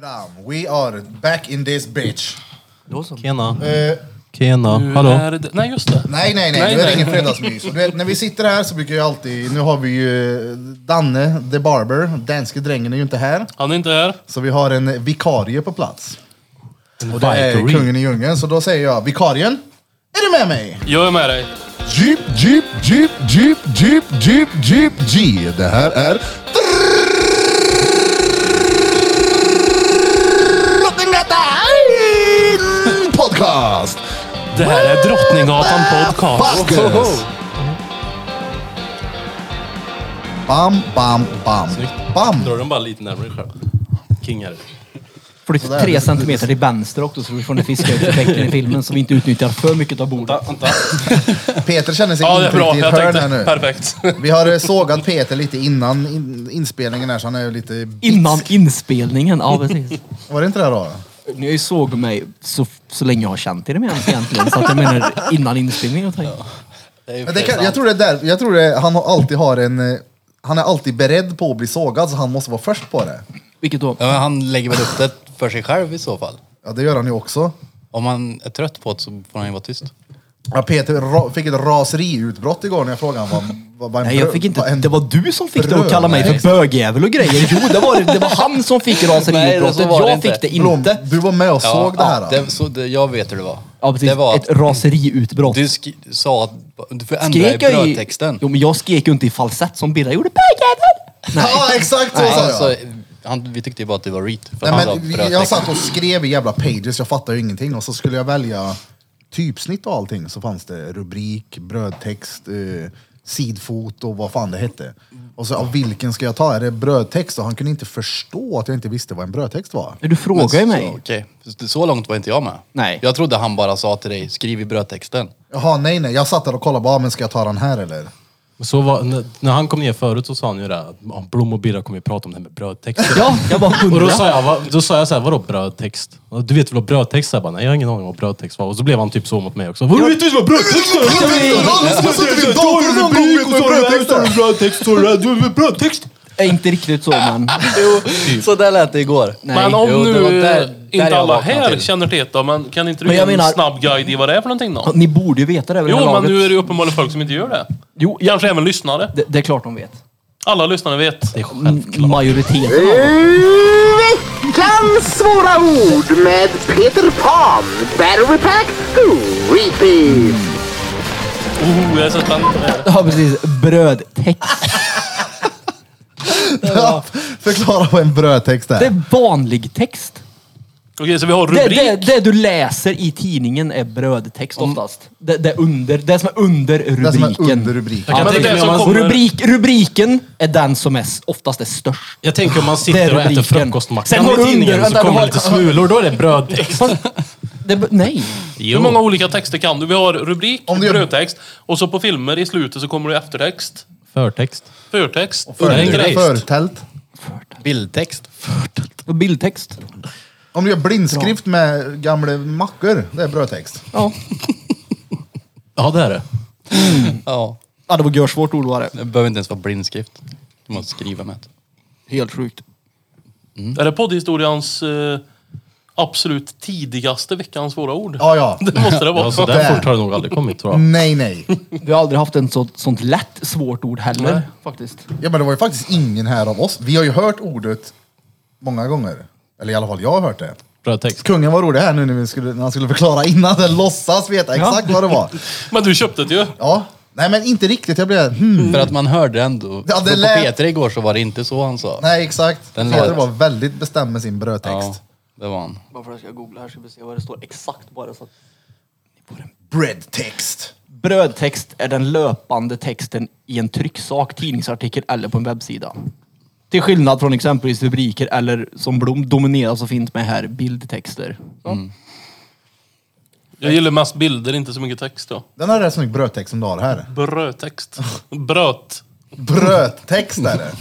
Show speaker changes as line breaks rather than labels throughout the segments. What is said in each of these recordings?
Bram, we are back in this bitch.
Då så.
Kena,
Eh,
Kena,
Nu
hallå?
är det- Nej, just det.
nej, nej, nej, nu
Nej,
är det
nej.
ingen fredagsmys. Och du vet, när vi sitter här så brukar jag alltid, nu har vi ju Danne the Barber, danske drängen är ju inte här.
Han är inte här.
Så vi har en vikarie på plats. Och det är
Vikari.
kungen i djungeln, så då säger jag vikarien, är du med mig?
Jag är med dig.
Jeep, jeep, jeep, jeep, jeep, jeep, jeep, G. Det här är Drottninggatan podcast!
Det här är Drottninggatan podcast.
Backes! Bam, bam, bam. Bam!
Drar den bara lite närmare själv. King här.
Flytta tre centimeter till vänster också så vi får den fiska ut effekten i filmen så vi inte utnyttjar för mycket av bordet.
Vänta, vänta.
Peter känner sig
Ja, det är
intryckt
bra.
i ett
Jag
hörn här nu.
tänkte perfekt.
Vi har eh, sågat Peter lite innan in, inspelningen här så han är ju lite... bitsk.
Innan inspelningen, ja precis.
Var det inte det då?
Ni har ju såg mig så, så länge jag har känt er med egentligen. Så att jag menar innan inspelningen. Jag tänkte,
Men det kan, jag tror det är där, jag tror det, han har alltid har en... eh, Han är alltid beredd på att bli sågad så han måste vara först på det.
Vilket då?
Ja, men han lägger väl upp det för sig själv i så fall.
Ja det gör han ju också.
Om man är trött på det så får han ju vara tyst.
Ja, Peter ra, fick ett raseriutbrott igår när jag frågade honom vad, vad, vad en
Nej jag
brö-
fick
vad
inte,
en-
det var du som fick det att kalla mig för bögjävel och grejer. Jo det var, det- det var han som fick raseriutbrottet.
Nej, så var det
Jag
inte.
fick det
Blom,
inte.
Du var med och såg det här. då?
det, så det, jag vet hur det var.
Ja precis,
det var
ett raseriutbrott.
du sk- sa att du får ändra i
Skrek jag i...
brödtexten.
Jo men jag skrek ju inte i falsett som Birra gjorde. Bögjävel!
Ja exakt så
Nej,
sa jag.
alltså, han, vi tyckte ju bara att det var reet. För
Nej,
han
men
sa brödtext.
jag satt och skrev i jävla pages, jag fattade ju ingenting. Och så skulle jag välja typsnitt och allting så fanns det rubrik, brödtext, eh, sidfot och vad fan det hette. Och så, ja, vilken ska jag ta? Är det brödtext? Och han kunde inte förstå att jag inte visste vad en brödtext var.
Du frågar ju
Så,
mig.
okej. Så- Så långt var inte jag med.
Nej.
Jag trodde han bara sa till dig, skriv i brödtexten.
Jaha, nej nej, jag satt där och kollade bara, "Ah, men ska jag ta den här eller?
Så var, när, när han kom ner förut så sa han ju det, att, "Ja, Blom och Birra kommer ju prata om det här med brödtexter.
Ja, jag var
Och då
hundra.
sa jag, va, då sa jag så här, vadå brödtext? Och Du vet väl vad brödtext är? Jag bara, nej jag har ingen aning om vad brödtext var. Och så blev han typ så mot mig också. Vadå vet du inte vad brödtext är? Brödtext, står det där, du vet brödtext!
Är Eh, inte riktigt så men. Typ.
Så där lät det igår.
Nej.
Men om
Jo, det var
nu
där- där
inte
jag
alla
vaknade
här
till.
känner till det då, men kan inte du
Men
ge
jag
en
menar-
snabb guide i vad det är för någonting då?
Ni borde ju veta det vid det här
Jo, men
laget.
nu är det ju uppenbarligen folk som inte gör det.
Jo, ja,
Kanske även lyssnare.
det, det är klart de vet.
Alla lyssnare vet.
Det är självklart.
Majoriteten av dem.
Veckans svåra ord med Peter Pan, Battery Pack, Repeat.
Oh, jag är så spänd.
Ja precis, brödtext.
Förklara vad en brödtext
Det
är.
är vanlig text.
Okej, så vi har
Det,
rubrik. Mm.
det, det du läser i tidningen är brödtext oftast. Det, det, är under, det som är under rubriken.
Det som är under rubriken.
Ja,
Jag
men det är
tänker
det
om
som
man-
Och
kommer.
rubrik, rubriken är den som är, s- oftast är störst.
Jag tänker om man
Det är
sitter och äter
rubriken. Sen
frukostmackan
går
i
under,
tidningen så
vänta, du
kommer
har-
det lite smulor, då är det brödtext.
Fast, det, b- nej.
Hur många olika texter kan du? Vi har rubrik,
Om du gör-
brödtext och så på filmer i slutet så kommer det eftertext,
Förtext.
förtext,
För-
undertext.
Förtält.
Bildtext.
Och Bildtext.
Om du gör blindskrift med gamla mackor, det är brödtext.
Ja.
Ja, det är det.
Ja.
ja, det var görsvårt ord var det.
Det behöver inte ens vara blindskrift. Du måste skriva med.
Helt sjukt.
Är det poddhistorians eh, absolut tidigaste veckans svåra ord?
Ja, ja.
Det måste det vara.
Ja, så där fort har det nog aldrig kommit tror jag.
Nej, nej.
Vi har aldrig haft en så, sånt lätt svårt ord heller.
Nej.
Faktiskt.
Ja, men det var ju faktiskt ingen här av oss. Vi har ju hört ordet många gånger. Eller i alla fall jag har hört det.
Brödtext.
Kungen var rolig här nu när, vi skulle, när han skulle förklara innan. Den låtsas veta exakt vad det var.
Men du köpte det ju.
Ja. Nej, men inte riktigt. Jag blev... Hmm.
För att man hörde det ändå.
Ja, det
För
lät-
På Peter igår så var det inte så han sa.
Nej, exakt.
Den
Peter
lät-
var väldigt bestämd med sin brödtext.
Ja, det var han.
Bara för att jag ska googla här så vi se vad det står exakt bara så
Breadtext.
Brödtext är den löpande texten i en trycksak, tidningsartikel eller på en webbsida. Till skillnad från exempelvis rubriker eller som Blom dominerar så fint med här, bildtexter. Ja.
Jag gillar mest bilder, inte så mycket text då.
Den här är rätt snygg brödtext som du har här.
Brödtext. Bröt.
Brödtext är det.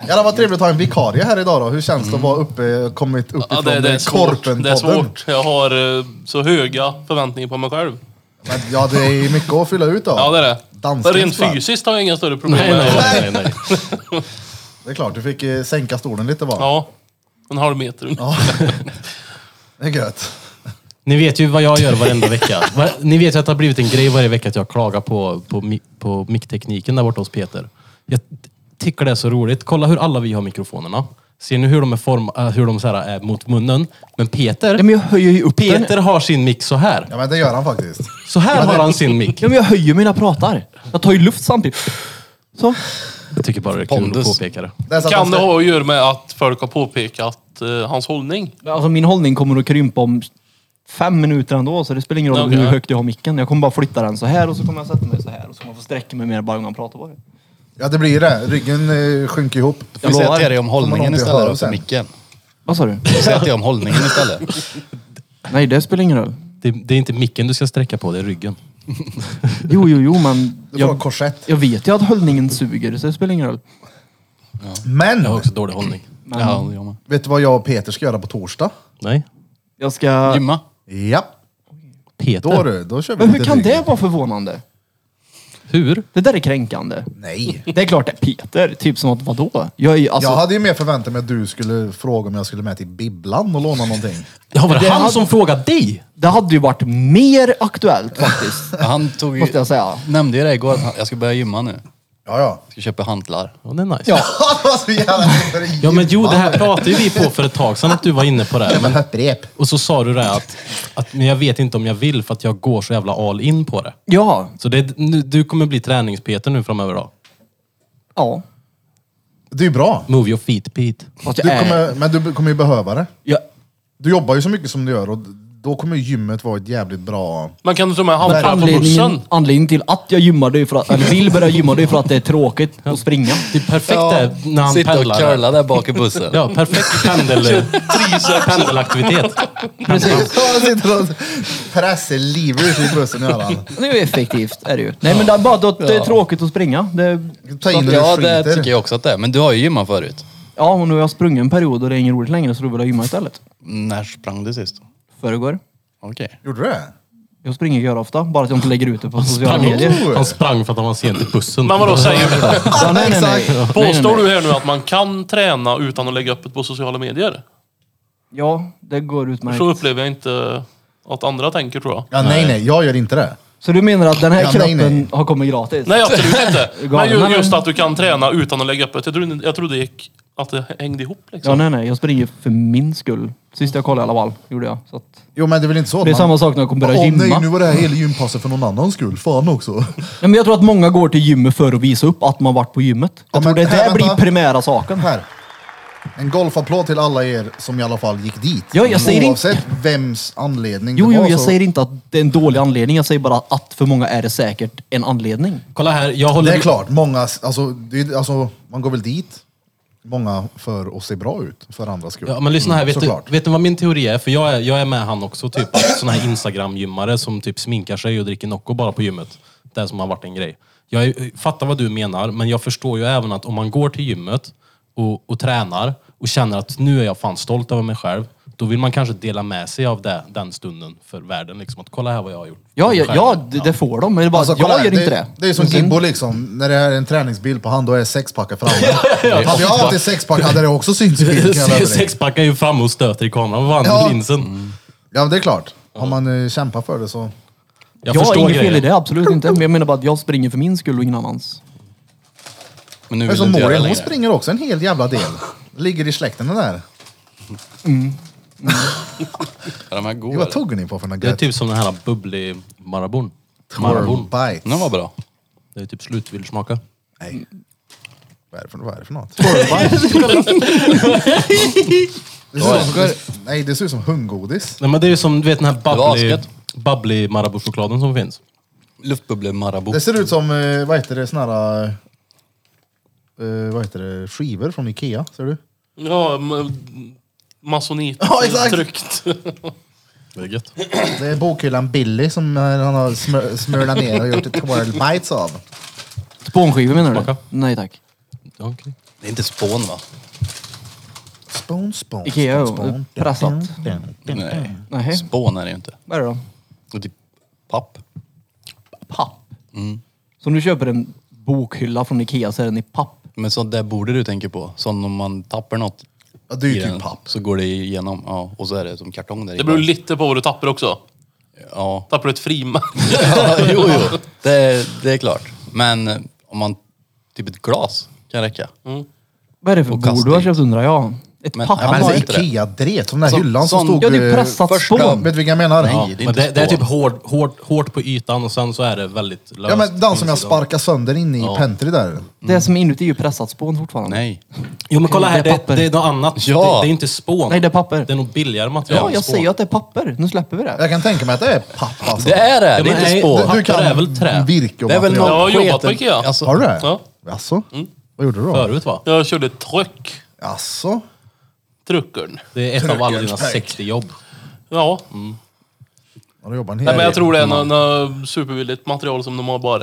Jävlar vad trevligt att ha en vikarie här idag då. Hur känns det att vara uppe, kommit upp
Mm. Ja,
ifrån
det, det är svårt.
korpen
Det är svårt. Jag har eh, så höga förväntningar på mig själv.
Ja, det är mycket att fylla ut då.
Ja, det är det.
Dansken
Rent
slapp.
fysiskt har jag inga större problem
Nej,
med
nej,
det.
nej. nej, nej.
Det är klart, du fick eh, sänka stolen lite va?
Ja. En halv meter.
Ja. Det är gött.
Ni vet ju vad jag gör varenda vecka. Va- Ni vet ju att det har blivit en grej varje vecka att jag klagar på, på, mi- på micktekniken där borta hos Peter. Jag t- tycker det är så roligt. Kolla hur alla vi har mikrofonerna. Ser ni hur de är, form, äh, hur de så här är mot munnen? Men Peter,
Nej, men jag höjer ju upp den.
Peter har sin mick så här.
Ja men det gör han faktiskt.
Så här har han sin mick.
Ja, men jag höjer mina pratar. Jag tar ju luft samtidigt. Så.
Jag tycker bara det är kul att
Pondus.
påpeka det.
Det är så att
Kan
han
det
ska-
ha att göra med att folk har påpekat eh, hans hållning?
Alltså min hållning kommer att krympa om fem minuter ändå, så det spelar ingen roll
Okej.
hur högt jag har micken. Jag kommer bara flytta den så här och så kommer jag sätta mig så här och så kommer jag få sträcka mig mer bara gång jag pratar på det.
Ja det blir det. Ryggen eh, sjunker ihop.
Jag säger
lovar.
till dig om
Kommer någon
hållningen
till att höra
istället och för
sen?
micken.
Vad sa du?
Jag säger till dig om hållningen istället.
Nej, det spelar ingen roll.
det. Det är inte micken du ska sträcka på, det är ryggen.
Jo, jo, jo, men
Du får ha
jag,
korsett.
jag vet ju att hållningen suger, så det spelar ingen roll.
Men!
Jag har också dålig hållning.
Men
Ja, jag med.
Vet du vad jag och Peter ska göra på torsdag?
Nej.
jag ska...
Gymma.
Ja. Då
Peter.
du, då kör vi
Men hur
lite
kan
rygg.
det vara förvånande?
Hur?
Det där är kränkande.
Nej.
Det är klart det är Peter. Typ som att vadå? Jag är ju alltså...
Jag hade ju mer förväntat mig att du skulle fråga om jag skulle med till bibblan och låna någonting.
Ja, var det,
Det
han
hade-
som frågade dig?
Det hade ju varit mer aktuellt faktiskt.
Ja, Han tog ju,
Måste jag säga.
nämnde ju det igår att han- jag ska börja gymma nu.
Ja, ja.
Jag ska köpa hantlar.
Ja, det är nice. Ja.
det var så jävla
ja, men jo, det här pratade ju vi på för ett tag sedan att du var inne på det. här. Men
Hopprep.
Och så sa du det här att, att men jag vet inte om jag vill för att jag går så jävla all in på det.
Ja.
Så det, nu, du kommer bli träningspeter nu framöver då.
Ja.
Det är ju bra.
Move your feet Pete.
Fast
Du
jag är...
kommer, men du kommer ju behöva det.
Jag...
Du jobbar ju så mycket som du gör och då kommer ju gymmet vara ett jävligt bra...
Man kan du ta med hantlar på
Anledningen,
bussen?
anledningen till att jag gymmar det är för att, eller vill börja gymma det är för att det är tråkigt att springa. Typ.
Det är perfekt det när han
Sitta och
pendlar.
curla där bak i bussen.
Ja, perfekt pendel, pendelaktivitet.
Precis.
Han sitter och pressar livet ur sig i bussen, gör han.
Det är ju effektivt, är det ju. Nej men det är bara att det är tråkigt att springa. Det är...
Ta in
Ja,
och
det
skiter.
tycker jag också att det är. Men du har ju gymmat förut.
Ja, och nu har jag sprungit en period och det är inget roligt längre så då vill jag gymma istället.
När sprang du sist?
Föregår.
Okej.
Gjorde du det?
Jag springer görofta, bara att jag inte lägger ut det på sociala
Sprang,
medier.
medier.
han sprang för att han var sen till bussen.
Men vadå, säger
Ja, nej, nej, nej. Nej, nej,
Påstår
nej.
du här nu att man kan träna utan att lägga upp det på sociala medier?
Ja, det går utmärkt.
Så upplever jag inte att andra tänker tror jag.
Ja, nej, nej, jag gör inte det.
Så du menar att den här
Ja, nej,
kroppen
nej.
har kommit gratis?
Nej, absolut inte. Men
Galen,
ju-
eller?
just att du kan träna utan att lägga upp det. Jag trodde, jag trodde det gick, att det hängde ihop
Ja,
liksom.
nej, nej. Jag springer för min skull. Sist jag kollade i alla fall, gjorde jag. Så att...
Jo, men det är väl inte så att
Det är
man-
samma sak när jag kommer börja
Åh, nej,
gymma.
nu var det här hela gympasset för någon annans skull. Fan också.
Nej, men jag tror att många går till gymmet för att visa upp att man varit på gymmet.
Ja,
Jag tror
men
det
här,
där blir
vänta. Mm,
primära saken.
Här. En golfapplåd till alla er som i alla fall gick dit.
Ja, jag säger inte-
Oavsett vems anledning
Jo,
det
jo,
var
jag
så...
säger inte att det är en dålig anledning. Jag säger bara att för många är det säkert en anledning.
Kolla här, jag
Det
håller...
är klart, många, alltså, det, är- alltså, man går väl dit, många för att se bra ut för andras skull.
Ja, men lyssna här, vet,
Såklart.
du, vet du vad min teori är? För jag är, jag är med han också, typ sån här Instagram-gymmare som typ sminkar sig och dricker Nocco bara på gymmet. Det som har varit en grej. Jag är, fattar vad du menar, men jag förstår ju även att om man går till gymmet och, och tränar och känner att nu är jag fan stolt över mig själv, då vill man kanske dela med sig av det, den stunden för världen. Liksom, att kolla här vad jag har gjort.
Ja,
för mig
ja,
själv.
ja det, det får de. Men det är bara,
Alltså, kolla
jag
här,
gör inte det. Mm.
Det är som Gibbo liksom, när det är en träningsbild på han, då är sexpacket framme. Hade jag haft ett sexpack hade det också synts i bilden kan jag lova dig.
Sexpack är ju framme och stöter i kameran. Vad fan,
Ja.
linsen.
Ja, men det är klart. Har man eh, kämpat för det så...
Jag,
jag har
förstår
inget
grejen.
fel i det, absolut inte. Men jag menar bara att jag springer för min skull och ingen annans.
Men nu
Men
vill
så
du inte göra det
Morin, hon
längre.
springer också en hel jävla del. Ligger i släkten den där.
Är de här goda?
Vad
eller?
tog ni på för något
Det är
gött?
typ som den här bubblig marabon.
Twirl
Marabon.
bites.
Den var bra.
Det är typ slut, vill du smaka?
Nej. Vad är det för, vad är det för något? det ser ut som, nej, det ser ut som hundgodis.
Nej men det är ju som du vet den här
var
bubbly,
asket.
bubbly Marabou-chokladen som finns.
Luftbubblor Marabou.
Det ser ut som, eh, vad heter det, såna här... eh, vad heter det, skivor från Ikea, ser du?
Ja, m- masonit.
Ja, exakt.
Tryckt.
Det är gött.
Det är bokhyllan Billy som eh, han har smör, smörlat ner och gjort ett twirl bites av.
Spånskivor menar du?
Smaka.
Nej tack.
Ja, okej.
Det är inte spån va?
Spoon, spoon,
Ikea,
spoon, spoon.
pressat.
Nej.
Nej.
Spån är det ju inte.
Vad är det då?
Det är typ papp.
Papp.
Mm.
Så om du köper en bokhylla från Ikea så är den i papp.
Men sånt där borde du tänka på. Sånt om man tappar något
Ja, det är ju
i den,
typ papp.
Så går det igenom, ja. Och så är det som kartong där
Det beror lite på vad du tappar också.
Ja,
Tappar du ett frimärke?
ja jo, jo. Det, det är klart. Men eh, om man, typ ett glas kan räcka.
Vad är det för
Och
bord du har
kastning.
köpt undrar jag? Ett
Men-
papper?
Ja,
Ja, men
har
alltså,
inte det.
Ikea-dret, som den här
Som-
hyllan som
som-
stod...
ja, det
eh,
är pressat
första-
spån.
Vet du vilka jag menar?
Nej,
Ja.
det är
Men
inte
det, det är typ
spån.
hårt, hårt, hårt på ytan och sen så är det väldigt löst.
Ja men den som jag
insidan.
sparkade sönder inne i pentry där.
Det som är inuti är ju pressat spån fortfarande.
Nej.
Jo men kolla här,
Mm, Det är
det,
papper.
det är något annat.
Ja.
Det, det är inte spån.
Nej, det är papper.
Det är nog billigare material.
ja,
än
jag
spån.
säger att det är papper. Nu släpper vi det.
Jag kan tänka mig att det är papp alltså.
Det är det!
Ja,
det
men
är inte
nej,
spån.
det- papper är väl trä.
virke och
Det är väl
material.
Jag har
någon
jobbat på
sketen-
Ikea.
Alltså,
Har du det?
Ja.
Jaså? Vad gjorde du då?
Förut va?
Jag körde tryck.
Jaså?
Truckern.
Det är ett av alla dina
Tryckarens pack.
60 jobb.
Ja.
Har du jobbat en hel
Nej, men jag
del?
tror det är nå- nå superbilligt material som de har bara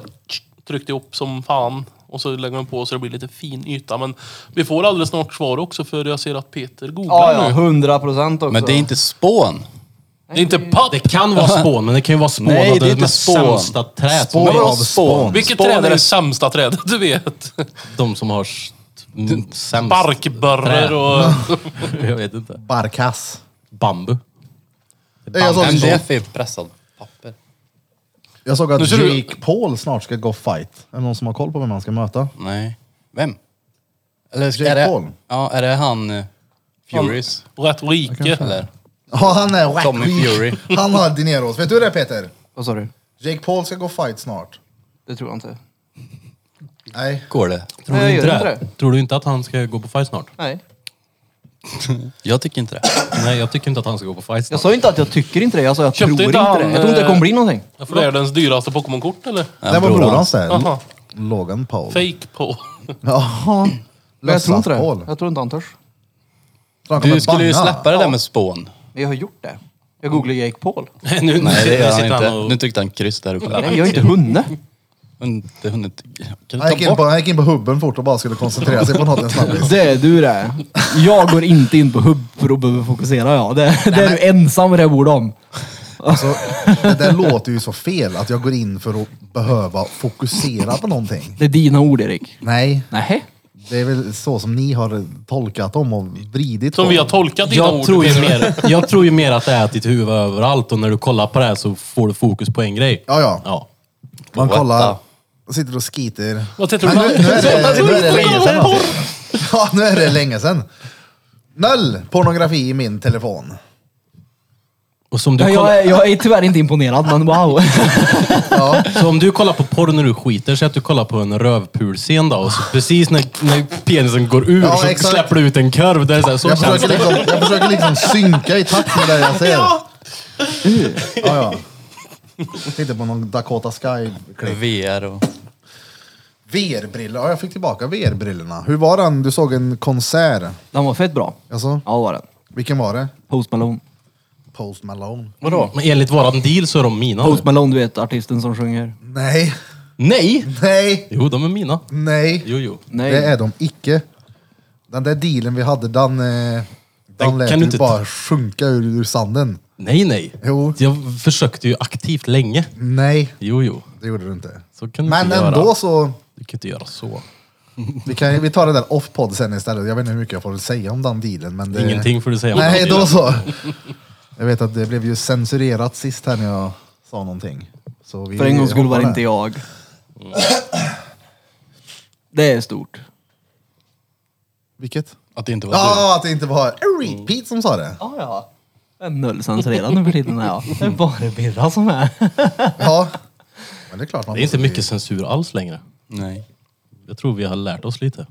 tryckt ihop som fan. Och så lägger de på så det blir lite fin yta. Men vi får alldeles snart svar också för jag ser att Peter googlar
Ja, ja.
nu.
100 procent också.
Men det är inte spån.
Alltså,
Det är inte papp!
Det kan vara spån, men det kan ju vara spån
Nej,
av
det är inte
mest
spån.
sämsta trä som
Spån
är.
av spån.
Vilket
Spån
träd är
är-
det sämsta trädet du vet?
De som har s- m- sämst
Barkbörrer
trä.
och...
Jag vet inte.
Barkass.
Bambu.
Eh, Jag såg,
Men det är för pressad papper.
jag såg
Nu
att
ser du-
Jake Paul snart ska gå fight. Är det någon som har koll på vem han ska möta?
Nej. Vem? Eller
Jake
är det,
Paul.
ja, är det han eh, Furies?
Rätt rike.
Eller?
Ja, han är wack.
Tommy Fury.
Han har dineros. Vet du det Peter?
Vad sa du?
Jake Paul ska gå fight snart.
Det tror jag inte.
Nej.
Går det?
Tror
Nej,
du, inte
jag gör
det?
inte det.
Tror du inte att han ska gå på fight snart?
Nej.
Jag tycker inte det.
Nej, jag tycker inte att han ska gå på fight
Jag
snart.
sa ju inte att jag tycker inte det. Jag sa jag
Köpte
tror
inte
inte eh,
han,
det. Jag tror inte det kommer bli någonting.
Världens dyraste Pokémon-kort eller?
det var
bror
bror
hans.
hans där.
Jaha.
Logan Paul.
Fake på.
Jaha.
Men jag tror inte det.
Paul.
Jag tror inte han törs.
Så han kommer
Du skulle ju
banna.
släppa det där med spån.
Men jag har gjort det. Jag googlar Jake Paul.
Nej, nu,
Nej, det gör
nu
han
sitter
inte.
han och...
Nu tryckte han kryss där uppe.
Nej, jag har inte hunnit.
Inte hunnit... Kan
Han
du
gick,
ta
in på,
bort?
han gick in på hubben fort och bara skulle koncentrera sig på något en snabbis.
Det är du det. Jag går inte in på hubb för att behöva fokusera jag. Det, det är du ensam i det här bordet om.
Alltså, det där låter ju så fel att jag går in för att behöva fokusera på någonting.
Det är dina ord Erik.
Nej,
Nej.
det är väl så som ni har tolkat dem och vridit
Som
på
vi har
dem.
tolkat dina
Jag
ord.
tror, ju
Peter.
mer, jag tror ju mer att det är att ditt huvud är överallt och när du kollar på det här så får du fokus på en grej.
Ja, ja.
ja.
Man
What
kollar,
the-
sitter och skiter.
Vad tittar du
Men nu, nu, är det, nu är det länge sedan.
på?
alltså. Ja, nu är det länge sedan. Noll pornografi i min telefon.
Och som du,
Jag,
kollar,
är, jag är tyvärr inte imponerad men wow.
så om du kollar på porr när du skiter, så att du kollar på en rövpulscen då och så precis när, när penisen går ur
Ja,
så
exakt.
släpper du ut en korv. Det är så, här, så
Jag
känns
försöker,
det.
liksom, jag försöker liksom synka i takt med det jag ser. Ja, ja. Tittar på någon Dakota Sky-klipp.
VR och...
VR-brillor, ja jag fick tillbaka VR-brillorna. Hur var den? Du såg en konsert.
Den var fett bra.
Alltså,
Ja det var den.
vilken var det?
Post Malone.
Post Malone?
Vadå? Men enligt våran deal så är de mina. nu.
Post Malone du vet artisten som sjunger.
Nej,
Nej!
nej,
Jo, de är mina.
nej.
Jo, jo.
Nej.
Det är de icke. Den där dealen vi hade, den, eh, den
Den
lät
kan
ju
du inte
bara sjunka ur, ur sanden.
Nej, nej.
Jo.
Jag försökte ju aktivt länge.
Nej,
Jo, jo.
det gjorde du inte.
Så kan du
Men
inte
ändå
göra.
så,
Du kan inte göra så.
vi, kan, vi tar det där off-podd sen istället. Jag vet inte hur mycket jag får säga om den dealen. Men det,
Ingenting får du säga. om
Nej,
den dealen.
då så. Jag vet att det blev ju censurerat sist här när jag sa någonting. Så vi
För en gångs skull var det
hoppar
inte
där.
jag. Det är stort.
Vilket?
Att det inte var
Ja,
du.
att det inte var Eric Pete som sa det.
Ja, ja. Jag är nollcensurerad nu för tiden. Ja. Det är bara Birra som är.
Ja. Men det är klart man
Det är inte
måste bli-
mycket censur alls längre.
Nej.
Jag tror vi har lärt oss lite.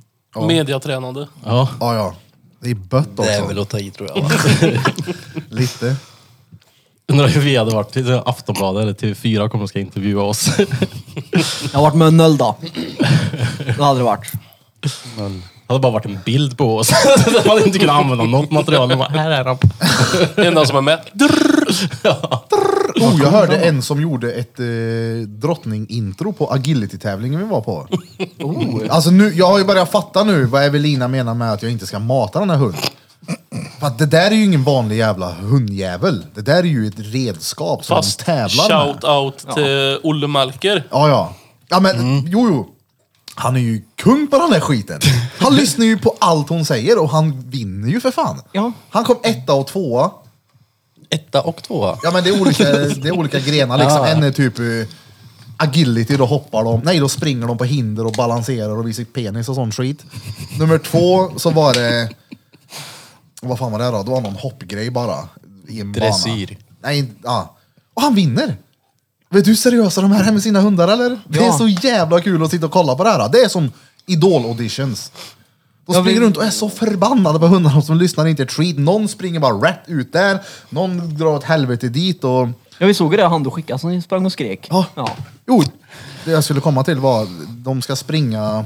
Mediatränande.
Ja.
Ja, ja. Det är bött också.
Det är väl att ta i tror jag. va?
Lite.
Undrar hur vi hade varit. till Aftonbladet eller TV4 kommer och ska intervjua oss.
Jag har varit med en noll då. Det hade det varit.
Det hade bara varit en bild på oss. Man hade inte kunnat använda något material. De Bara, här är han.
Enda som är med.
Oh, jag hörde en som gjorde ett eh, drottning-intro på agility-tävlingen vi var på. Alltså nu, jag har ju börjat fatta nu vad Evelina menar med att jag inte ska mata den här hunden. För att det där är ju ingen vanlig jävla hundjävel. Det där är ju ett redskap som
Fast
de tävlar med.
shout out till Olle Melker.
Mm.
Ja, ja. Ja, men jo, jo. Han är ju kung på den här skiten. Han lyssnar ju på allt hon säger och han vinner ju för fan.
Ja.
Han kom etta och tvåa.
Etta och tvåa.
Ja men det är olika, det är olika grenar liksom. En är typ eh, agility, då hoppar de. Nej, då springer de på hinder och balanserar och visar penis och sån skit. Nummer två så var det... Vad fan var det då? Det var någon hoppgrej bara. I en
Dressyr.
Bana. Nej, ja. Och han vinner! Vet du hur seriösa de här är med sina hundar eller? Det är
Ja.
så jävla kul att sitta och kolla på det här. Det är som Idol-auditions. De
Ja, vi-
springer runt och är så förbannade på hundarna som lyssnar inte ett skit. Någon springer bara rätt ut där, någon drar åt helvete dit och...
Ja, vi såg ju det han du skickade som sprang och skrek.
Ja.
Ja.
Jo, det jag skulle komma till var, de ska springa,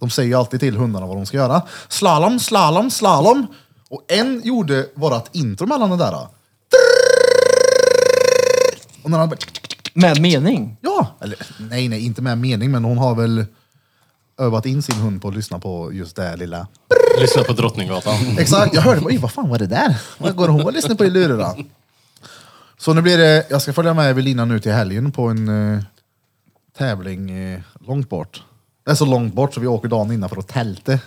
de säger ju alltid till hundarna vad de ska göra. Slalom, slalom, slalom. Och en gjorde vårat intro mellan det där. Och när han bara,
Med mening.
ja, eller nej, nej, inte med mening, men hon har väl övat in sin hund på att lyssna på just det här lilla.
Lyssna på Drottninggatan.
Exakt, jag hörde bara, "Oj, vad fan var det där? Vad går hon och lyssnar på i lurarna? Så nu blir det, jag ska följa med Evelina nu till helgen på en eh, tävling eh, långt bort. Det är så långt bort så vi åker dagen innan för att tälta.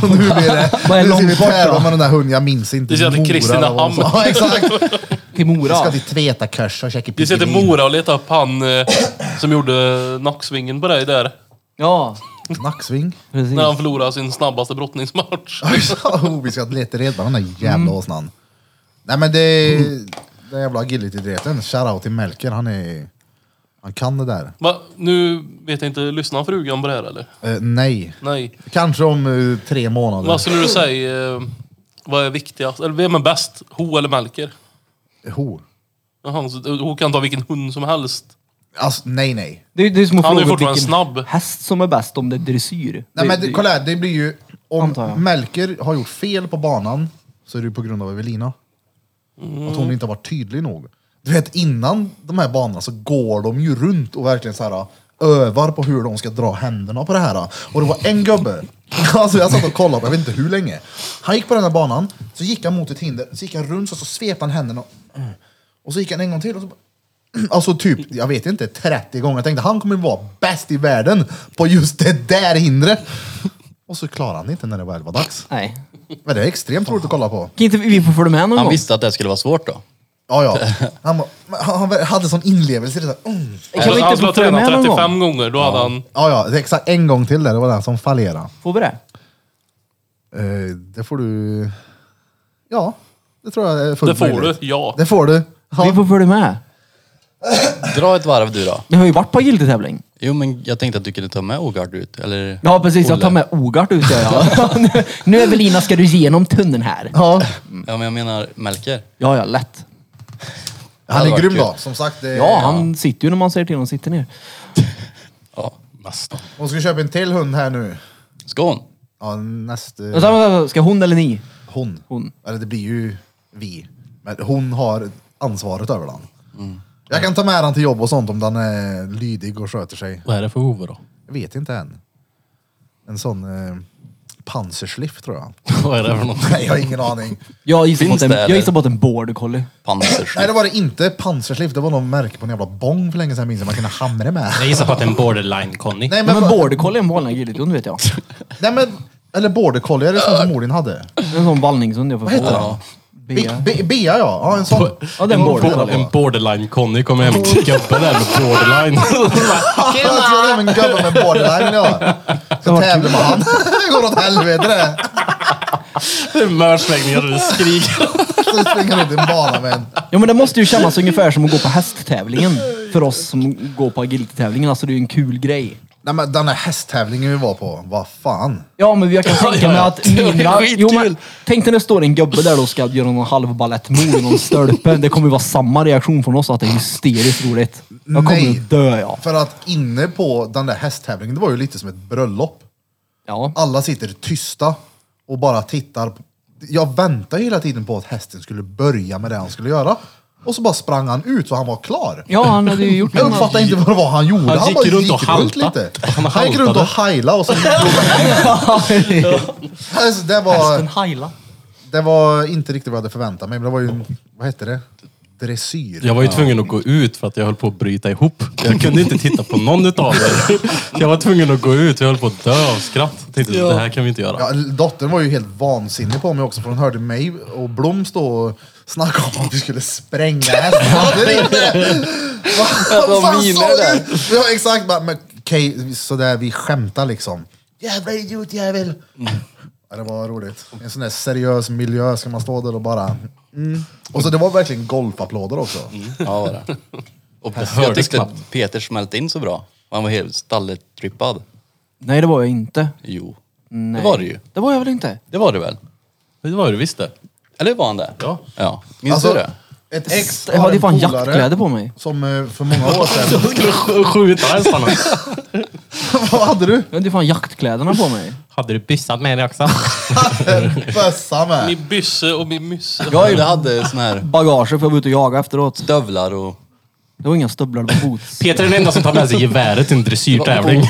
Så nu blir det,
Vad är
nu ska vi
långt bort
tävla
då?
med den där hunden, jag minns inte.
Vi ska till
Mora eller vad hon sa. Ja, exakt.
Till
Vi
Mora.
ska till Tvetakurs och käka
Vi ska till
pigelin.
Mora och leta upp han eh, som gjorde nacksvingen på dig där.
Ja,
Nacksving.
precis.
När han förlorade sin snabbaste brottningsmatch.
oh, vi ska leta reda på den där jävla åsnan. Nej men det, den jävla agility-dreten, shoutout till Melker, han är, han kan det där.
Va? Nu vet jag inte, lyssnar frugan på det här eller?
Eh, nej.
Nej.
Kanske om eh, tre månader.
Vad skulle du säga, eh, vad är viktigast? Eller vem är bäst? Ho eller Melker?
Ho.
Jaha, så Ho kan ta vilken hund som helst.
Alltså, nej, nej.
Det är, det är som att
Han är ju
fråga
fortfarande
vilken
snabb.
häst som är bäst om det är dressyr.
nej men det, kolla här, det blir ju...
Antar
Om
jag.
Melker har gjort fel på banan så är det ju på grund av Evelina. Att
Mm.
hon inte har varit tydlig nog. Du vet, innan de här banorna så går de ju runt och verkligen så här övar på hur de ska dra händerna på det här. Och det var en gubbe, alltså jag satt och kollade på, jag vet inte hur länge. Han gick på den här banan, så gick han mot ett hinder, så gick han runt så, så svepte han händerna. Och så gick han en gång till och så bara- Alltså typ, jag vet inte, 30 gånger. Jag tänkte han kommer vara bäst i världen på just det där hindret. Och så klarade han det inte när det väl var dags.
Nej.
Men det är extremt roligt att kolla på.
Kan inte vi få följa med någon
Han
gång?
visste att det här skulle vara svårt då.
Ja, ja. Han, bara- men han han hade sån inlevelse. i Det där. Mm.
Kan vi
han skulle
inte få
ha
följa med
tränat
någon gång?
35 gånger, då hade han...
Ja, ja, det är exakt en gång till där, det var den som fallerade.
Får vi det?
Eh, det får du... Ja, det tror jag är fullt
Det får du,
möjligt.
ja.
Det får du.
Vi
Ja.
får följa med.
Dra ett varv du då.
Vi har ju varit på agility-tävling.
Jo men jag tänkte att du kunde ta med Ogard ut, eller?
Ja precis, jag
Olle.
tar med Ogart ut där. Ja. Nu- nu Evelina ska du igenom tunneln här.
Ja.
Ja men jag menar Melker.
Ja, ja, lätt.
Han
Det
är
hade
grym
varit
då, som sagt. Det...
Eh, Ja, han sitter ju när man säger till honom, sitter ner.
Ja, nästan.
Hon ska köpa en till hund här nu.
Skån.
Ja, nästa...
Vänta, vänta, vänta, Ska hon eller ni?
Hon.
Hon.
Eller det blir ju vi. Men hon har ansvaret över den.
Mm.
Jag kan ta med den till jobb och sånt om den är lydig och sköter sig.
Vad är det för huvud då?
Jag vet inte än. En sån eh, pansarschliff tror jag.
Vad är det för något?
Nej, jag har ingen aning.
Jag gissar, på att
Finns
en,
det, eller?
jag gissar på att en border collie.
Nej,
Panserskydd.
det var det inte. Pansarschliff, det var någon märke på en jävla bong för länge sedan minns jag man kunde hamra med.
Jag gissar på att det är en borderline Conny.
Nej,
Men,
men,
men
vad-
border collie är en vanlig agilityhund vet jag.
nej, men eller border collie, är det sån som Morin hade?
En sån vallningshund jag får
Vad heter
fråga.
den?
Bea.
Be- Be- Bea ja. ja, en sån.
Ja, den border
Bo-
collie.
en borderline Conny kommer hem till gubben där med borderline.
Jag tror det är en gubbe med borderline ja. Så
var
tävlar man. Det går åt helvete det.
Det är mörsläggningar och det skriker.
Så springer han ut i en bana med en...
Ja men det måste ju kännas ungefär som att gå på hästtävlingen. För oss som går på agilitytävlingen. Alltså det är ju en kul grej.
Nej men den här hästtävlingen vi var på, vad fan.
Ja men jag kan tänka mig att
Det var
mina...
skitkul.
Jo, men, tänk dig när det står en gubbe där och ska göra någon halv balettmove i någon stölpe. Det kommer ju vara samma reaktion från oss att det är hysteriskt roligt. Jag kommer
Nej.
ju dö ja.
För att inne på den där hästtävlingen, det var ju lite som ett bröllop.
Ja.
Alla sitter tysta och bara tittar. Jag väntade hela tiden på att hästen skulle börja med det han skulle göra. Och så bara sprang han ut så han var klar.
Ja han hade ju gjort
Jag
den.
uppfattade inte vad det var han gjorde.
Han gick
bara
runt och halta. Han
Han, gick runt och heilade och så alltså, det, var,
Hästen heila.
det var inte riktigt vad jag hade förväntat mig. Men det var ju, en- vad hette det? dressyr.
Jag var ju tvungen att gå ut för att jag höll på att bryta ihop. Jag kunde inte titta på någon utav er. Jag var tvungen att gå ut, jag höll på att dö av skratt. Jag tänkte, det här kan vi inte göra.
Ja, dottern var ju helt vansinnig på mig också för hon hörde mig och Blom stå och snacka om att vi skulle spränga hästar. Vad
de
fan
miner
sa
där.
du? Ja exakt, bara, men okej, sådär vi skämtar liksom. Jävla idiot jävel. Ja, det var roligt. I en sån där seriös miljö ska man stå där och bara... Mm. Och så det var verkligen golfapplåder också.
Mm.
Ja, var det. Och jag
hördes
tyckte
knappt.
att Peter smälte in så bra. Han var helt stalletrippad.
Nej, det var jag inte.
Jo.
Nej.
Det var det ju.
Det var jag väl inte?
Det var det väl?
Det var ju det, visst det.
Eller var han det?
Ja.
ja. Minns
Alltså,
du det?
Ett ex
Jag
har
hade
en
fan
polare
jaktkläder på mig.
som eh, för många år sedan...
Skjuta hästarna.
Vad hade du?
Jag hade fan jaktkläderna på mig.
Hade du byssat med dig också?
Bössa med.
Min bysse och min mysse.
Jag ju hade sån här
Bagage för jag var ute och jagade efteråt.
stövlar och...
Det var inga stövlar, det var boots.
Peter är den enda som tar med sig geväret till en dressyrtävling.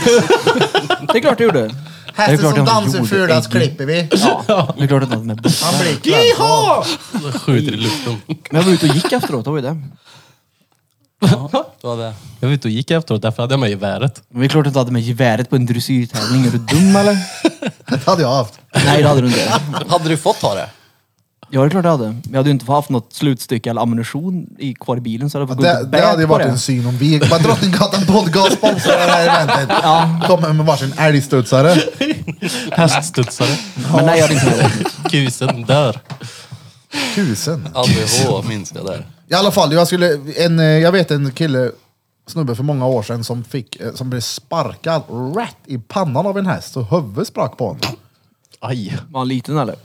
Det är klart jag gjorde. Det är
Hästen
klart
som
jag
dansar
gjorde,
fulast
Eggie.
klipper vi.
Ja, det är klart att något med
Han blir klädd.
Skjuter i luften.
Men jag var ute och gick efteråt, det var ju det.
Det var det.
Jag var ute och gick efteråt, därför hade jag med geväret.
Men det är klart att du hade med geväret på en dressyrtävling. Är du dum eller?
Det hade jag haft.
Nej, det hade du inte.
Hade du fått ha det?
Ja, det är klart jag hade. Jag hade ju inte haft något slutstycke eller ammunition i, kvar i bilen så jag hade fått gå ut
Det,
och
det
bära
hade ju
på
varit
det.
en syn om vi... Bara Drottninggatan podcast sponsrar det här eventet. Kommer med varsin älgstudsare.
Häststudsare.
Men nej, jag hade inte det.
Kusen dör.
Tusen.
ADH minns jag där.
I alla fall, jag, skulle, en, eh, jag vet en kille, snubbe för många år sedan som, fick, eh, som blev sparkad rätt i pannan av en häst så huvudet sprack på honom.
Aj.
Var han liten eller?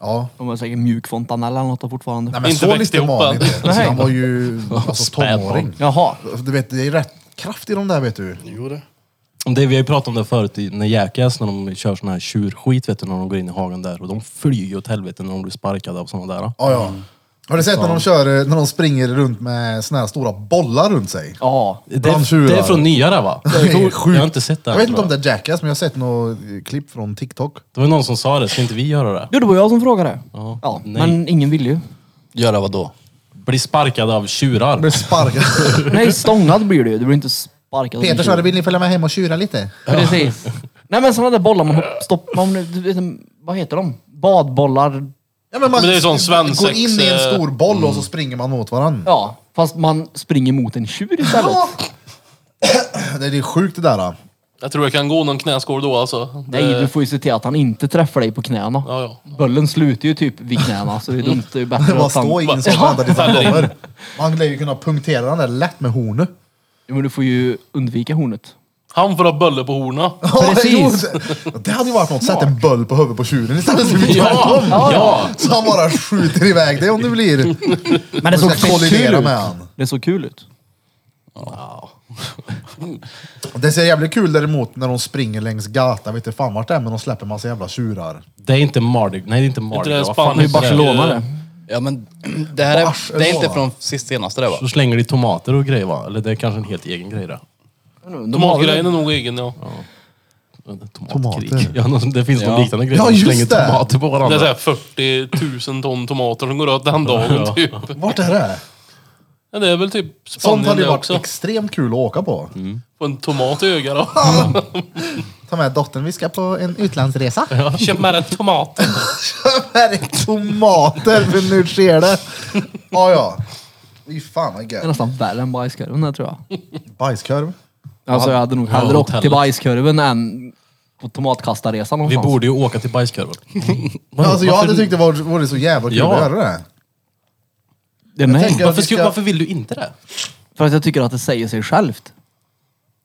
Ja.
De var säkert mjuk fontanella eller något då fortfarande.
Nej, men
Inte
så
växt
liten
ihop
var han
än.
inte. Alltså,
Nej.
han var ju alltså,
Späd barn.
tonåring.
Jaha.
Du vet, det är rätt kraft i de där vet du.
Det, vi har ju pratat om det förut i- när Jackass, när de kör sån här tjurskit vet du, när de går in i hagen där. Och de flyr ju åt helvete när de blir sparkade av såna där.
Ja, ja. Har du sett när de, kör, eh, när de springer runt med såna här stora bollar runt sig?
Ja.
Det,
Bland
är-
tjurar.
det är från nyare va?
Det är
jag
sjukt.
har inte sett det.
Jag
här,
vet inte
tror
om det är Jackass, men jag har sett något eh, klipp från TikTok.
Det var någon som sa det, ska inte vi göra det?
Jo, det var jag som frågade.
Ja.
Ja,
Nej.
men ingen ville ju.
Göra vad då?
Bli sparkade av
De
tjurar.
Blir sparkade.
Nej, stångad blir du ju. Du blir inte sparkad.
Peter sa, vill ni följa med hem och tjura lite?
Precis. Nej men sådana där bollar man hopp- stoppar, man, du vet, vad heter de? Badbollar.
Ja, men man
Men det är ju sån svensex,
går in i en
eh,
stor boll
mm.
och så springer man mot varandra.
Ja, fast man springer mot en tjur istället.
Ja. Det är ju sjukt det där. då.
Jag tror jag kan gå någon knäskål då alltså. Det-
Nej, du får ju se till att han inte träffar dig på knäna.
Ja, ja.
Böllen slutar ju typ vid knäna, så det är dumt. Det är ju
Det
bättre
bara
att han...
stå Mm. i en sån vänta tills han kommer. Man lär ju kunna punktera den där lätt med hornet.
Jo, men du får ju undvika hornet.
Han får ha bölle på horna.
Ja,
Precis.
jo, det- Det hade ju varit något. Sätt en böll på huvudet på tjuren istället för tvärtom.
Ja!
Så han bara skjuter iväg dig om du blir...
Men det
Du
såg
ska
fett kul
kollidera
ut.
med han.
Det såg kul ut.
Det ser jävligt kul däremot när de springer längs gatan, vet inte fan vart det är, men de släpper massa jävla tjurar.
Det är inte Mardi Nej, det är inte Mardi
det är
Gras. Vad fan
Spanien.
heter det?
Barcelona det.
Ja men det här
Vars
är, det är
är
inte
det?
från sist senaste det va?
Så slänger de tomater och grejer va? Eller det är kanske en helt egen grej det.
De har väl-
Tomatgrejen är nog egen ja.
Tomatkrig.
Tomater.
Ja, någon- det finns någon
Ja.
liknande grej.
Ja,
de
just
slänger
det.
tomater på
Det
varandra.
är såhär 40 000 ton tomater som går åt den dagen typ.
Vart är det?
Ja, det är väl typ
Sånt
Spanien
hade ju
det
varit
också.
extremt kul att åka på.
Få en tomat i ögat då.
Ta med dottern, vi ska på en utlandsresa.
Köp med dig tomat.
Här är tomater, för nu sker det. Ja, ja. Fy fan vad
Det är
gött.
nästan värre än bajskorven här, tror jag.
Bajskorv.
Alltså jag hade nog hellre
Ja,
åkt till
hotellet.
bajskorven än på tomatkastarresan
Vi
någonstans.
borde ju åka till bajskorven.
Alltså, jag
Varför-
hade tyckt det var- vore så jävla kul
Ja.
att göra det.
Det är mig.
tänker-
varför,
vi
skulle,
ska-
varför vill du inte det?
För att jag tycker att det säger sig självt.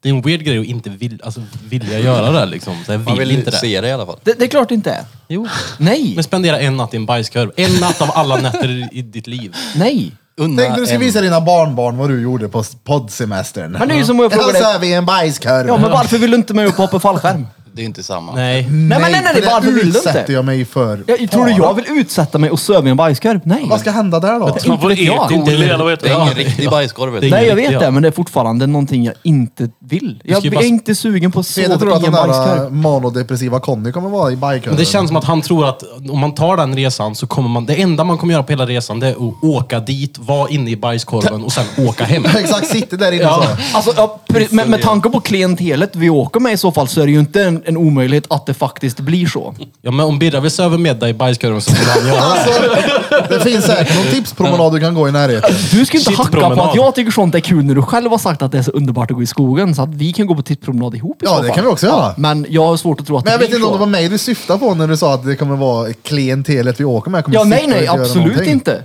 Det är en weird grej att inte vill, alltså, vilja göra det liksom. Så jag
Man
vill,
vill
inte det.
se det i alla fall.
Det, det är klart det inte är.
Jo.
Nej,
Men spendera en natt i en bajskorv. En natt av alla nätter i ditt liv.
nej.
Unna
Tänk när du ska
en-
visa dina barnbarn vad du gjorde på poddsemestern.
Men det är ju som om jag
Eller
frågar
så
dig.
är vi en bajskorv.
Ja, men varför vill du inte med upp och hoppa fallskärm?
Det är inte samma.
Nej.
Nej, men nej, nej,
Mm. för
nej, varför
det
vill du inte?
utsätter jag mig för
Jag, tror du
fara.
jag vill utsätta mig och söva i en bajskorv? Nej.
Vad ska hända där då?
Man får
vet jag.
ekolle eller vad heter
Det är
det?
ingen riktig bajskorv. vet du.
Det är
Nej, jag
riktigt,
vet
ja.
det, men det är fortfarande någonting jag inte vill. Jag
ska ju
är
bara-
inte sugen på att
Peder tror
sova
att
i en
den eh, där
bajskorv.
manodepressiva Conny kommer vara i bajkön.
Men det känns som att han tror att om man tar den resan så kommer man... Det enda man kommer göra på hela resan det är att åka dit, vara inne i bajskorven och sen åka hem.
Exakt, sitter där inne så.
Alltså, ja, pre- med, med tanke på klientelet vi åker med i så fall så är det ju inte en, en omöjlighet att det faktiskt blir så.
Ja, men om Birra vill söva med dig i bajskorven så får han göra det.
Alltså, det finns säkert någon tipspromenad du kan gå i närheten.
Du ska inte hacka på
Shitpromenad.
att jag tycker sånt är kul när du själv har sagt att det är så underbart att gå i skogen så att vi kan gå på tipspromenad ihop i
Ja,
så
det
fall.
kan vi också göra.
Men jag har svårt att tro att
Men jag
det
vet
blir
inte om
så.
det var mig du syftade på när du sa att det kommer vara klientelet vi åker med. Kommer
Ja,
sitta
nej,
och
nej,
inte göra
absolut
någonting.
inte.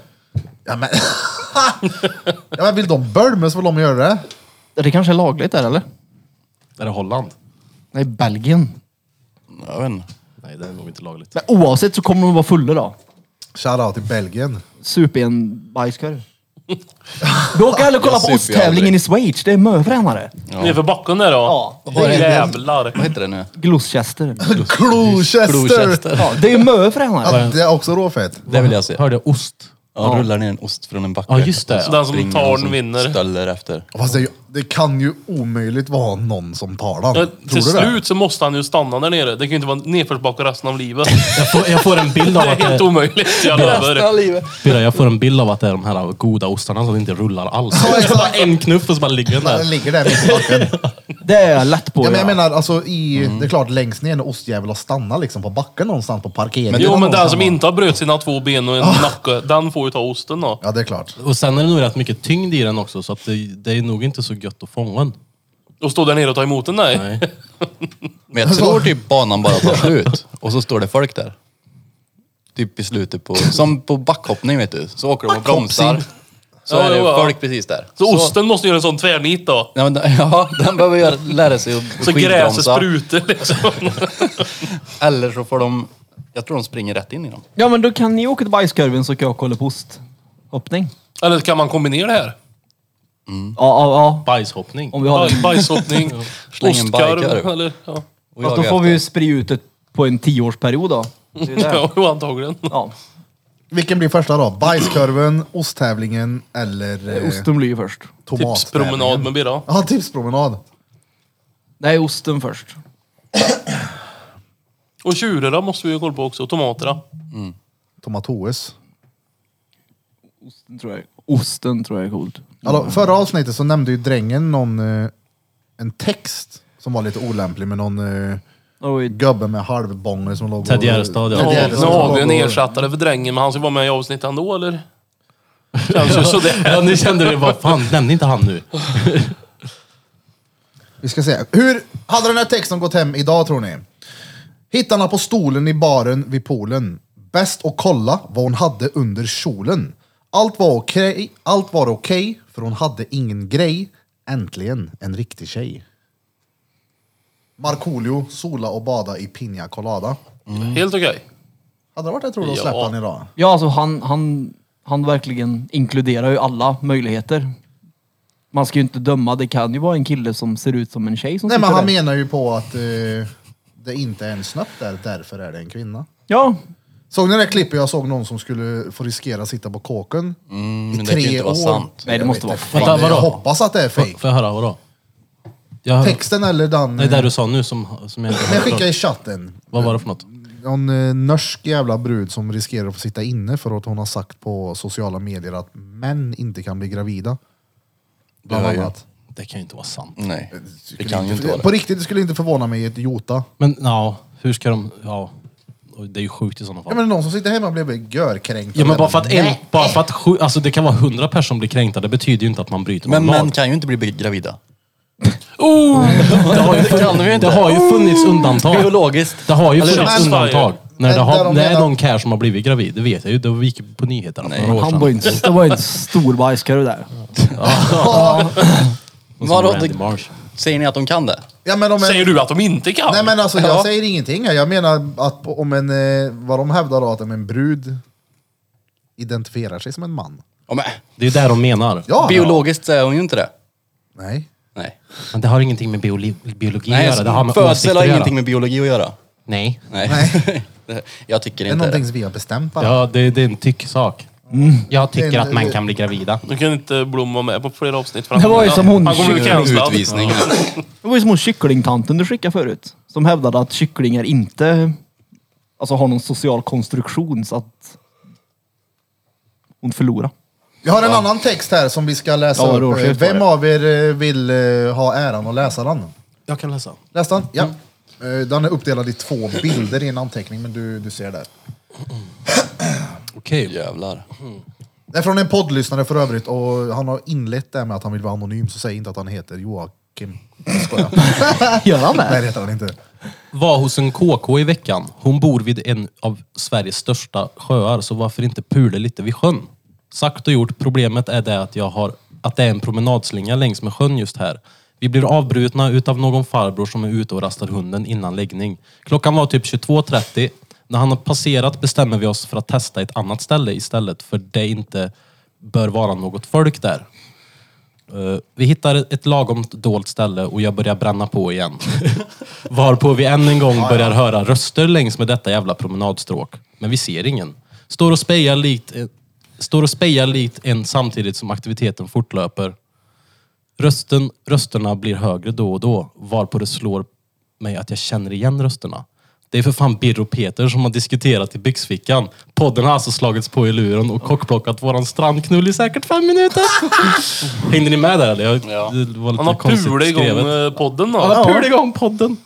Ja, men... ja, men vill de bölma så får de göra det.
Det kanske är lagligt där, eller?
Är det Holland?
Nej, Belgien.
Jag vet inte.
Nej, det är nog inte lagligt.
Men oavsett så kommer de vara fulla då.
Shoutout till Belgien.
Sup i en bajskorv. Du åker hellre kolla på
Jag super ju
osttävlingen
aldrig.
i Schweiz. Det är mötränare.
Nerför backen där då?
Ja.
Jävlar.
Vad heter det nu?
Gloucester.
Gloucester!
Gloucester.
Ja, det är mötränare.
Ja, det är också råfett.
Det vill jag se.
Hörde jag ost?
Ja, rullar ner en ost från en backe.
Ja, just det.
Och så
Den som
springer
tar
och
den
som
vinner.
Stöller efter.
Fast det, är ju- det kan ju omöjligt vara någon som tar den.
Ja,
Tror
till
du det?
slut så måste han ju stanna där nere. Det kan ju inte vara nedförsbacke resten av livet.
Jag får, jag får en bild
Det
av
är
att det
helt
är,
omöjligt, jag lovar.
livet.
Birra, jag får en bild av att det är de här goda ostarna som inte rullar alls.
Ja, exakt.
bara en knuff och så bara ligger den
Den
där.
ligger där mitt i backen.
Oh,
Det är jag lätt på.
Ja, men
ja.
jag menar, alltså, i,
Mm.
det är klart längst ner när ostjävel har stannat liksom, på backen någonstans på parkeringen.
Men-
Jo, men den
någonstans.
som inte har bröt sina två ben och en nacke, den får ju ta osten då.
Ja, det är klart.
Och sen är det nog rätt mycket tyngd i den också så att det, det är nog inte så gött att fånga den.
Och stå där nere och ta emot den, nej.
Nej.
Men jag tror typ banan bara tar slut och så står det folk där. Typ i slutet på, som på backhoppning vet du. Så åker de och bromsar. Så
Ja,
är det
jo, ja.
folk precis där.
Så osten måste göra en sån tvärnit då.
Ja, men, den- ja, den behöver göra, lära sig att
Så gräset
skidbromsa.
sprutar liksom.
Eller så får de, jag tror de springer rätt in i dem.
ja, men då kan ni åka till bajskorven så kan jag kolla på osthoppning.
Eller kan man kombinera det här?
Ja, ja, ja.
Bajshoppning.
Om vi har
Baj-
det.
Bajshoppning,
Släng en
ostkorv
bajkorv.
eller... Ja,
Och
Fast då
jaga
får vi ju
efter.
sprida ut det på en tioårsperiod då. Det är ju det.
ja jo, antagligen.
Ja.
Vilken blir första då? Bajskorven, osttävlingen eller eh,
Osten blir ju först.
tomattävlingen?
Tipspromenad med Birra.
Ja, tipspromenad.
Nej, osten först.
Och tjurarna måste vi ju kolla på också, och tomaterna.
Tomatoes.
Osten tror jag, osten tror jag är coolt.
Alltså, förra avsnittet så nämnde ju drängen någon, eh, en text som var lite olämplig med någon eh,
Oh, wait.
gubbe med halvbånger som låg och...
Ted Gärdestad, ja.
Ted
Ja,
Gärdestad
Nu
som
har
låg
vi en
och-
ersättare för drängen, men han ska vara med i avsnittet ändå eller? Känns ju sådär.
Ja, nu kände du bara, fan nämn inte han nu.
Vi ska se. Hur hade den här texten gått hem idag tror ni? Hittarna på stolen i baren vid poolen. Bäst att kolla vad hon hade under kjolen. Allt var okej, allt var okej, för hon hade ingen grej. Äntligen en riktig tjej. Markoolio, sola och bada i Pina Colada.
Helt okej.
Hade det varit det tror du att
Ja.
släppa den idag?
Ja, alltså han, han, han verkligen inkluderar ju alla möjligheter. Man ska ju inte döma, det kan ju vara en kille som ser ut som en tjej som
Nej men
sitter
han
där.
menar ju på att eh, det inte är en snopp där, därför är det en kvinna.
Ja,
Såg ni det där klippet jag såg någon som skulle få riskera att sitta på kåken?
Mm, men det kan ju inte vara sant.
Nej, det
Jag
måste
vet
vara
inte.
fake.
Jag
Vadå?
hoppas att det är fake.
Får jag höra vadå? Jag hör,
Texten eller den...
nej, det du sa nu som, som jag inte
jag
hörde.
skickade i chatten.
Vad var det för något?
Någon eh, norsk jävla brud som riskerar att få sitta inne för att hon har sagt på sociala medier att män inte kan bli gravida. Bland
hör ju.
annat.
Det kan ju inte vara sant.
Nej, det kan ju inte vara
På
det.
riktigt, det skulle inte förvåna mig i ett Jota.
Men ja, hur ska de... Ja, Och det är ju sjukt i sådana fall.
Ja, men någon som sitter hemma blev görkränkt.
Ja men bara för att en,
Nej.
bara för att sju, alltså det kan vara hundra personer som blir kränkta, det betyder ju inte att man bryter
Men
mot lag.
män kan ju inte bli gravida.
Oh,
det, har ju
kan de
funnits,
ju inte.
det har ju funnits undantag.
Biologiskt.
Det har ju
Eller
funnits
Shots
undantag.
fired.
När det
Där
har,
de
det är
menar-
någon care som har blivit gravid, det vet jag ju. Det gick på nyheterna för några år
han
sedan.
var ju en, det var ju en stor bajskorv där.
Och sen
Vadå?
Randy
Det-
Marsh.
Säger ni att de kan det?
Ja, men om en,
Säger du att de inte kan?
Nej men alltså jag
Ja.
säger ingenting. här. Jag menar att på- om en, eh, vad de hävdar då, att om en brud identifierar sig som en man.
Ja, men,
Det är ju det de menar.
Ja,
biologiskt så är hon ju inte det.
Nej.
Nej.
Men det har ingenting med bioli- biologi
Nej,
att göra. Det har med åsikter
födsel har
att göra.
ingenting med biologi att göra.
Nej.
Nej. Det- jag tycker
Det är
inte det.
någonting som vi har bestämt bara.
Ja, det, det är en tyck sak.
Mm.
Jag tycker att män kan bli gravida.
Nu kan inte Blom vara med på fler avsnitt. För han
Det var ju
kommer-
som hon-
Han kommer bli cancellad.
Utvisning.
Det var ju som hon kycklingtanten du skickade förut. Som hävdade att kycklingar inte alltså, har någon social konstruktion så att hon förlorar.
Jag har en annan text här som vi ska läsa
Ja,
upp.
Roger,
Vem
var det.
av er eh, vill eh, ha äran att läsa den?
Jag kan läsa. Mm.
Läs den? Ja. Eh, Den är uppdelad i två bilder i en anteckning, men du, du ser där.
Okej.
Jävlar.
Det är från en poddlyssnare för övrigt och han har inlett det här med att han vill vara anonym, så säg inte att han heter Joakim. Jag skojar.
Gör han
Nej,
det?
det heter han inte.
Var hos en KK i veckan. Hon bor vid en av Sveriges största sjöar, så varför inte pula lite vid sjön? Sagt och gjort, problemet är det att, jag har, att det är en promenadslinga längs med sjön just här. Vi blir avbrutna utav någon farbror som är ute och rastar hunden innan läggning. Klockan var typ 22.30. När han har passerat bestämmer vi oss för att testa ett annat ställe istället, för det inte bör vara något folk där. Eh, Vi hittar ett lagom dolt ställe och jag börjar bränna på igen. Varpå vi än en gång börjar höra röster längs med detta jävla promenadstråk. Men vi ser ingen. Står och spejar likt, eh, står och spejar likt en samtidigt som aktiviteten fortlöper. Rösten, rösterna blir högre då och då, varpå det slår mig att jag känner igen rösterna. Det är för fan Birro och Peter som har diskuterat i byxfickan. Podden har alltså slagits på i luren och kockblockat våran strandknull i säkert fem minuter. Hängde ni med där eller? Jag,
Ja.
Det var lite
Han har
konstigt
pulat igång
skrevet.
eh, podden då.
Han har pulat igång podden.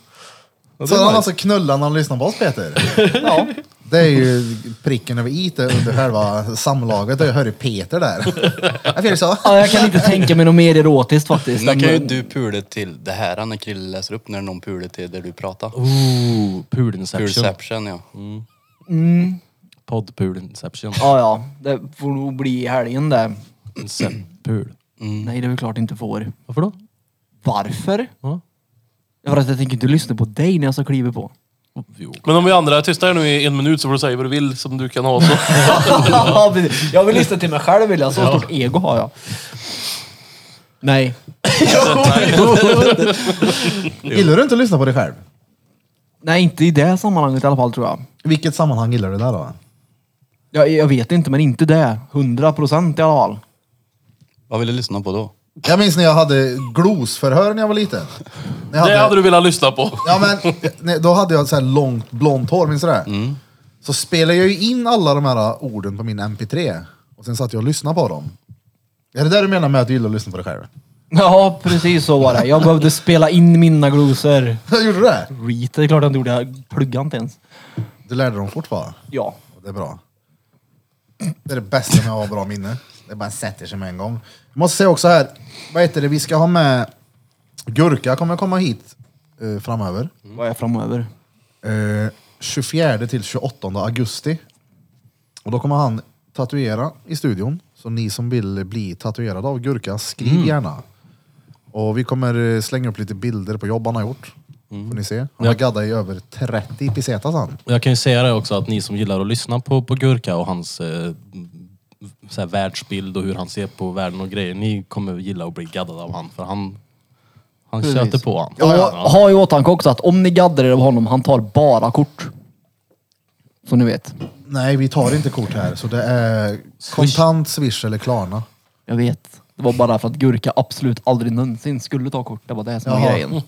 Så han alltså knullar när han lyssnar på oss Peter? Ja. Det är ju pricken över i det under själva samlaget. Jag hörde Peter där. Jag fick så.
Ja, jag kan inte tänka mig något mer erotiskt faktiskt.
Nu kan ju
Men-
du pula till det här när Krille läser upp, när någon pular till där du pratar.
Ooh, pulinception.
Pulception ja.
Podd pulinception.
Ja, ja. Det får nog bli i helgen det.
Incep- Pul.
Nej, det är väl klart inte får.
Varför då?
Varför?
Ja.
För att jag tänker inte lyssna på dig när jag ska kliva på.
Jo.
Men om vi andra är tysta här nu i en minut så får du säga vad du vill som du kan ha. Så.
jag vill lyssna till mig själv vill jag. Så stort ego har jag. Nej.
Gillar du inte att lyssna på dig själv?
Nej, inte i det sammanhanget i alla fall tror jag.
I vilket sammanhang gillar du det då?
Jag, jag vet inte, men inte det. 100 procent i alla fall.
Vad vill du lyssna på då?
Jag minns när jag hade glosförhör när jag var liten. När jag
Det hade du velat lyssna på.
Ja men, nej, då hade jag så här långt blont hår, minns du det? Så spelade jag ju in alla de här orden på min mp3 och sen satt jag och lyssnade på dem. Är det där du menar med att du gillar att lyssna på dig själv?
Ja, precis så var det. Jag behövde spela in mina glosor.
Gjorde du det?
Reet, det är klart jag inte gjorde. Jag pluggade inte ens.
Du lärde dem fort va?
Ja.
Det är bra. Det är det bästa med att ha bra minne. Det bara sätter sig med en gång. Jag måste säga också här, vad heter det, vi ska ha med Gurka kommer komma hit eh, framöver.
Vad är jag framöver?
Eh, 24 till 28 augusti. Och då kommer han tatuera i studion. Så ni som vill bli tatuerade av Gurka, skriv gärna. Och vi kommer eh, slänga upp lite bilder på jobb han har gjort. Får ni se. Han har gaddat i över 30 pesetas han.
Och Jag kan ju säga det också att ni som gillar att lyssna på, på Gurka och hans eh, så här världsbild och hur han ser på världen och grejer. Ni kommer gilla att bli gaddade av han för han, han
Precis.
köter på han.
Och ha i åtanke också att om ni gaddar er av honom, han tar bara kort. Så ni vet.
Nej, vi tar inte kort här. Så det är kontant, swish eller Klarna.
Jag vet. Det var bara för att Gurka absolut aldrig någonsin skulle ta kort. Det var det som var
Jaha.
grejen.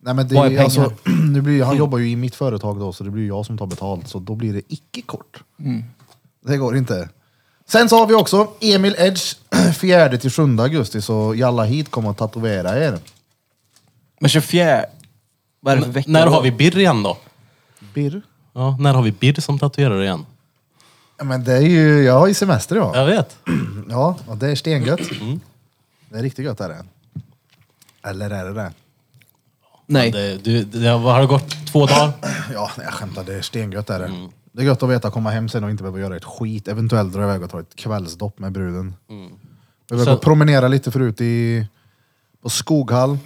Nej, men det,
Vad är
är
pengar? Mm.
alltså, nu blir, han jobbar ju i mitt företag då, så det blir jag som tar betalt. Så då blir det icke kort.
Mm.
Det går inte. Sen så har vi också Emil Edge, 4 till 7 augusti, så jalla hit kommer att tatuera er.
Men 24... Vad är det för
N-
vecka?
när
då?
har vi Birr igen då?
Birr?
Ja, när har vi Birr som tatuerare igen?
Ja, Men det är ju, jag har ju semester idag.
Jag vet.
Ja, och det är stengött.
Mm.
Det är riktigt gött är det. Eller är det det?
Nej.
Det, du, det har det gått två dagar?
Ja, nej, jag skämtar. Det är stengött är det. Det är gött att veta att komma hem sen och inte behöva göra ett skit. Eventuellt dra iväg och ta ett kvällsdopp med bruden. Behöver
Så-
gå och promenera lite förut i, på Skoghall.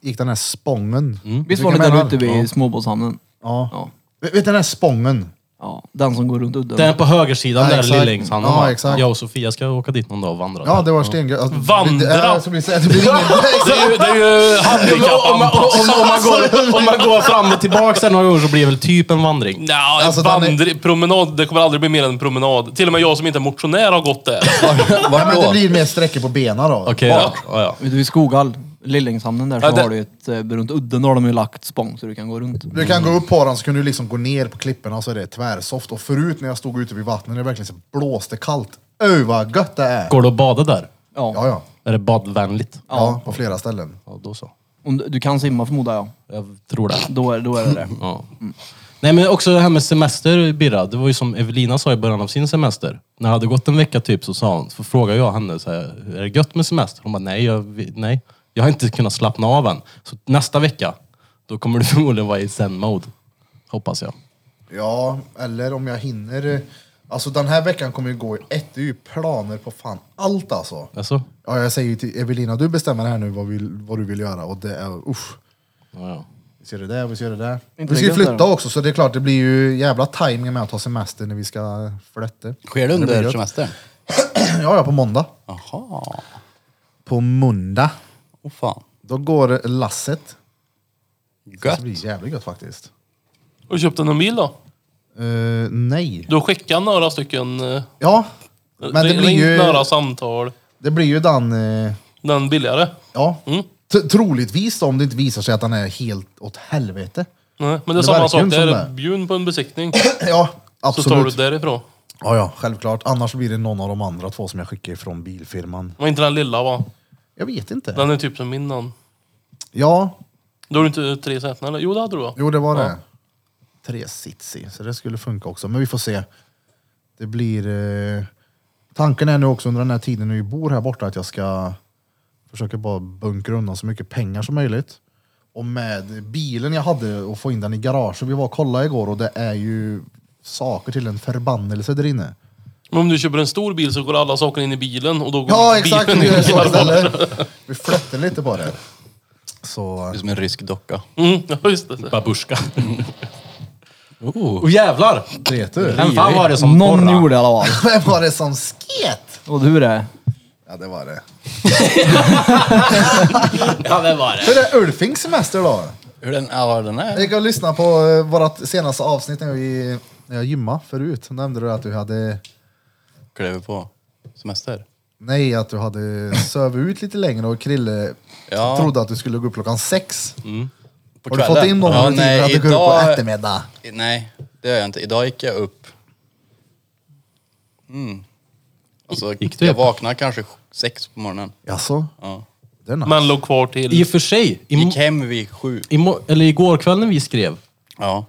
Gick den här spången.
Visst
Du
var ni
kan
där
mena-
ute vid
Ja.
småbåtshamnen?
Ja.
Mm. Ja.
Vet vet du den här spången?
Ja, den som går runt udden.
Den på högersidan
Ja,
där,
exakt.
Lillängshandeln
Ja,
va?
exakt.
Jag och Sofia ska åka dit någon dag och vandra.
Ja,
där.
det var stengött. Alltså,
Vandra.
Det, det, är som vi säger, det blir
Det
ingen...
är ju- det är ju
Om man- om- om-
handikappanpassat. Om man går- om man går fram och tillbaka där några gånger så blir det väl typ en vandring.
Nja,
Alltså, den är-
vandri, promenad, det kommer aldrig bli mer än en promenad. Till och med jag som inte är motionär har gått där.
Vart,
Ja,
vart
men det
då?
blir mer sträckor på benen då.
Okej, ja. Ja, ja.
Ute vid Skoghall, Lillängshamnen där, så
Ja, det-
har du ett, eh, runt udden har de ju lagt spång så du kan gå runt.
Du kan gå upp på den så kan du liksom gå ner på klipporna så är det tvärsoft. Och förut när jag stod ute vid vattnet, det verkligen så blåste kallt. Öj vad gött det är!
Går det att bada där?
Ja.
Ja, ja.
Är det badvänligt?
Ja, på flera ställen.
Ja, då så.
Om du, du kan simma förmodar jag.
Jag tror det.
Då är, då är det det.
Ja. Nej men också det här med semester Birra, det var ju som Evelina sa i början av sin semester. När det hade gått en vecka typ så sa hon, så frågade jag henne så här, är det gött med semester? Hon bara, nej jag, vi- nej, jag har inte kunnat slappna av än. Så nästa vecka, då kommer du förmodligen vara i zen-mode. Hoppas jag.
Ja, eller om jag hinner. eh, Alltså den här veckan kommer ju gå i ett. Det är ju planer på fan allt alltså.
Alltså?
Ja, jag säger ju till Evelina, du bestämmer här nu vad, vill, vad du vill göra och det är usch.
Ja, ja.
Vi ser det där, vi ser det där.
Inte
vi ska ju
riktigt
flytta
där.
också så det är klart det blir ju jävla tajmingen med att ha semester när vi ska flytta.
Sker
blir
det under
gött.
semestern?
Ja, ja, på måndag.
Jaha.
På måndag.
Åh fan.
Då går lasset.
Gött.
Det blir jävligt gött faktiskt.
Och köpte någon bil då?
Eh, nej.
Du skickade några stycken... eh,
Ja, men det
ring-
blir
ringt
ju,
några samtal.
det blir ju den... eh,
Den billigare.
Ja.
Mm.
T- troligtvis då, om det inte visar sig att den är helt åt helvete.
Nej, men det är
Det
samma
verkar
sak
inte som
där.
det.
Bjud på en besiktning.
ja,
Så tar du
absolut.
därifrån.
Ja, ja, självklart. Annars blir det någon av de andra två som jag skickar från bilfirman.
Men inte den lilla va?
Jag vet inte.
Den är typ som min den.
Ja,
Då har du inte tre säten eller? Jo det hade du va?
jo det var
Ja.
det. Tre sitsi, så det skulle funka också. Men vi får se. Det blir... Eh... Tanken är nu också under den här tiden när vi bor här borta att jag ska försöka bara bunkra undan så mycket pengar som möjligt. Och med bilen jag hade och få in den i garaget. Vi var och kollade igår och det är ju saker till en förbannelse där inne.
Men om du köper en stor bil så går alla saker in i bilen och då går
Ja, exakt.
bilen
Vi
in
gör
i
så
garage.
istället. Vi flätter lite på det. Så...
Det är som en rysk docka.
Mm, ja, just det.
Babushka. Och jävlar!
Vet du?
Vem fan var det som
Någon
porra?
gjorde det i alla fall.
Vem var det som sket?
Och du det.
Ja, det var det.
Ja, vem var det?
Hur är Ulfings semester då?
Hur den, ja, den
Jag
är?
gick och lyssnade på eh, vårat senaste avsnitt när, vi, när jag gymmade förut. Då nämnde du att du hade...
Klev på semester.
Nej, att du hade sövit ut lite längre och Krille
Ja.
trodde att du skulle gå upp klockan sex.
På
Har du fått in någon
Ja,
rutiner
nej,
att du går upp på
idag-
eftermiddag?
Nej, det gör jag inte. Idag gick jag upp... Mm. Alltså,
gick du
jag
upp?
vaknade kanske sex på morgonen.
Jaså?
Ja.
Det är nice.
Men låg kvar till...
I och för sig,
Gick
i,
hem vid sju.
eller igår kväll när vi skrev
Ja.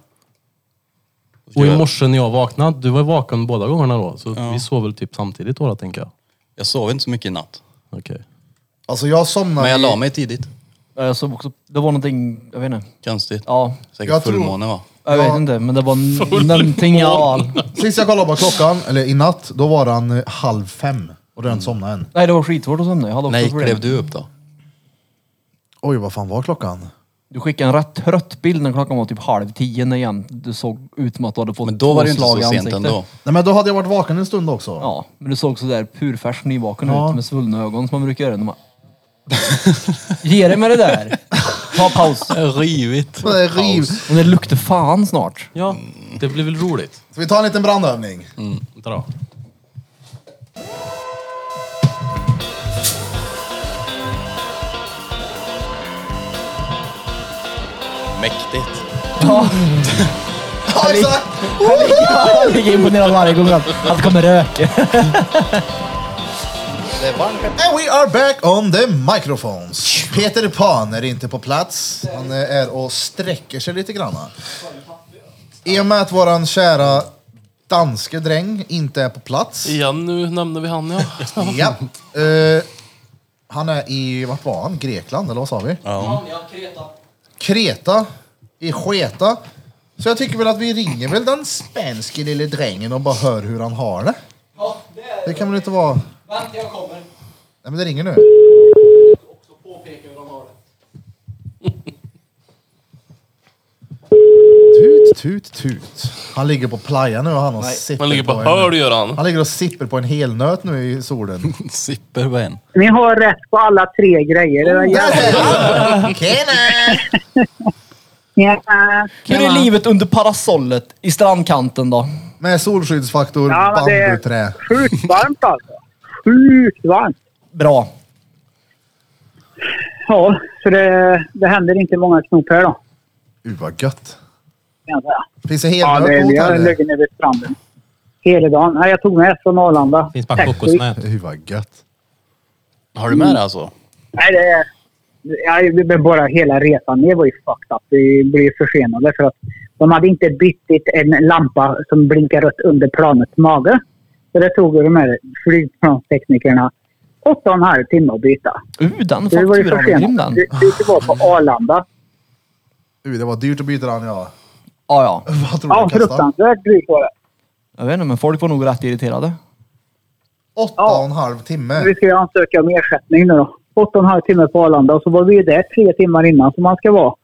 Och i
Jag-
morse när jag vaknade, du var vaken båda gångerna då, så vi sov väl typ samtidigt då, tänker jag.
Jag sov inte så mycket i natt.
Okej.
Alltså jag somnade...
Men jag
i-
la mig tidigt.
Ja, Jag såg också, det var någonting, jag vet inte.
Konstigt.
Ja,
Säkert
Jag tror-
fullmåne va?
jag
Ja.
vet inte. Men det var n- någonting i alla fall.
Sist jag kollade på klockan, eller i natt, då var den eh, halv fem. Och
Mm.
du har inte somnat än.
Nej, det var skitsvårt att somna. Jag hade också
Nej,
problem.
klev du upp då?
Oj, vad fan var klockan?
Du skickade en rätt trött bild när klockan var typ halv tio när igen. du såg ut som att du hade fått
Men då var det
två
inte
slag
så
i
sent
ansiktet.
ändå.
Nej men då hade jag varit vaken en stund också.
Ja, men du såg sådär purfärsk nyvaken
Ja.
ut med svullna ögon som man brukar göra när man... Ge dig med det där! Ta paus.
Rivigt.
Så det är riv.
Men det luktar fan snart.
Ja, det blir väl roligt.
Ska vi ta en liten brandövning?
Vänta då.
Mäktigt.
Ja, exakt!
Jag ligger imponerad varje gång att att det kommer rök.
Det är varmt.
And we are back on the microphones. Peter Pan är inte på plats. Han är och sträcker sig lite grann. I och med att våran kära danske dräng inte är på plats.
Igen nu nämnde vi han ja.
Ja. Eh, han är i, vart var han? Grekland eller vad sa vi?
Ja.
Kreta, i Sketa. Så jag tycker väl att vi ringer väl den spanske lille drängen och bara hör hur han har det. Det kan väl inte vara... Vänta, jag kommer. Nej, men det ringer nu. Tut, tut, tut. Han ligger på playa nu och han har sitter
Han ligger på
en-
höl gör han.
Han ligger och sipper på en helnöt nu i solen.
Sipper vad en.
Ni har rätt på alla tre grejer. Det var jävligt. Ja.
Hur är livet under parasollet i strandkanten då?
Med solskyddsfaktor,
Ja, men det är-
bambuträ.
Sjukt varmt alltså. Sjukt varmt.
Bra.
Ja, så det, det händer inte många knop här då.
Uh, vad gött.
kan jag säga.
Finns det
Ja, det,
helnöt på
vi har
hotellet?
legat nere vid stranden. Hela dagen. Nej, jag tog med från Arlanda.
Finns bara
Taxi.
kokosnät.
Uh, vad gött.
Har du med det alltså?
Nej, det är... Nej, det blev bara hela resan ner var ju fucked up. Vi blev försenade för att de hade inte bytt ut en lampa som blinkar rött under planets mage. Så det tog ju de här flygplansteknikerna åtta och en halv timme att byta.
Uh, den
Så vi var ju
fakturan var grym den.
försenade. Vi vi var på Arlanda.
Uh, det var dyrt att byta den ja.
Ja, ja.
Vad tror du
Ja,
jag kastade?
fruktansvärt drygt var det.
Jag vet inte, men folk var nog rätt irriterade.
Åtta och en halv timme.
Vi ska ju ansöka om ersättning nu då. Åtta och en halv timme på Arlanda och så var vi ju där tre timmar innan som man ska vara. Så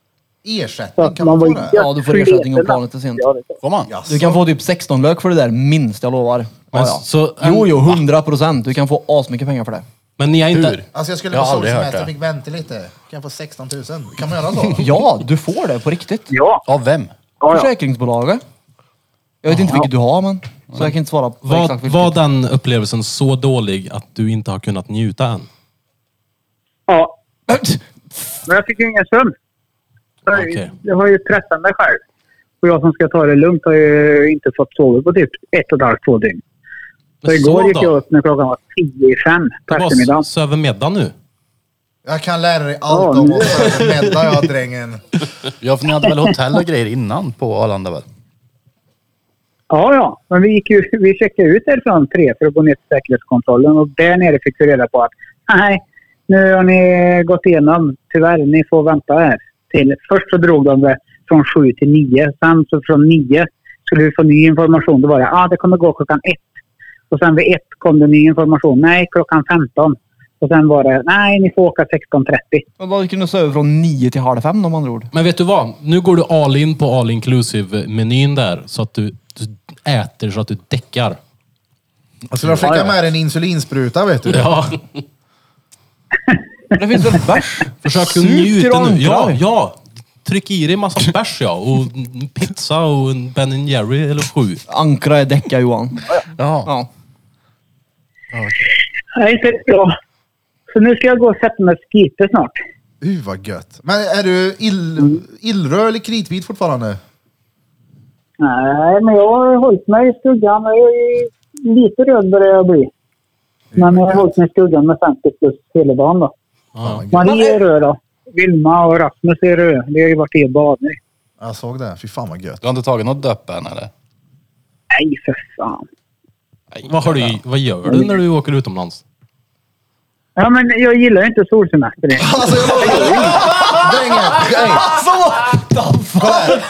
Ersättning,
att
kan man
man var
få
ju
det?
Ja, du får ersättning om planet är sent.
Ja, det är så.
Får man?
Jaså?
Du kan få typ 16 lök för det där, minst, jag lovar. Ja,
Men
ja.
så-
jo, jo, 100 procent. Du kan få asmycket pengar för det.
Men ni har inte...
Hur?
Alltså jag skulle
Jag
på
har aldrig hört
solsemester och
det.
fick vänta lite. Kan jag få 16 000? Kan man göra så?
Ja, du får det på riktigt.
Ja,
Av vem?
ja, ja.
Försäkringsbolaget. Jag vet inte vilket du har, men så jag kan inte svara på exakt
Var,
vilket.
var den upplevelsen så dålig att du inte har kunnat njuta än?
ja. Men jag fick ju ingen sömn. Så jag-
Okej.
Jag har ju pressat mig själv. Och jag som ska ta det lugnt har ju inte fått sova på typ ett och ett halvt, två dygn. Så
Men
igår
så
gick
då?
jag upp när klockan var tio i fem på
Du
eftermiddagen.
bara söver middag nu.
Jag kan lära dig allt
Ja,
om
nu-
oss medda jag drängen.
Ja, för ni hade väl hotell och grejer innan på Arlanda väl?
Ja, ja. Men vi, gick ju, vi checkade ut därifrån tre för att gå ner till säkerhetskontrollen och där nere fick vi reda på att nej, nu har ni gått igenom. Tyvärr, ni får vänta här. Till. Först så drog de det från sju till nio. Sen så från nio skulle vi få ny information. Då var det ah, det kommer gå klockan ett. Och sen vid ett kom det ny information. Nej, klockan 15. Och sen var det nej, ni får åka 16.30.
Men då kunde du sova från 9 till halv fem om andra ord.
Men vet du vad? Nu går du all in på all inclusive-menyn där. Så att du, du äter så att du däckar.
Jag skulle skicka med dig en insulinspruta vet du.
Ja.
Men det finns väl bärs?
Försök att
Sug till
njuta nu.
ankrar.
Ja, ja. Tryck i dig en massa bärs ja. Och en pizza och en Ben Jerry eller sju.
Ankra är däcka Johan.
Ja.
Ja.
Nej, inte bra. Så nu ska jag gå och sätta mig och skita snart.
Uh, vad gött. Men är du ill,
Mm.
illröd eller kritvit fortfarande?
Nej, men jag har hållit mig i skuggan. Jag är lite röd börjar jag bli. Men jag har hållit mig i skuggan med 50 plus hela dagen. Då. Marie är röd då. Vilma och Rasmus är röd. Det har ju varit er badning.
Jag såg det. Fy fan vad gött.
Du har inte tagit något döpp än eller?
Nej, för fan.
Vad, har du, vad gör du när du åker utomlands?
Ja, men jag gillar ju inte solsemester.
Alltså jag Drängen! Hey, kolla här.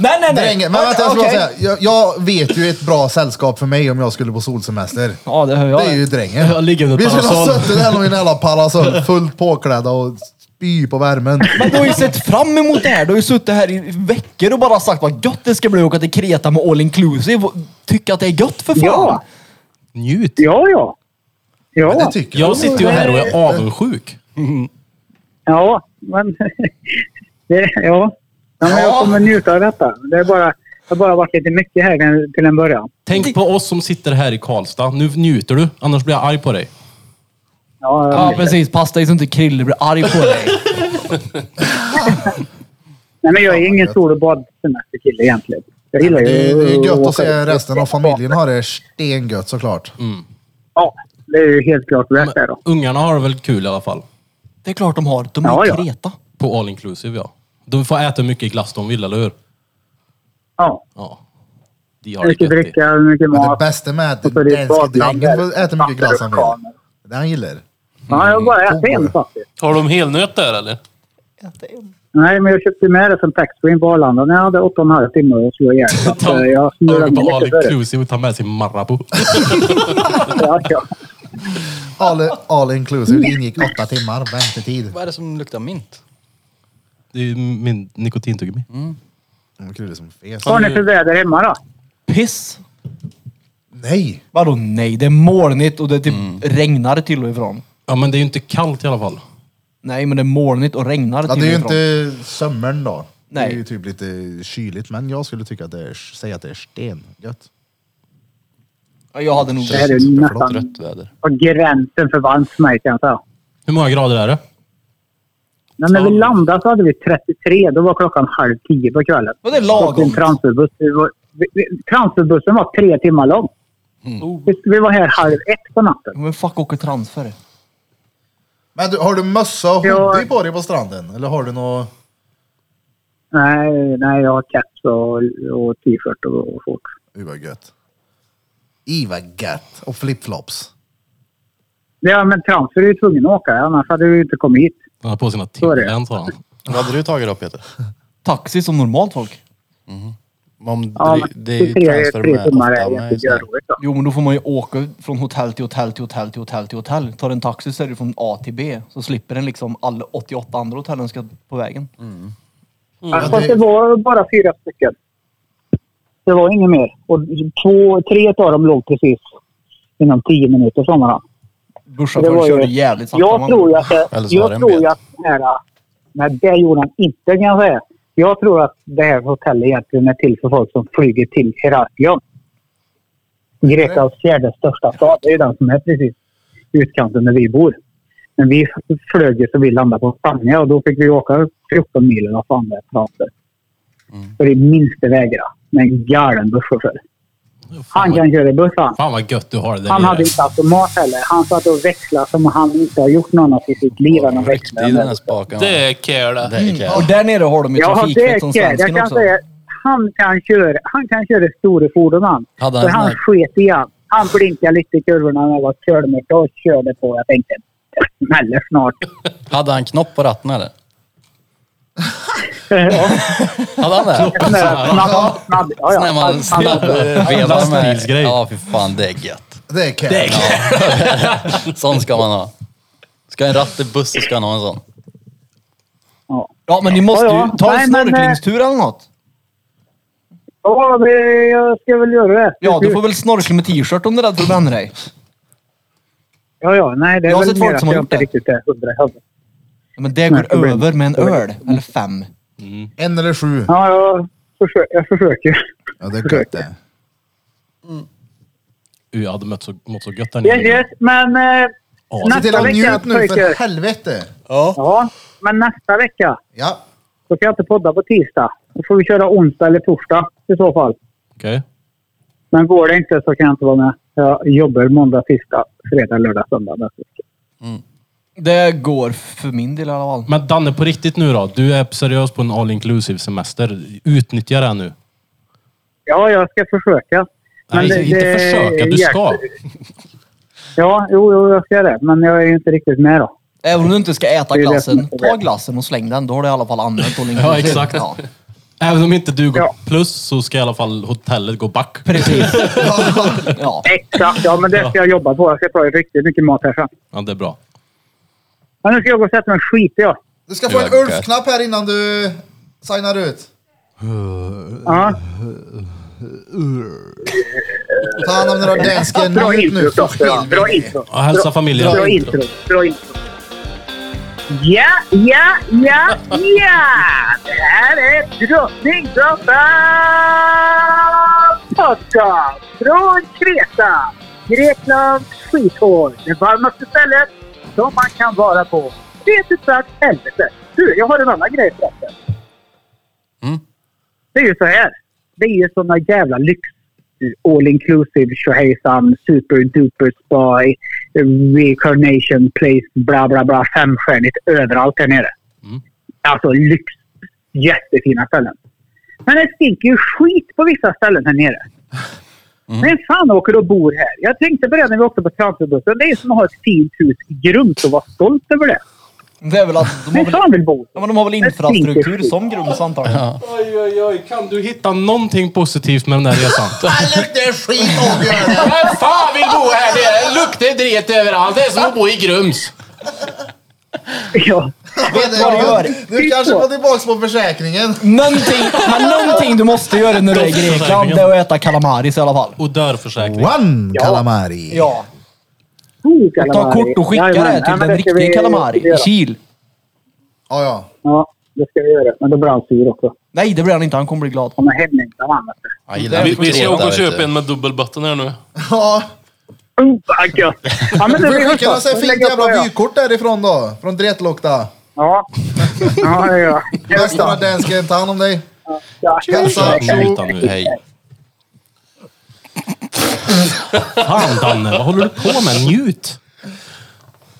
Nej, nej, nej.
Drängen! Men vänta jag ska bara
Okej.
säga. Jag, jag vet ju ett bra sällskap för mig om jag skulle på solsemester.
Ja, det hör
Det är
jag.
ju drängen.
Jag ligger under
Vi skulle ha
parasoll.
suttit där med en jävla parasoll fullt påklädda och spy på värmen.
Men du har ju sett fram emot det här. Du har ju suttit här i veckor och bara sagt vad gött det ska bli att åka till Kreta med all inclusive. och Tycka att det är gött för fan.
Ja,
Njut.
ja, ja.
Men
Ja,
det tycker
Jag sitter ju här och är avundsjuk.
ja men... det, ja. ja, men jag kommer njuta av detta. Det är bara, det har bara varit lite mycket här till en början.
Tänk på oss som sitter här i Karlstad. Nu njuter du, annars blir jag arg på dig.
Ja, jag
Ja,
vet.
precis. Passa dig så inte Krille blir arg på dig.
Nej, men jag är ingen sol och badsemesterkille egentligen. Jag gillar ju
Det är, det är gött
åka
att se
ut.
resten av familjen har det stengött såklart.
Ja, det är ju helt klart värt det då.
Ungarna har det väl kul i alla fall.
Det är klart de har. De är
Ja,
i
ja.
Kreta.
På all inclusive ja. De får äta hur mycket glass de vill, eller hur?
Ja,
Ja. De har det
mycket
gött i.
dricka, mycket
Men det
mat.
bästa med att
Och så är det ett
danska
badland
drängen
där.
får äta mycket glass han vill.
Vattenrutschkanor.
Det han gillar.
Ja, jag har bara ätit en
Mm.
faktiskt.
Har de helnöt där eller?
Nej, men jag köpte med det från taxfree på Arlanda när jag hade åtta och en halv timme att slå ihjäl. Så att, eh, Jag
De åker
snurrade
på
ner
all
lite före.
inclusive och tar med sig Marabou.
Ja, ja.
All, all inclusive, det ingick åtta timmar väntetid.
Vad är det som luktar mint?
Det är min nikotintuggummi.
De kryddar som fes.
Vad har ni för väder hemma då?
Piss!
Nej!
Vadå nej? Det är molnigt och det typ regnar till och ifrån.
Ja, men det är ju inte kallt i alla fall.
Nej, men det är molnigt och regnar
Ja,
till
det är ju
och ifrån.
inte sommaren då.
Nej.
Det är ju typ lite kyligt, men jag skulle tycka att det är, säga att det är stengött.
Ja, Jag hade nog...
Det här är ju nästan
Rött väder.
på gränsen för varmt för mig kan jag säga.
Hur många grader är det?
Men när vi landade så hade vi 33. Då var klockan halv tio på kvällen.
Och det är
Och en
lagom.
transferbuss. Vi var- vi- vi- Transferbussen var tre timmar lång.
Mm.
Oh.
Vi- Vi var här halv ett på natten.
Men fuck åker transfer?
Men du, har du mössa och
Ja.
hoodie på dig på stranden? Eller har du något...
Nej, nej jag har caps och, och t-shirt och, och folk.
Uy vad gött. I vad gött. Och flipflops.
Ja, men transfer är ju tvungen att åka. Annars hade vi ju inte kommit hit.
Han har på sina
är det.
Timberlands har han.
Vad hade du tagit då Peter?
Taxi som normalt folk.
Om
Ja,
det,
men
det är ju
tre,
transfer
tre
med
timmar
ofta
är ju
med.
inte
sådär.
görroligt. då.
Jo, men då får man ju åka från hotell till hotell till hotell till hotell till hotell. Tar en taxi så är det från A till B. Så slipper den liksom alla 88 andra hotellen ska på vägen.
Mm.
Ja, Fast det var bara fyra stycken. Det var inget mer. Och två, tre av dem låg precis inom tio minuter från varandra. Det
Busschauffören
var ju-
körde jävligt sakta.
Jag
man.
tror ju att det,
Eller så var det
jag
en
tror ju
bet.
att det här... Nej, det gjorde han inte kan jag säga. Jag tror att det här hotellet egentligen är till för folk som flyger till Heraklion. Greklands fjärde största stad. Det är ju den som är precis i utkanten där vi bor. Men vi flög ju så vi landade på Spanien och då fick vi åka 14 mil eller vad fan det är för avstånd.
Mm.
För det minsta vägra. Med en galen busschaufför. Han kan köra buss han.
Fan vad gött du har det där
Han
nere.
hade inte automat heller. Han satt och växlade som han inte har gjort något annat i sitt liv än att
Riktigt
växla.
den här spaken.
Det är care det.
Det är kul.
Och där nere har de ju
Ja, det
trafikvett
är
som
det. Jag
svensken
kan
också.
säga, han kan köra, han kan köra stora fordon han.
Hade han
För
en
han
sån
sket i han. Han blinkade lite i kurvorna när det var körmycka och körde på. Jag tänkte, det smäller snart.
Hade han knopp på ratten eller?
Ja,
Hade han det?
snabb, snabb, snabb. Ja,
Sån här
ja.
man
Han- han-
vevar med.
Lastbilsgrej.
Ja, fy fan det är gött.
Det är kul.
Sån ska man ha. Ska en ratt i buss så ska han ha en sån.
ja.
Ja, men ni måste
Ja,
ju
ja.
ta
Nej,
en
men, eh,
snorklingstur eller något.
Ja, det- jag ska väl göra det.
Ja, du får väl snorkla med t-shirt om du är rädd för att bränna dig.
Ja, ja, nej, det är
Jag har
väl
sett folk
mer att
som har
jag
gjort
inte
det.
riktigt är hundra i huvudet.
Ja, Men det
Nej,
går
problem.
över med en öl. Eller fem.
En eller sju.
Ja, jag försöker. Jag försöker.
Ja, det är gött det.
Jag hade mött så, mått så gött där
Yes,
nere.
yes, men eh,
Se till
nästa
att
vecka
njut nu för
pojkar.
helvete.
Ja, men nästa vecka.
Ja,
Då kan jag inte podda på tisdag. Då får vi köra onsdag eller torsdag i så fall.
Okej.
Men går det inte så kan jag inte vara med. Jag jobbar måndag, tisdag, fredag, lördag, söndag nästa vecka.
Det går för min del i alla fall.
Men Danne, på riktigt nu då. Du är seriös på en all inclusive semester. Utnyttja det här nu.
Ja, jag ska försöka.
Nej,
det-
inte
det
försöka. Du
hjälper.
ska.
Ja, jo, jo, jag ska det. Men jag är ju inte riktigt med då.
Även om du inte ska äta
Det är det som
glassen,
är problemet.
ta glassen och släng den. Då har du i alla fall använt all
Ja,
inclusive.
exakt.
Ja.
Även om inte du går
Ja.
plus så ska i alla fall hotellet gå back.
Precis. ja.
Exakt, ja men det ska jag jobba på. Jag ska ta riktigt mycket mat här sen.
Ja, det är bra.
Men nu ska jag gå och sätta mig och skita jag.
du ska få en
Ja, gött.
Ulf-knapp här innan du signar ut.
Ja.
Ta hand om den där dansken.
Bra
Njut
intro
nu för
Kloffe. ja. Bra
helvete.
intro.
Ja, hälsa familjen.
Bra intro. Bra intro. Ja, ja, ja, ja! Det här är Drottninggatan Podcast från Kreta, Greklands skithål. Det varmaste stället som man kan vara på. Det är ett sagt helvete. Du, jag har en annan grej förresten. Det är ju så här. Det är ju såna jävla lyx... All inclusive, tjohejsan, super duper spa, reincarnation place, bla bla bla. Femstjärnigt överallt här nere.
Mm.
Alltså lyx. Jättefina ställen. Men det stinker ju skit på vissa ställen här nere.
Mm.
Vem fan åker och bor här? Jag tänkte på det när vi åkte på transferbussen. Det är ju som att ha ett fint hus i Grums och vara stolt över det.
Det är väl att de har
Vem
väl,
fan vill bo
ja, men de har väl infrastruktur som grund antagligen.
Oj, oj, oj. Kan du hitta någonting positivt med den där resan?
Det luktar skit om du gör det.
Vem fan vill bo här nere? Det luktar dret överallt. Det är som att bo i Grums.
Ja.
Vet
du vad du gör?
Du kanske var tillbaka på försäkringen.
Någonting, men någonting du måste göra när du är i Grekland, det är att äta kalamaris i alla fall.
Och
Mm.
dörrförsäkring.
One calamari.
Ja.
Oh,
Ta
kalamari.
kort och skicka
Jajamän.
det
Ja,
till
men
den
det ska
riktiga
vi
kalamari i
göra.
Kil.
Ja, ja.
Ja, det ska vi göra. Men då blir han sur också.
Nej, det blir han inte. Han kommer bli glad.
Han är hemlängtan han. vet du.
Jag gillar
Vi, vi ska
Kreta,
åka och
vet
köpa
du.
en med dubbelbotten här nu.
ja.
Oh, vad gött! Ja, men det
Du
blir
skickar
gott.
oss ett fint
Lägger jag på,
jävla
ja.
vykort därifrån då. Från Dretlokta.
Ja. Ja, det gör jag.
Bästa med dansken, ta hand om dig.
Ja,
Hälsa.
Sluta nu.
Hej.
Fan Danne, vad håller du på med? Njut!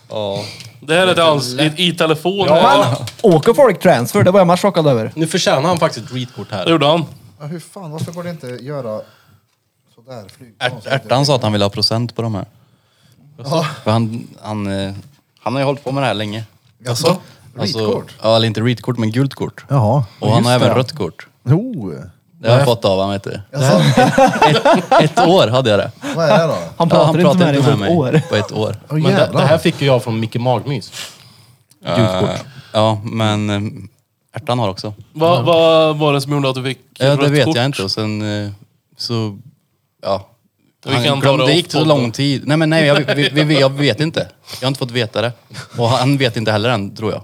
Ja.
Det här är till hans i, i telefon.
Men åker folk transfer? Det var jag mest chockad över.
Nu förtjänar han faktiskt ett reetkort
Det
här.
gjorde han.
Ja, hur fan, varför går det inte att göra sådär? Flyg.
Ärt, ärtan sa att han ville ha procent på de här.
Ja.
För han, han, eh, han har ju hållit på med det här länge.
Jaså?
Alltså,
Ritkort?
Ja, eller inte ritkort men gult kort.
Jaha.
Och han har
just
även
det.
rött kort.
Jo.
Det har jag fått av honom vet du.
Jaså,
Ett år hade jag det.
vad är det då?
Han
Ja,
pratar inte med dig på ett år.
på ett år.
Åh
Men det,
jävlar.
det här fick ju jag från Micke Magmys.
Eh,
Julkort.
Ja, men eh, ärtan har också.
Va, vad var det som gjorde att du fick
Ja, det
rött
vet
kort?
jag inte. Och sen eh, så, ja.
Vi
Han
kan ta
glömde,
det
det
off
gick så
podd
lång
då.
tid. Nej men nej, jag, vi, vi, vi, jag vet inte. Jag har inte fått veta det. Och han vet inte heller än, tror jag.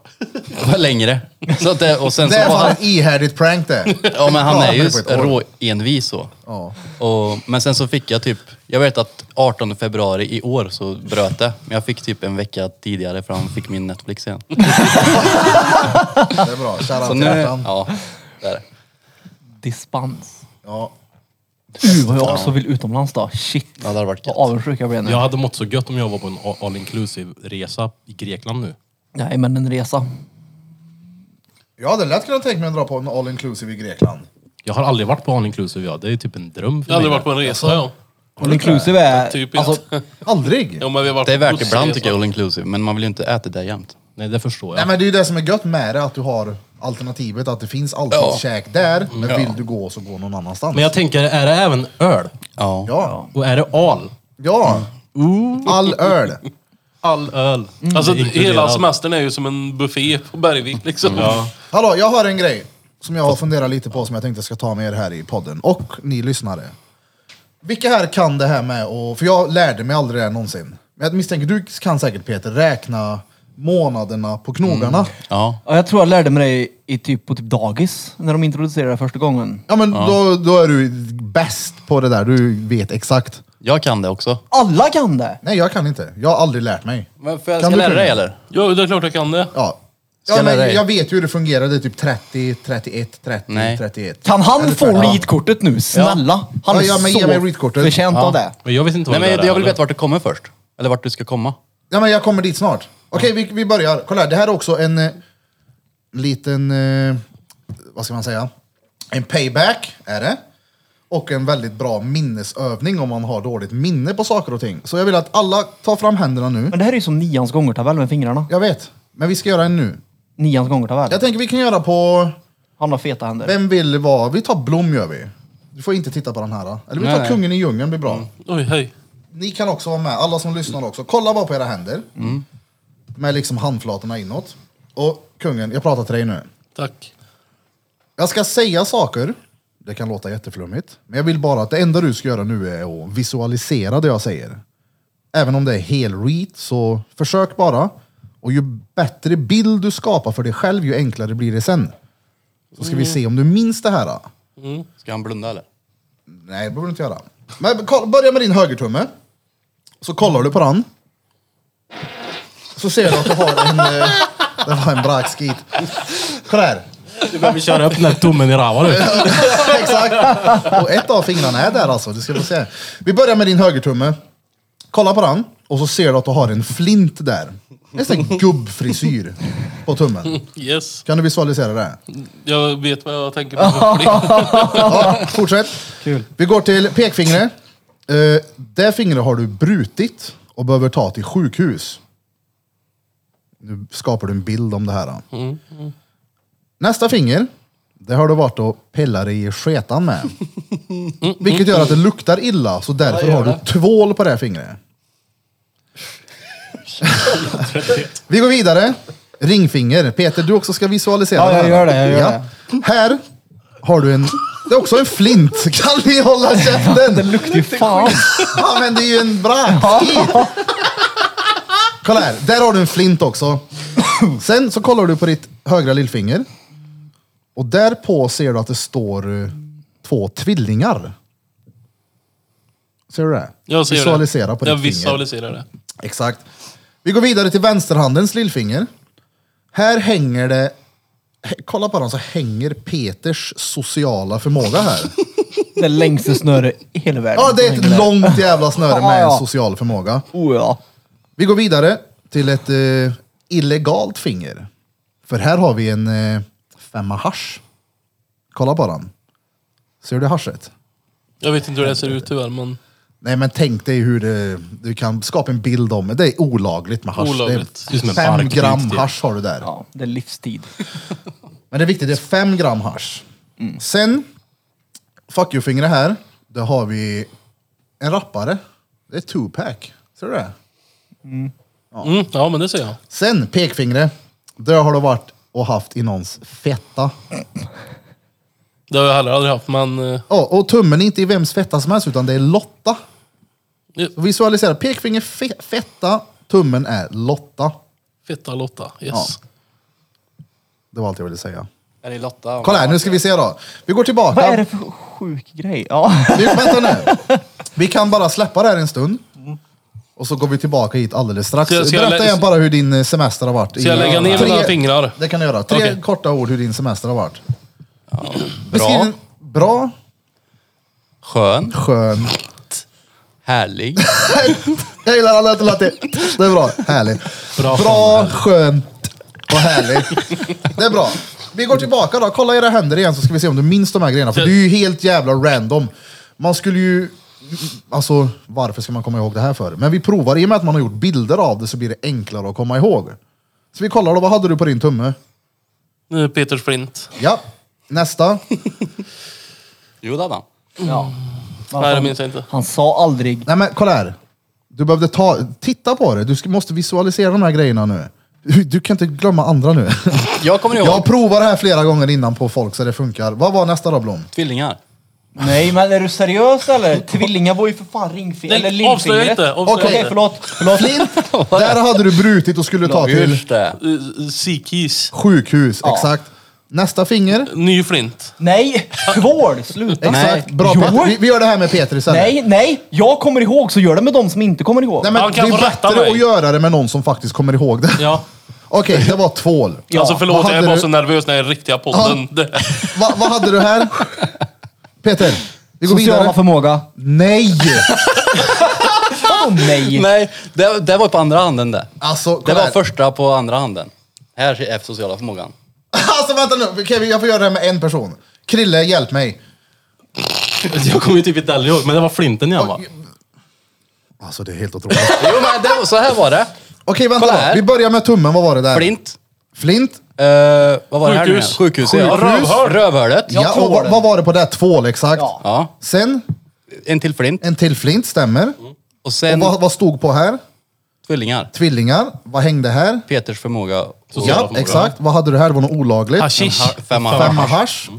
Det var längre. Så att det, och sen
Det
så
är
var
fan
han,
ett ihärdigt prank det.
ja men han
Ja,
är ju
det var ett år.
råenvis så.
Ja.
Och, men sen så fick jag typ, jag vet att 18 februari i år så bröt det. Men jag fick typ en vecka tidigare för han fick min Netflix igen.
Det är bra.
Så
Shoutout till
nu,
hjärtan.
ja, där.
Dispens.
Ja.
Uh, vad jag också vill utomlands då. Shit.
Ja, det hade varit
Vad
gött.
avundsjuk jag blev nu.
Jag hade mått så gött om jag var på en a- all inclusive resa i Grekland nu.
Nej, men en resa.
Jag hade lätt kunnat tänka mig att dra på en all inclusive i Grekland.
Jag har aldrig varit på all inclusive jag. Det är typ en dröm för
Jag har aldrig
mig.
varit på en resa ja.
All inclusive är...
Typ
Alltså,
inte.
Aldrig.
ja, men vi har varit
Det är
på
värt
bussresa.
ibland tycker jag all inclusive, men man vill ju inte äta det jämt.
Nej, det förstår
Nej
jag.
men det är ju det som är gött med det, att du har alternativet, att det finns alltid
Ja.
käk där, men vill du gå så gå någon annanstans.
Men jag tänker, är det även öl?
Ja.
Ja,
Och är det all?
ja.
Mm.
All öl.
All öl.
Mm.
Alltså
Mm. Det inkluderar
hela
allt.
semestern är ju som en buffé på Bergvik liksom.
Hallå, jag har en grej som jag har funderat lite på som jag tänkte ska ta med er här i podden och ni lyssnare. Vilka här kan det här med och för jag lärde mig aldrig det här någonsin. Men jag misstänker, du kan säkert Peter räkna månaderna på knogarna.
Ja.
ja, jag tror jag lärde mig det i- i typ på typ dagis, när de introducerade det första gången.
Ja men Då, då är du bäst på det där, du vet exakt.
Jag kan det också.
Alla kan det!
Nej jag kan inte, jag har aldrig lärt mig.
Men får jag,
Kan
ska jag
du
lära dig
kunna?
eller?
Ja, det är klart jag kan det.
Ja.
Ska
Ja,
jag lära
men
dig?
jag vet ju hur det fungerar, det är typ 30, 31, 30,
Nej.
31.
Kan han
Eller
få
30.
readkortet nu? Snälla! Han
Ja,
är
ja, men ge
så
mig readkortet.
förtjänt av det.
Men jag vet inte
Nej
vad det
men
där
jag
är.
vill veta vart du kommer först. Eller vart du ska komma.
Ja, men jag kommer dit snart. Okej, vi, vi börjar. Kolla här, det här är också en eh, liten, eh, vad ska man säga? En payback är det. Och en väldigt bra minnesövning om man har dåligt minne på saker och ting. Så jag vill att alla tar fram händerna nu.
Men det här är ju som nians gångertabell med fingrarna.
Jag vet, men vi ska göra en nu.
Nians gångertabell.
Jag tänker vi kan göra på,
Han har feta händer.
vem vill vara? Vi tar Blom gör vi. Du får inte titta på den här. då. Eller vi tar
Nej.
Kungen i djungeln, blir bra.
Oj, hej.
Ni kan också vara med, alla som lyssnar också. Kolla bara på era händer. Med liksom handflatorna inåt. Och kungen, jag pratar till dig nu.
Tack.
Jag ska säga saker. Det kan låta jätteflummigt. Men jag vill bara att det enda du ska göra nu är att visualisera det jag säger. Även om det är hel read, så försök bara. Och ju bättre bild du skapar för dig själv, ju enklare blir det sen. Så ska vi se om du minns det här. Då.
Ska han blunda eller?
Nej, det behöver du inte göra. Men koll- börja med din högertumme. Så kollar du på den. Så ser du att du har en... eh, det var en bra skit. Kolla här.
Du behöver köra upp den där tummen i rava nu.
Exakt. Och ett av fingrarna är där alltså. Du ska få se. Vi börjar med din högertumme. Kolla på den. Och så ser du att du har en flint där. En sån här gubbfrisyr på tummen.
Yes.
Kan du visualisera det?
Jag vet vad jag tänker på.
Ja, fortsätt. Vi går till pekfingret. Eh, det fingret har du brutit och behöver ta till sjukhus. Nu skapar du en bild om det här. då. Nästa finger, det har du varit och pillat dig i sketan med. Vilket gör att det luktar illa, så därför har du tvål på det här fingret. Vi går vidare. Ringfinger. Peter, du också ska visualisera.
Ja, jag
här.
gör det, jag gör
Här har du en... Det är också en flint. Kan ni hålla käften? Det luktar ju
Fan.
Ja, men det är ju en brandskit. Kolla här, där har du en flint också. Sen så kollar du på ditt högra lillfinger. Och där på ser du att det står eh, två tvillingar. Ser du det?
Jag ser
Visualisera
det.
på
Jag
ditt finger.
visualiserar det.
Exakt. Vi går vidare till vänsterhandens lillfinger. Här hänger det, hä- kolla på den så hänger Peters sociala förmåga här.
Det längsta snöre i hela världen.
Ja, det är ett långt jävla snöre med
Ja.
en social förmåga.
Oh, ja.
Vi går vidare till ett eh, illegalt finger. För här har vi en eh, femma hasch. Kolla på den. Ser du haschet?
Jag vet inte hur det ser ut tyvärr, men
Nej men tänk dig hur det, du kan skapa en bild om det. Det är olagligt med hasch.
Olagligt.
Det är som en
fem
barkbit,
gram
typ.
hasch har du där.
ja, det är livstid.
Men det är viktigt, det är fem gram hasch.
Mm.
Sen, fuck you-fingret här. Där har vi en rappare. Det är Tupac. Ser du det?
mm, ja, men det ser jag.
Sen pekfingret. Där har du varit och haft i någons fetta.
Det har jag heller aldrig haft, men eh,
Ja, och tummen är inte i vems fetta som helst, utan det är Lotta.
Ja.
Visualisera, pekfinger fe- fetta, tummen är Lotta.
feta Lotta. Yes.
Det var allt jag ville säga.
Är det Lotta?
Kolla här, nu ska vi se då. Vi går tillbaka.
Vad är det för sjuk grej? Ja.
Vi, vänta nu. Vi kan bara släppa det här en stund. Och så går vi tillbaka hit alldeles strax.
Ska jag- ska jag
Berätta
lä-
igen bara hur din eh, semester har varit.
Ska jag lägga ner mina fingrar?
Det kan du göra. Tre
Okej.
korta ord hur din semester har varit. Beskriv
Bra,
den- Bra,
skön,
skön,
härlig.
Jag gillar alla att det Det är bra. Härligt. Bra, skönt och härligt. Det är bra. Vi går tillbaka då. Kolla era händer igen så ska vi se om du minns de här grejerna. För det är ju helt jävla random. Man skulle ju... Alltså, varför ska man komma ihåg det här för? Men vi provar. I och med att man har gjort bilder av det så blir det enklare att komma ihåg. Så vi kollar då. Vad hade du på din tumme?
Nu Peters flint.
Ja. Nästa.
Jo, det hade han.
ja.
Nej, det minns jag inte.
Han sa aldrig
Nej men kolla här. Du behövde ta... Titta på det. Du ska- måste visualisera de här grejerna nu. Du- Du kan inte glömma andra nu.
Jag kommer ihåg
Jag provar det här flera gånger innan på folk så det funkar. Vad var nästa då Blom?
tvillingar.
nej, men är du seriös eller? Tvillingar var ju för fan ringfingret. Eller
Nej, avslöja
lillfingret.
inte!
Okej,
Avslöja inte.
förlåt. förlåt.
Flint! Där hade du brutit och skulle ta till
Just det.
Eh, eh, Seakeys.
sjukhus. Exakt. Nästa finger.
Ny flint.
Nej, vård! Sluta.
Exakt. Bra Peter. Vi, vi gör det här med Peter istället.
Nej, nej. Jag kommer ihåg, så gör det med de som inte kommer ihåg.
Nej, men
Han kan
det är
få rätta
bättre
mig.
att göra det med någon som faktiskt kommer ihåg det.
Ja.
Okej, det var tvål.
Ja,
Alltså
vad
förlåt, jag
hade
är bara
du?
så nervös när jag är i riktiga podden. Det-
Va, vad hade du här? Peter, vi går
Sociala
vidare.
förmåga.
Nej!
Åh nej.
Nej, det, det var på andra handen det.
Alltså,
Det
kolla
var
här.
första på andra handen. Här är sociala förmågan.
Alltså vänta nu, Okej, jag får göra det här med en person. Krille, hjälp mig.
Jag kommer ju typ inte heller ihåg, men det var flinten jag var.
Alltså det är helt otroligt.
Jo, men det, var- så här var det.
Okej, vänta
Kolla
då.
här.
Vi börjar med tummen, vad var det där?
Flint.
Flint.
Eh, vad var det här nu igen?
Sjukhus.
Sjukhuset. ja.
Sjukhus. Rövhål.
Rövhålet.
Ja,
Jag tror
och vad,
det.
vad var det på det? Tvål, exakt.
Ja.
Ja.
Sen
En till flint.
en till flint, stämmer.
Och sen
Och vad, vad stod på här?
tvillingar.
Tvillingar. Vad hängde här?
Peters förmåga. och-
Ja, exakt. Vad hade du här? Det var något olagligt.
Hashish.
Ha- Femma.
Femma hasch.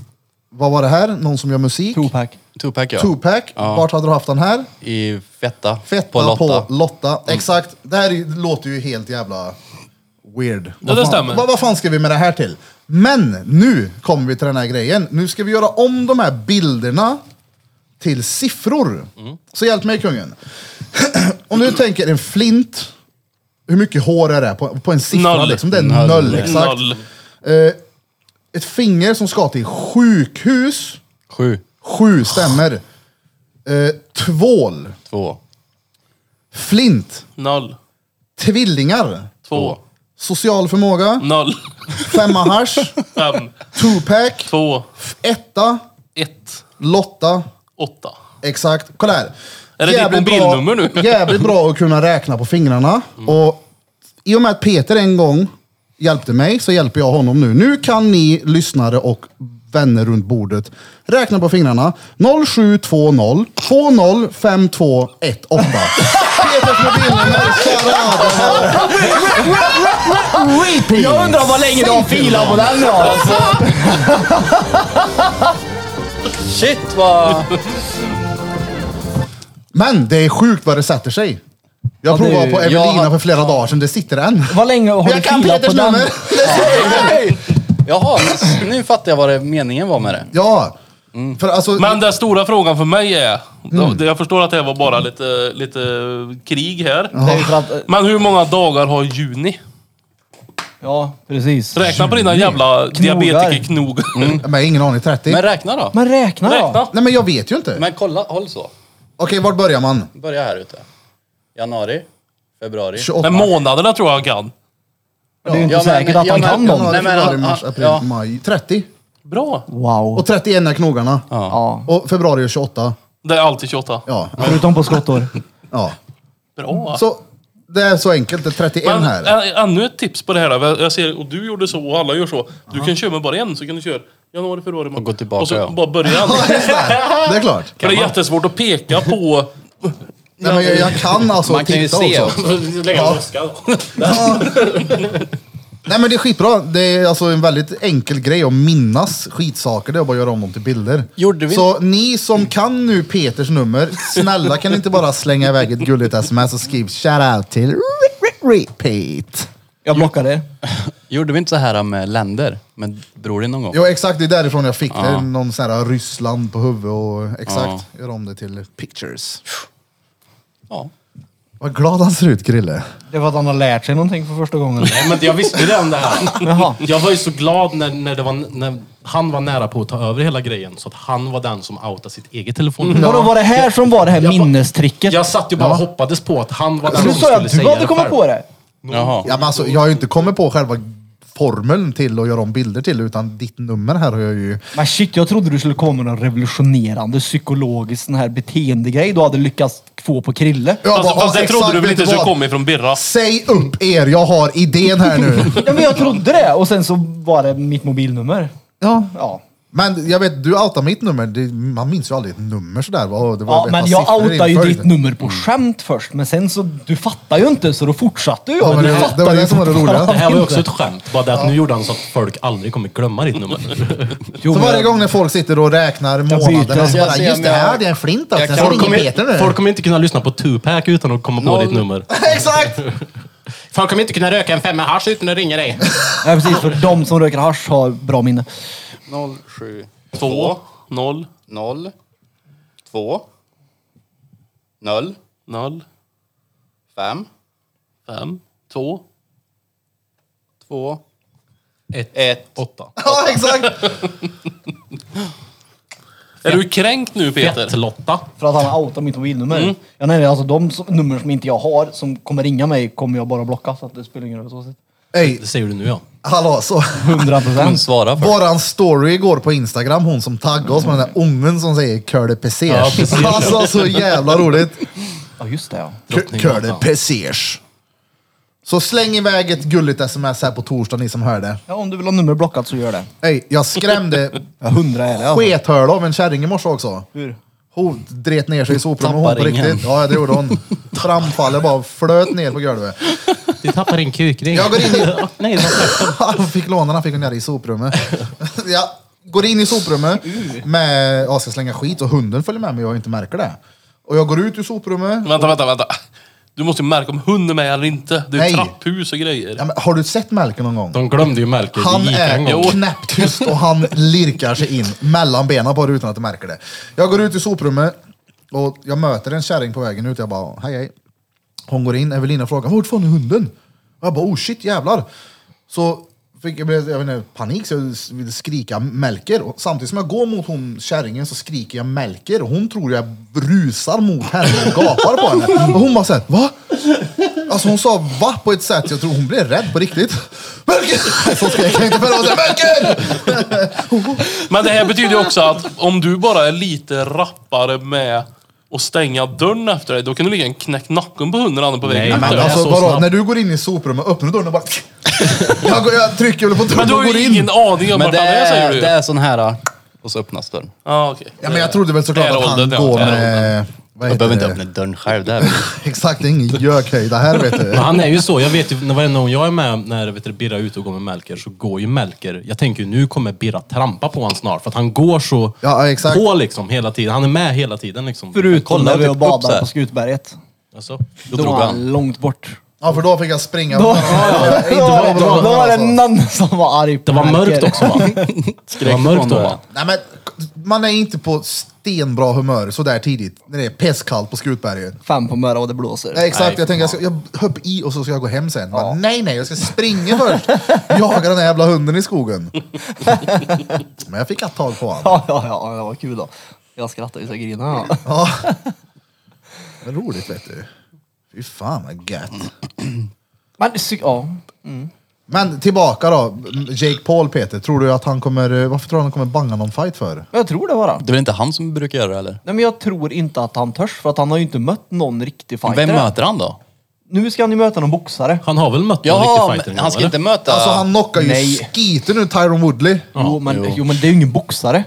Vad var det här? Någon som gör musik?
Tupac.
Tupac ja.
Tupac.
Ja.
Vart hade du haft den här?
I fetta.
Fetta
På Lotta. Mm.
På Lotta. Exakt. Det här är ju- låter ju helt jävla weird. Vad
det
fan-
stämmer.
Vad, vad fan ska vi med det här till? Men nu kommer vi till den här grejen. Nu ska vi göra om de här bilderna till siffror.
Mm.
Så hjälp mig kungen. om du tänker en flint, hur mycket hår är det på, på en siffra?
Noll.
Liksom? Det är noll, exakt.
Noll.
Ett finger som ska till sjukhus,
Sju.
sju stämmer. Eh, tvål,
Två.
flint,
Noll.
tvillingar.
Två.
Social förmåga,
Noll.
femma hasch,
Fem.
Tupac,
Två.
etta,
Ett.
Lotta,
Åtta.
exakt. Kolla här.
Är det ditt mobilnummer nu?
bra, jävligt bra att kunna räkna på fingrarna. Och I och med att Peter en gång hjälpte mig så hjälper jag honom nu. Nu kan ni lyssnare och vänner runt bordet. Räkna på fingrarna. 0720 205218. Peters mobilnummer, Sarah
Jag undrar vad länge de filar på den då.
Shit vad...
Men det är sjukt vad det sätter sig. Jag
det är
provade
ju-
på Evelina
jag-
för flera dagar sedan, det sitter än.
Vad länge har du
Jag kan
filat på
Peters
den?
nummer!
Jaha, men nu fattar jag vad det, meningen var med det.
Ja.
Mm.
För alltså,
Men den stora frågan för mig är,
Mm.
jag förstår att det här var bara lite, lite krig här.
Det är ju för att,
Men hur många dagar har juni?
ja, precis.
Räkna på dina jävla diabetikerknogar.
men ingen aning, 30?
Men räkna då.
Men räkna då.
Räkna.
Nej men jag vet ju inte.
Men kolla, håll så.
Okej, vart börjar man?
Börja här ute. Januari, februari.
28?
Men månaderna tror jag jag kan.
Det är ju inte
Ja, men-
säkert att
ja,
han
men-
kan dem.
ja,
Januari,
Nej, men,
februari,
ja,
mars, april,
ja.
maj. 30.
Bra!
Wow.
Och 31 är knogarna.
Ja.
Och februari är 28.
Det är alltid 28.
Ja.
Förutom på skottår.
ja.
Bra!
Så det är så enkelt, det är 31
Men,
här.
ä- ännu ett tips på det här. då. Jag ser, och du gjorde så och alla gör så. Du kan köra med bara en, så kan du köra januari, februari, mars.
Och gå tillbaka,
Och så
ja.
bara börja.
Det är klart.
För det är jättesvårt att peka på...
Nej, men jag, jag kan alltså
Man kan ju
titta
se
också.
också.
Lägga en väska.
Nej men det är skitbra. Det är alltså en väldigt enkel grej att minnas skitsaker. Det är bara att göra om dem till bilder.
Gjorde vi-
Så ni som kan nu Peters nummer, snälla kan ni inte bara slänga iväg ett gulligt sms och skriv shoutout till repeat.
Jag blockar det.
Gjorde vi inte så här med länder? Med bror din någon gång?
Jo exakt, det är därifrån jag fick det. Någon sån här Ryssland på huvudet och exakt. Gör om det till pictures.
Ja.
Vad glad han ser ut Grille.
Det var att han har lärt sig någonting för första gången.
Nej, men jag visste det om det här.
Jaha.
Jag var ju så glad när, när, det var, när han var nära på att ta över hela grejen. Så att han var den som outade sitt eget telefonnummer.
Mm. Vadå, var det här som var det här
Jag-
minnestricket?
Jag satt ju bara och hoppades på att han var den
Du
som
sa
skulle
att du
säga
hade kommit
själv.
på det.
Jaha.
Ja, men alltså, jag har ju inte kommit på själva formeln till att göra om bilder till utan ditt nummer här har jag ju...
Men shit, jag trodde du skulle komma med någon revolutionerande psykologisk sån här beteendegrej du hade lyckats få på Krille.
Jag
Alltså,
bara,
fast det
exakt,
trodde du väl
vet
inte
du
skulle
vad?
komma ifrån Birra?
Säg upp er, jag har idén här nu.
Ja, men jag trodde det och sen så var det mitt mobilnummer.
ja.
Ja.
Men jag vet, du outar mitt nummer. Det, man minns ju aldrig ett nummer sådär. va? Det var
Ja,
ett par
men jag
siffror i Mm. en
outade ju
följd.
ditt nummer på skämt först, men sen så, du fattar ju inte så då fortsatte jag.
Ja, men
du
det- det
fattar
var det
ju
som var det
fortfarande
roliga.
Det här var ju också ett
inte.
skämt. Bara det att nu gjorde han så att folk aldrig kommer glömma ditt nummer.
Jo,
Så
men-
varje gång när folk sitter och räknar månaderna så
Jag
bara,
ser
just
om
det
jag-
här, det är en flint också.
jag
Så
kan-
är det ingen Peter nu.
Folk kommer inte kunna lyssna på Tupac utan att komma på
Noll.
ditt nummer.
Exakt!
Folk kommer inte kunna röka en femma hasch utan att ringa dig.
Nej, precis. För de som röker hasch har bra minne.
0, 7,
Två, noll,
0, 2, 0,
noll,
5,
fem, två.
2,
Ett.
1.
Åtta.
Ja, exakt!
Är du kränkt nu Peter?
Fett-Lotta.
För att han outar mitt mobilnummer. Ja, nej, nej, alltså de som, nummer som inte jag har, som kommer ringa mig, kommer jag bara blocka. Så att det spelar ingen roll. Så sett.
Ey,
Det säger du nu ja.
hallå, så...
100
Hon
procent.
svarar för.
Våran story igår på Instagram, hon som taggade oss med den där ungen som säger curly
Ja,
pesers.
precis.
alltså så jävla roligt.
Ja, just det ja.
Curly pesers. Så släng iväg ett gulligt sms här på torsdag ni som hörde.
ja. Om du vill ha nummer blockat så gör det.
Ey, jag skrämde
Ja, 100 är det. Alltså.
skethörd av en kärring i morse också.
Hur?
Hon dret ner sig i soprummet hon på
Tappade ringen.
riktigt. Ja, det gjorde hon. Framfallet bara flöt ner på golvet.
Du tappar din kukring.
Jag går in i-
Nej, det var tvärtom.
Han fick låna den, fick hon göra i soprummet. Jag går in i soprummet med, ja, ska slänga skit och hunden följer med mig och jag inte märker det. Och jag går ut ur soprummet.
Vänta, vänta, vänta. Du måste ju märka om hunden är med eller inte. Det är
Nej.
ju trapphus och grejer.
Ja, men, har du sett Melker någon gång?
De glömde ju Melker
Han
i Ica en gång.
är knäpptyst och han lirkar sig in mellan benen på det utan att du märker det. Jag går ut i soprummet och jag möter en kärring på vägen ut. Jag bara, hej hej. Hon går in, Evelina frågar, vart fan är hunden? Och jag bara, oh shit jävlar. Så fick jag, jag vet inte, panik så jag ville skrika Melker. Och samtidigt som jag går mot hon kärringen så skriker jag Melker. Och hon tror jag rusar mot henne och gapar på henne. Och hon bara såhär, va? Alltså hon sa va på ett sätt, jag tror hon blev rädd på riktigt. Melker! Så skrek jag inte för hon sa Melker!
Men det här betyder ju också att om du bara är lite rappare med och stänga dörren efter dig, då kan du ligga en knäckt nacken på hunden annan på vägen.
Nej,
efter
Men
dig.
alltså
så
vadå,
snabbt.
när du går in i soprummet, öppnar dörren och bara... jag, går, jag trycker väl på dörren
men du
och
har
går
ju
in.
ingen aning om
Men
vart
det
han är säger
är,
du ju.
det är sån här... ah, Och så öppnas dörren.
Ja, okej.
Ja, men jag trodde väl såklart
Det är
att han
åldern, ja.
går
Det är
med... Vad
Jag
heter
behöver inte
det?
öppna dörren själv. Det är väl-
Exakt, det är ingen gökhöjda här vet du.
Men han är ju så. Jag vet ju, när varenda gång jag är med när vet du, Birra är ute och går med Melker så går ju Melker. Jag tänker ju nu kommer Birra trampa på honom snart för att han går så
Ja, exakt.
på liksom hela tiden. Han är med hela tiden liksom.
Kolla
Förutom när vi
typ
var och
upp så här.
badade på Skutberget.
Alltså,
Då,
drog
var
han.
han långt bort.
Ja, för då fick jag springa.
Då,
Ja,
då,
inte bra,
då,
bra, bra,
var det
alltså.
någon som var arg på
det var
Melker.
mörkt också va? Det var mörkt då va?
Nej, men, man är inte på stenbra humör sådär tidigt, när det är pestkallt på Skutberget.
Fem på morgonen och det blåser.
Nej, exakt, jag
Nej,
tänkte jag, ska, jag hopp i och så ska jag gå hem sen. Bara, nej, nej, jag ska springa först. Jaga den här jävla hunden i skogen. men jag fick ett tag på honom.
Ja, ja, ja, det var kul då. Jag skrattade ju så jag grinade. Ja.
Ja. Men roligt vet du. Fy fan vad gött.
Men, sy- ja.
Men tillbaka då. Jake Paul Peter, tror du att han kommer, eh, varför tror du han kommer banga någon fight för?
Men jag tror det bara.
Det är väl inte han som brukar göra det eller?
Nej men jag tror inte att han törs för att han har ju inte mött någon riktig fighter.
Vem
än.
möter han då?
Nu ska han ju möta någon boxare.
Han har väl mött någon
Jaha,
riktig fighter
men
innan,
han ska
eller?
inte möta...
Alltså han knockar ju
Nej.
skiten ur Tyron Woodley.
jo, men,
jo.
jo. men det är ju ingen boxare.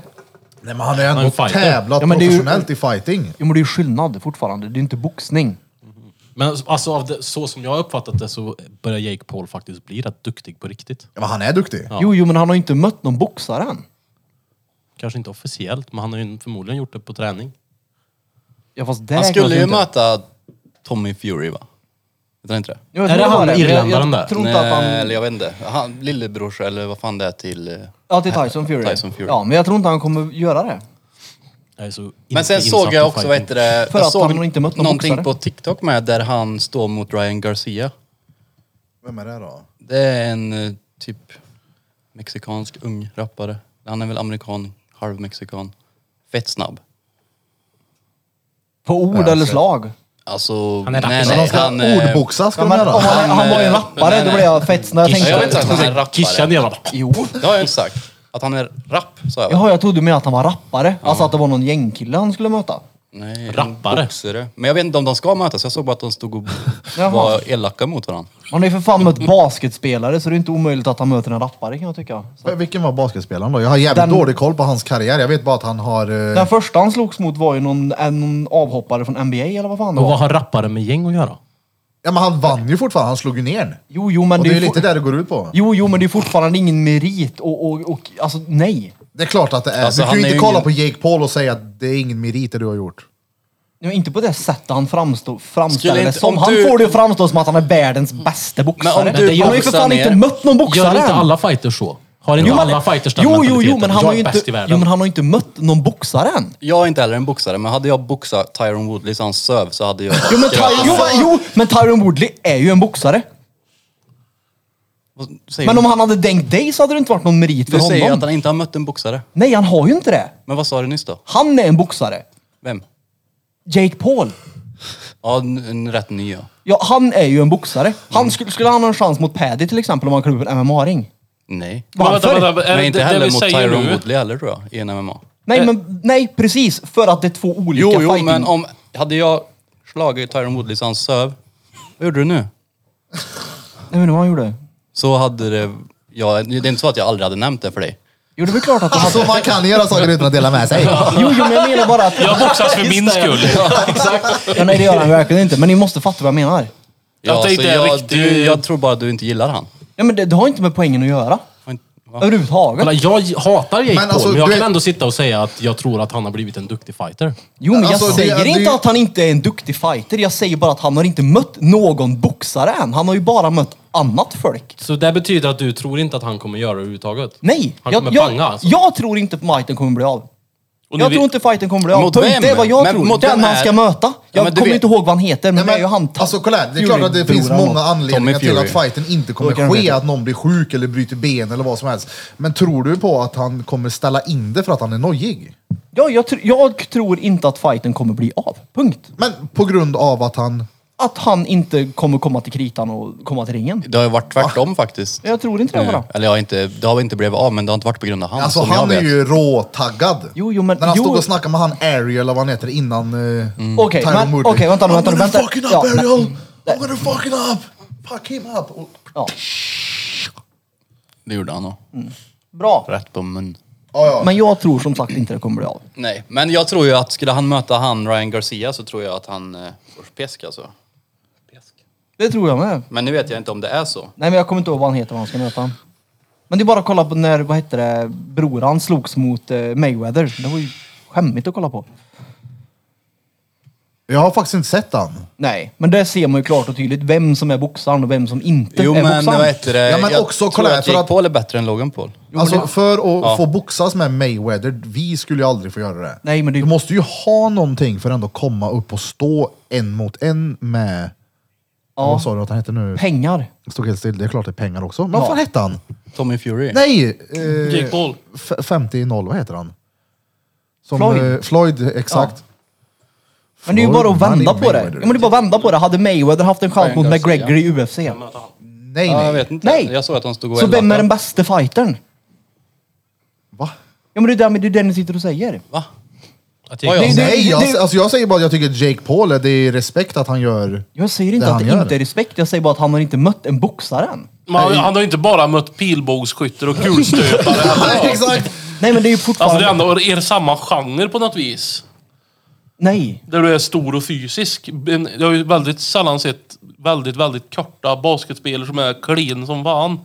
Nej men han har ju
Han är
ändå
en fighter.
tävlat
Ja, men det är ju-
professionellt i fighting.
Jo men det är ju skillnad fortfarande. Det är ju inte boxning.
Men alltså, av det, så som jag har uppfattat det så börjar Jake Paul faktiskt bli rätt duktig på riktigt.
Ja, men han är duktig.
Ja.
Jo, jo men han har ju inte mött någon boxare än.
Kanske inte officiellt, men han har ju förmodligen gjort det på träning.
Ja, fast det
Han
räknas
skulle ju
inte.
möta Tommy Fury va? Vet du inte det?
Jo, jag
Är
tror
det han
var men jag-
irländaren där?
Jag tror inte att
Nej,
han...
eller jag vet inte. Han, lillebrors eller vad fan det är till... eh,
Ja, till Tyson Fury.
Tyson Fury.
Ja, men jag tror inte han kommer göra det.
Jag är så inte
Men sen
insatt
såg
i
jag också,
fighting.
vad heter det?
För
jag
att
såg
han har inte mött någon
någonting
boxare.
på TikTok med där han står mot Ryan Garcia.
Vem är det då?
Det är en eh, typ mexikansk ung rappare. Han är väl amerikan, halv mexikan. Fett snabb.
På ord
Ja,
eller
så-
slag.
Alltså...
Han är
nej,
rappare.
Så
nej,
de ska
han, eh,
ordboxa ska
Ja,
de
men, om
göra.
han, han var ju
Han, eh,
rappare,
nej,
då
nej.
blev jag fetsnödig. Jag
Ja, jag vet inte
tänkte...
att han är rappare.
Kishan ner honom.
Jo.
Det har jag inte sagt. Att han är rapp, sa jag.
Jaha, jag trodde mer att han var rappare. Alltså att det var någon gängkille han skulle möta.
Nej, en
Rappare.
boxare. Men jag vet inte om de ska mötas. Jag såg bara att de stod och
Jaha.
var elaka mot varandra.
Han har ju för fan mött basketspelare så det är inte omöjligt att han möter en rappare kan jag tycka. Så.
Vilken var basketspelaren då? Jag har jävligt
Den-
dålig koll på hans karriär. Jag vet bara att han har... eh,
Den första han slogs mot var ju någon, en, någon avhoppare från NBA eller vad fan det
Och vad
var.
har rappare med gäng att göra?
Ja men han vann ju fortfarande, han slog ju ner den.
Jo, jo, men
Och det är ju
for-
lite där det går ut på.
Jo, jo, men det är fortfarande ingen merit och, och, och alltså nej.
Det är klart att det är.
Alltså,
du
han
kan ju
är
inte
ju
kolla
ingen-
på Jake Paul och säga att det är ingen merit det du har gjort.
Ja, inte på det sättet han framstå, framställer
Skulle
det
inte-
som.
om
Han
du-
får det att framstå som att han är världens bästa boxare.
du
han har ju för
boxar
fan
ner-
inte mött någon boxare
Gör inte
än.
alla fighters så? Har inte
Jo, men-
alla fighters den
jo, jo, jo,
mentaliteten?
men han
jag
har ju
är bäst i
inte,
världen.
jo, men han har ju inte mött någon boxare än.
Jag är inte heller en boxare, men hade jag boxat Tyron Woodley så han söv så hade jag...
Jo men, Ty- jo, men- jo, men Tyron Woodley är ju en boxare.
Vad säger
Men
du?
om han hade dänkt dig så hade det inte varit någon merit för
Du säger ju
honom.
att han inte har mött en boxare.
Nej, han har ju inte det.
Men vad sa du nyss då?
Han är en boxare.
Vem?
Jake Paul.
Ja, en, en rätt ny ja.
Ja, han är ju en boxare. Han skulle, skulle han ha en chans mot Paddy till exempel om han klev upp en MMA-ring?
Nej.
Men vänta,
Varför?
vänta, vänta, är
men
det
inte
det
heller
vi
mot
säger
Tyron
nu?
Woodley heller tror jag, i en MMA.
Nej, men, nej, precis. För att det är två olika
Jo, jo,
fighting.
men om... Hade jag slagit Tyron Woodley så han söv, vad gjorde du nu?
Jag vet inte vad han gjorde.
Så hade det... Ja, det är inte så att jag aldrig hade nämnt det för dig.
Jo, det är väl klart att han
Alltså
hade...
man kan göra saker utan att dela med sig.
Jo, jo, men jag menar bara att...
Jag boxas för min skull.
Ja, nej, det gör han verkligen inte. Men ni måste fatta vad jag menar.
Jag
Ja, så
tänkte en
jag,
riktig-
du, jag tror bara du inte gillar han.
Ja, men det, det har inte med poängen att göra.
Har inte- va?
Överhuvudtaget.
Kolla, jag hatar Jake
Men alltså,
Paul, men jag
du
kan
vet-
ändå sitta och säga att jag tror att han har blivit en duktig fighter.
Jo, men jag
Alltså, det-
säger
det-
inte att han inte är en duktig fighter. Jag säger bara att han har inte mött någon boxare än. Han har ju bara mött annat folk.
Så det betyder att du tror inte att han kommer göra det överhuvudtaget?
Nej,
Han
jag,
kommer
jag,
banga alltså?
jag tror inte att fighten kommer bli av.
Och
jag
ni
tror
vet-
inte fighten kommer bli av.
Mot
Punkt.
vem?
Det är vad jag
Men
tror.
mot
den
vem
han
är-
ska möta.
Ja,
Jag
men du
kommer
vet-
inte ihåg vad han heter,
Nej,
men, det är ju han.
alltså kolla här, det är klart att det finns
Fury-broran.
många anledningar
Tommy
till att
Fury.
fighten inte
Då
kommer
kan
ske,
det-
att någon blir sjuk eller bryter ben eller vad som helst. Men tror du på att han kommer ställa in det för att han är nojig?
Ja, jag, tr- jag tror inte att fighten kommer bli av. Punkt.
Men på grund av att han
att han inte kommer komma till kritan och komma till ringen.
Det har ju varit tvärtom faktiskt.
Jag tror inte det
Eh,
bara.
Eller jag har inte, det har inte blivit av, men det har inte varit på grund av han
Alltså
som
han
jag
är
vet.
ju råtaggad.
Jo, jo, men-
När han
jo. Mm.
stod och snackade med han Ariel eller vad han heter innan... eh,
Okej,
Tyron
men-
Woodley.
okej, vänta nu, vänta nu,
I'm gonna
vänta.
fucking up
Ja, men-
Ariel!
Nej.
I'm gonna fucking up! Fuck him up! Och,
Ja.
Det gjorde han nog.
Mm.
Bra.
Rätt på mun.
ja, ja.
Men jag tror som sagt inte det kommer bli av.
Nej, men jag tror ju att skulle han möta han Ryan Garcia så tror jag att han eh, får pesk alltså.
Det tror jag med.
Men nu vet jag inte om det är så.
Nej men jag kommer inte ihåg vad han heter, vad han ska möta. Men det är bara att kolla på när, vad hette det, broran slogs mot eh, Mayweather. Det var ju skämmigt att kolla på.
Jag har faktiskt inte sett han.
Nej, men där ser man ju klart och tydligt vem som är boxaren och vem som inte
Jo
är
men
boxaren.
vad heter det?
Ja, men
jag
också,
tror
kolla här,
att
för
Jake
att-
Paul är bättre än Logan Paul.
Alltså för att
Ja.
få boxas med Mayweather, vi skulle ju aldrig få göra det.
Nej, men det-
Du måste ju ha någonting för att ändå komma upp och stå en mot en med... Vad sa du att han hette nu?
Pengar.
Jag Stod helt still. Det är klart det är pengar också. Men vad fan hette han?
Tommy Fury.
Nej! Eh,
Jake Paul.
f- 50-0, vad heter han? Som,
Floyd.
Eh, Floyd, exakt.
Men det är ju
Floyd
bara att vända
Money
på det.
Mayweather.
Ja, men det är bara att vända på det. Hade Mayweather haft en chans
Ryan
mot
Garcia.
McGregor i UFC?
Nej,
Ja, jag
nej.
vet inte.
Nej.
Jag såg att de stod och
Så vem är
eldade.
den bästa fightern?
Va?
Ja men det är det, men det, är det ni sitter och säger.
Va?
Att
Ja,
jag,
ja.
Nej,
det-
jag,
det-
alltså jag säger bara att jag tycker Jake Paul, är- det är respekt att han gör...
Jag säger
Det
inte att
han
det
gör.
inte är respekt, jag säger bara att han har inte mött en boxare än.
Men han, han har ju inte bara mött pilbågsskyttar och kulstöpare.
Nej, exakt!
Nej men det är ju fortfarande...
Alltså det är ändå er samma genre på något vis.
Nej.
Där du är stor och fysisk. En- Jag har ju väldigt sällan sett väldigt, väldigt korta basketspelare som är clean som fan.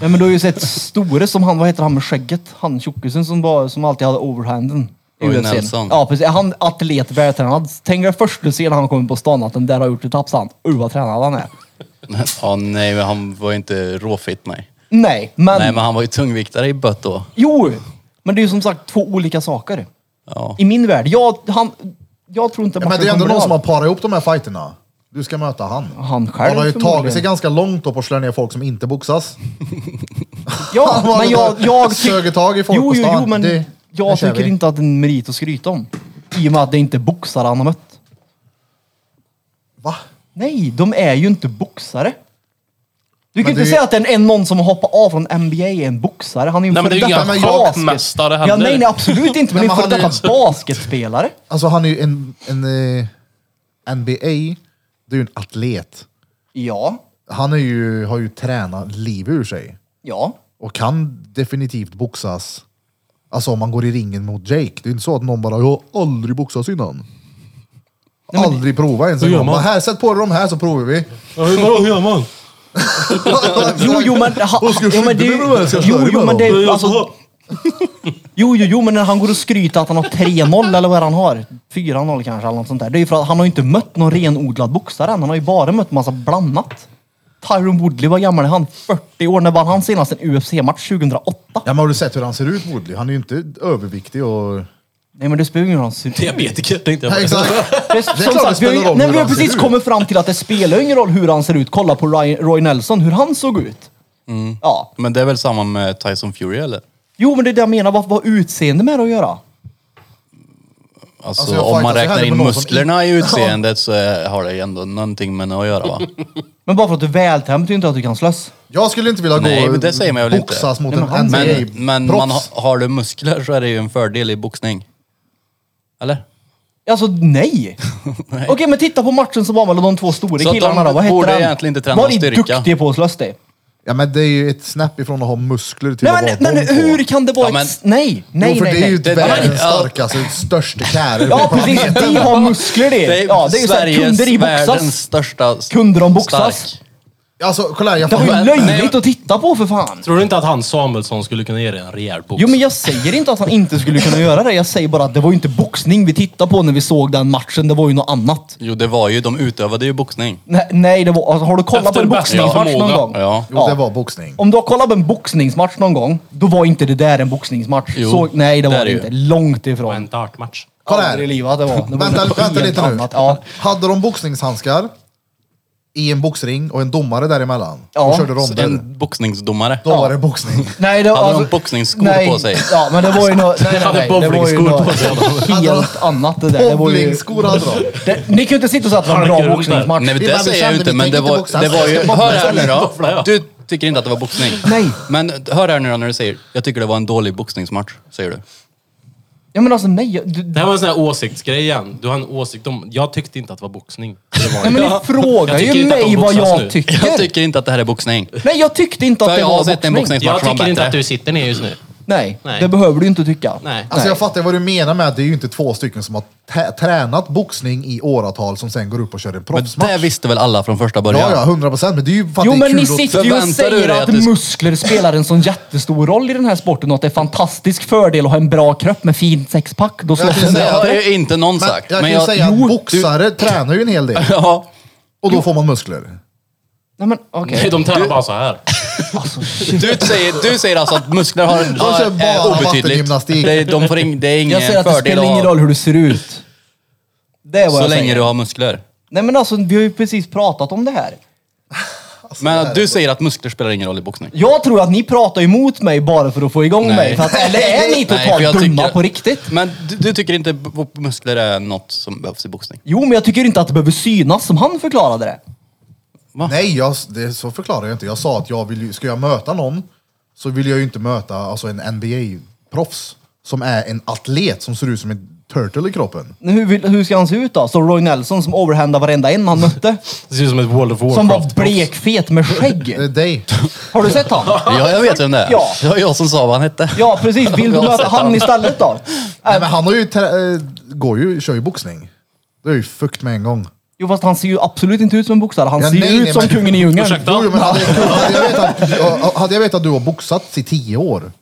Nej men du har ju sett Store som han, vad heter han med skägget? Han tjockisen som, var, som alltid hade overhanden. i
Roy
UFC.
Nelson.
Ja precis, han atlet, vältränad. Tänk dig först du ser när han kommer på stan att den där har gjort ett tapp, sa han. Uh vad tränad han är.
Ja, nej, men han var ju inte råfit nej.
Nej men,
Nej, men han var ju tungviktare i bött då.
jo! Men det är ju som sagt två olika saker.
Ja.
I min värld. Jag, han, jag tror inte
Ja, men
matchen
det är ändå
kommer
någon
bli
som har
av.
parat ihop de här fighterna. Du ska möta han.
Han själv
har ju tagit sig
förmodligen.
ganska långt upp och slår ner folk som inte boxas. Han
Ja,
har
men jag...
gått-
jag
sögit tag i folk
jo,
på
jo,
stan.
jo, men
Det- det
jag
kör
tycker
vi.
inte att det är en merit att skryta om. I och med att det inte är boxare han har mött.
Va?
Nej, de är ju inte boxare. Du kan
Men
inte
det är-
säga att en, en någon som har hoppat av från NBA är en boxare. Han är ju en
Nej, men det är ju
före detta
inga
basket-
schackmästare
Ja,
heller.
nej, nej, absolut
Nej,
inte. Men det är en
men
före
han är
detta basketspelare.
Alltså han är ju en... en eh, NBA, det är ju en atlet.
Ja,
Han är ju, har ju tränat liv ur sig.
ja.
Och kan definitivt boxas. Alltså om man går i ringen mot Jake. Det är ju inte så att någon bara, jag har aldrig boxats innan. aldrig prova ens en
gör
gång.
man.
Bara, Här, sätt på dig de här så provar vi.
hur gör man?
Jo, jo, men... Ha,
Alltså, Vad ska jag
jo, men det,
skydda mig med det? Ska
jo,
jag störa
jo,
mig
men det
då?
är alltså, Jo, jo, jo, men när han går och skryter att han har 3-0 eller vad han har. 4-0 kanske eller något sånt där. Det är ju för att han har ju inte mött någon renodlad boxare än. Han har ju bara mött massa blandat. Tyron Woodley, vad gammal är han? 40 år? När vann han senast en UFC-match? 2008?
Ja, men har du sett hur han ser ut Woodley? Han är ju inte överviktig och...
Nej men det spelar ju ingen roll. Det
Diabetiker tänkte jag
Ja,
bara.
exakt.
är
klart det
som sagt, vi har,
spelar
ju-
roll
nej,
hur
vi har
han ser
precis
ut.
kommit fram till att det spelar ju ingen roll hur han ser ut. Kolla på Ryan, Roy Nelson, hur han såg ut.
Mm.
Ja.
Men det är väl samma med Tyson Fury eller?
Jo men det är det jag menar, vad vad har utseende med det att göra?
Alltså,
Alltså, jag
om man
fightas
räknar
hellre
in
med någon som
musklerna i utseendet så är, har det ändå någonting med det att göra va?
Men bara för att du är vältänd betyder inte att du kan slåss.
Jag skulle inte vilja gå
Nej, men det
och
säger man väl inte.
boxas mot
Nej, men
en
han-
Men,
NBA-proffs.
men man, ha- har du muskler så är det ju en fördel i boxning. Eller?
Alltså nej! Okej men titta på matchen som var mellan de två stora
Så att de
killarna då. Vad hette
borde
han?
egentligen inte träna
Var
någon
ni
styrka?
duktiga på att slåss det?
Ja, men det är ju ett snäpp ifrån att ha muskler till
Nej
att
men,
vara
men
bomb på.
hur kan det vara
Ja, men-
ett... Nej! Nej
jo, för
nej
det är ju typ
nej!
det-
världens
ja.
starkaste, största kärlek
Ja
på
precis,
planeten.
vi har muskler det! ja, det är ju såhär, kunder i
världens
boxas.
största s-
Kunde de boxas?
stark.
Alltså, kolla här, jag
Det var ju
fattar.
löjligt att titta på för fan!
Tror du inte att han Samuelsson skulle kunna ge dig en rejäl box?
Jo men jag säger inte att han inte skulle kunna göra det. Jag säger bara att det var ju inte boxning vi tittade på när vi såg den matchen. Det var ju något annat.
Jo, det var ju, de utövade ju boxning.
Nej, nej det var, alltså, har du kollat
Efter
på en
bästa
boxningsmatch någon
förmåga.
gång?
Ja.
Jo, det var boxning.
Om du har kollat på en boxningsmatch någon gång, då var inte det där en boxningsmatch.
Jo,
så, nej, det
det är
var det
det
inte.
ju.
Långt
Det var
ifrån.
en dartmatch.
Kolla här.
Aldrig i livet att det var. Det var
Vänta,
något
vänta
helt
lite nu.
annat. Ja.
Hade de boxningshandskar i en boxring och en domare däremellan.
Ja,
och körde ronder.
En boxningsdomare.
Då var det boxning.
Nej, det, alltså-
Hade de boxningsskor
nej,
på sig?
Ja, men det var ju något... Nej, nej,
Hade
nej, det var ju
bowlingskor på
något helt annat det där. Det var ju,
Bowlingskor hade de.
det, ni kunde inte sitta och säga att det var en
Han
bra
gick runt
boxningsmatch.
Nej, men
Vi bara
det säger
bestämde,
jag ju inte,
vi
men
tänker
det
inte
var,
boxas.
det var ju...
Jag ska
Hör här nu
Boffla, ja.
då. Du tycker inte att det var boxning.
Nej.
Men hör här nu då när du säger, jag tycker det var en dålig boxningsmatch, säger du.
Ja, men alltså nej. jag- Du,
Det här var en sån här åsiktsgrej igen. Du har en åsikt om... Jag tyckte inte att det var boxning. Det var
nej, men
inte.
ni frågar
Jag tycker
ju
inte att de
mig vad
boxas
jag
nu.
tycker.
Jag tycker inte att det här är boxning.
Nej, jag tyckte inte att
För
det
jag
var
har sett en
boxning.
boxnings-
Jag
Matchen var
tycker inte
bättre.
att du sitter ner just nu.
Nej,
Nej.
det behöver du inte tycka.
Nej.
Alltså jag
Nej.
fattar vad du menar med att det är ju inte två stycken som har tä- tränat boxning i åratal som sen går upp och kör en
Men
proffsmatch.
det visste väl alla från första
Ja,
början?
ja, hundra procent. Men det är ju för att
Jo
det är
men
kul
ni
att-
sitter ju och
Förväntar du
säger
dig
att,
att det-
muskler spelar en sån jättestor roll i den här sporten och att det är fantastisk fördel att ha en bra kropp med fint sexpack. Då slåss
kan
en
Det
säga-
har
bättre.
ju inte någon
Men
sagt.
jag kan
Men
ju säga
jag...
att boxare tränar ju en hel del.
Ja.
Och då får man muskler.
Nej men okej.
Nej, de tränar bara så här.
Du säger, du säger alltså att muskler har,
kör
har,
bara
är obetydligt.
vattengymnastik.
Det, är- de får in, det är ingen
Jag säger att det
fördel
spelar ingen
att
roll hur du ser ut. Det är vad
så
jag
länge
säger.
du har muskler.
Nej men alltså vi har ju precis pratat om det här.
Alltså,
Men att du säger att muskler spelar ingen roll i boxning.
Jag tror att ni pratar emot mig bara för att få igång
Nej.
mig. För att, eller är ni
Nej, för
totalt
jag
dumma
tycker-
på riktigt?
Men du, du tycker inte b- muskler är något som behövs i boxning?
Jo men jag tycker inte att det behöver synas som han förklarade det.
Nej, jag, det, så förklarar jag inte. Jag sa att jag vill, ju- ska jag möta någon så vill jag ju inte möta alltså, en NBA-proffs som är en atlet som ser ut som en turtle i kroppen.
Men Hur, vill- hur ska han se ut då? Så Roy Nelson som overhandade varenda en han mötte?
Det ser ut som ett World of
Som var
Warcraft.
blekfet med skägg?
Det är dig.
Har du sett han?
Ja, jag vet vem det är.
Ja.
Det var jag som sa vad han hette.
Ja precis, vill du
Jag har
möta
sett
han
honom.
istället då?
Nej,
Äh,
men han har ju, trä- eh, går ju, kör ju boxning. Det är ju fukt med en gång.
jo fast han ser ju absolut inte ut som en boxare, han
Ja,
ser ju
nej,
ut
nej,
som
men-
kungen i djungeln.
Ursäkta?
Jo, jo, men hade, hade, jag vetat, att- hade jag vetat att du har boxats i tio år,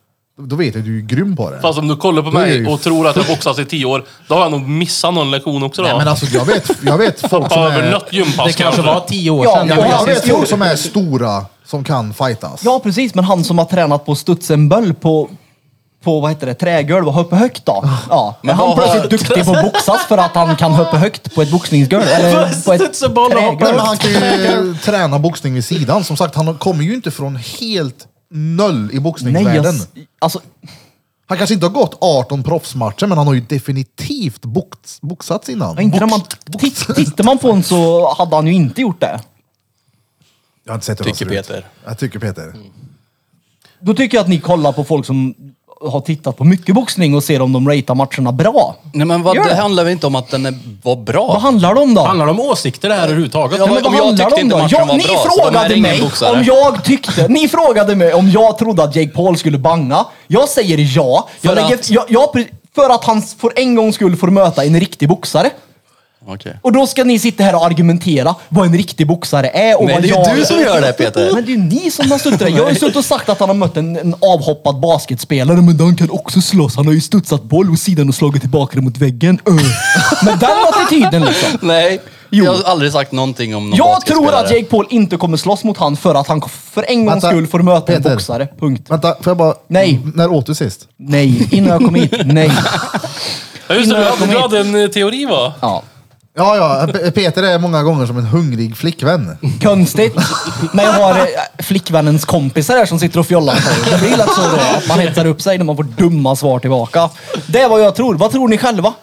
då vet jag att du är grym på det.
Fast om du kollar på
Det är ju
mig och tror att jag boxats i tio år, då har jag nog missat någon lektion också då.
Nej, men alltså, jag, vet, jag vet folk som är...
Övernött gympass
alltså, Det kanske var tio år
Ja,
sedan.
Ja,
Och
men
han
jag
är
vet
stor.
folk som är stora, som kan fightas.
Ja precis, men han som har tränat på studsenböll på, på vad heter det, trägolv och hoppa högt
Ah.
då? Ja. Men är
Men
han
vad
plötsligt
har-
duktig på att boxas för att han kan hoppa högt på ett boxningsgolv? Eller på ett
Studsenboll och hoppa
Nej,
trägolv?
men han kan ju träna boxning vid sidan. Som sagt, han kommer ju inte från helt noll i
Nej, jag,
boxningsvärlden.
s- alltså,
Han kanske inte har gått 18 proffsmatcher, men han har ju definitivt box, boxats innan.
inte när man,
Box-
titt, tittar man på honom så hade han ju inte gjort det.
Jag har inte sett hur han
Tycker
ser ut.
Peter. Mm.
Jag tycker Peter.
Då tycker jag att ni kollar på folk som har tittat på mycket boxning och ser om de ratear matcherna bra.
Nej men vad,
Gör
det
det.
handlar väl inte om att den är, var bra?
Vad handlar det om då?
Handlar det om åsikter det här överhuvudtaget?
Ja,
Nej, men
om
vad
jag
handlar det
tyckte
om
inte
då?
matchen
Jag,
var
ni
bra, så de är
frågade
ingen
mig
boxare.
om jag tyckte... Ni frågade mig om jag trodde att Jake Paul skulle banga. Jag säger ja. Jag
För
lägger,
att-
jag, jag, pre- för att han för en gångs skull får möta en riktig boxare.
Okej.
Och då ska ni sitta här och argumentera vad en riktig boxare är och
Nej,
vad
det är ju
jag...
du som gör det, Peter.
Men det är ju ni som har suttit där. Jag har ju suttit och sagt att han har mött en, en avhoppad basketspelare, men den kan också slåss. Han har ju studsat boll åt sidan och slagit tillbaka den mot väggen. Öh. Men den attityden liksom.
Nej,
Jo.
jag har aldrig sagt någonting om någon
Jag
basketspelare.
tror att Jake Paul inte kommer slåss mot han för att han för en gångs
Alltså,
Vänta,
skull får möta en
Peter.
boxare. Punkt.
Vänta, får jag bara...
Nej.
När åt du sist?
Nej, innan jag kom hit. Nej.
Ja, just det,
Innan
du
jag
hade,
kom
du
hit.
hade en eh, teori va?
Ja.
Ja, ja. P- Peter är många gånger som en hungrig flickvän.
Konstigt. När jag har eh, flickvännens kompisar här som sitter och fjollar på det. Det blir lätt så då. att Man hetsar upp sig när man får dumma svar tillbaka. Det är vad jag tror. Vad tror ni själva?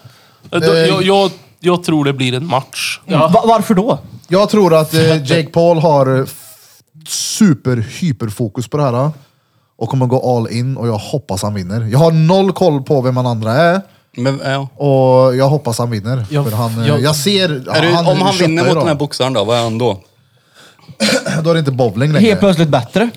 Eh, då- Jag, jag, jag tror det blir en match.
Va- varför då?
Jag tror att eh, Jake Paul har eh, f- super-hyperfokus på det här. eh, Och kommer gå all in och jag hoppas han vinner. Jag har noll koll på vem han andra är.
Men, ja.
Och jag hoppas han vinner.
Jag-
för han, eh,
jag-
jag, ser...
är du, om han
köttar
vinner
ju
mot
då.
den här boxaren då, vad är han då?
Då är det inte bowling längre.
Helt plötsligt bättre.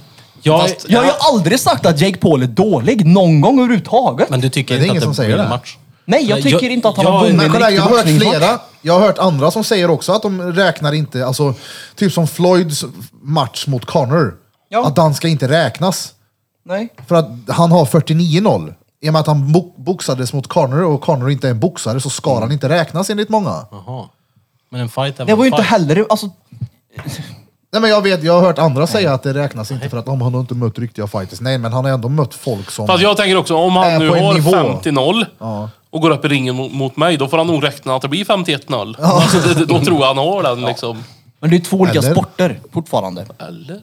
Jag,
Fast-
Jag har ju aldrig sagt att Jake Paul är dålig någon gång överhuvudtaget.
men du tycker
Men det är
inte
ingen
att
som
det
säger
blir en
det.
match?
Nej, jag tycker inte att han
jag-
har vunnit
men
Men
en
kolla,
riktig
jag har hört
boxningsmatch.
flera. Jag har hört andra som säger också att de räknar inte, alltså typ som Floyds match mot Connor.
Ja.
Att han ska inte räknas.
Nej.
För att han har 49-0. I och med att han bo- boxades mot Connor och Connor inte är en boxare så ska han inte räknas enligt många.
Jaha. Men en fight är väl
Det var ju
en
inte
fight?
heller... Alltså,
Nej men jag vet, jag har hört andra säga att det räknas inte för att om han har inte mött riktiga fighters. Nej men han har ändå mött folk som...
Fast jag tänker också, om
Är
Äh,
han nu
på en
har
nivå.
50-0 och går upp i ringen mot, mot mig, då får han nog räkna att det blir 51-0. Alltså, det, det, då tror jag han har den liksom.
Men det är ju två olika
Eller?
sporter fortfarande.
Eller?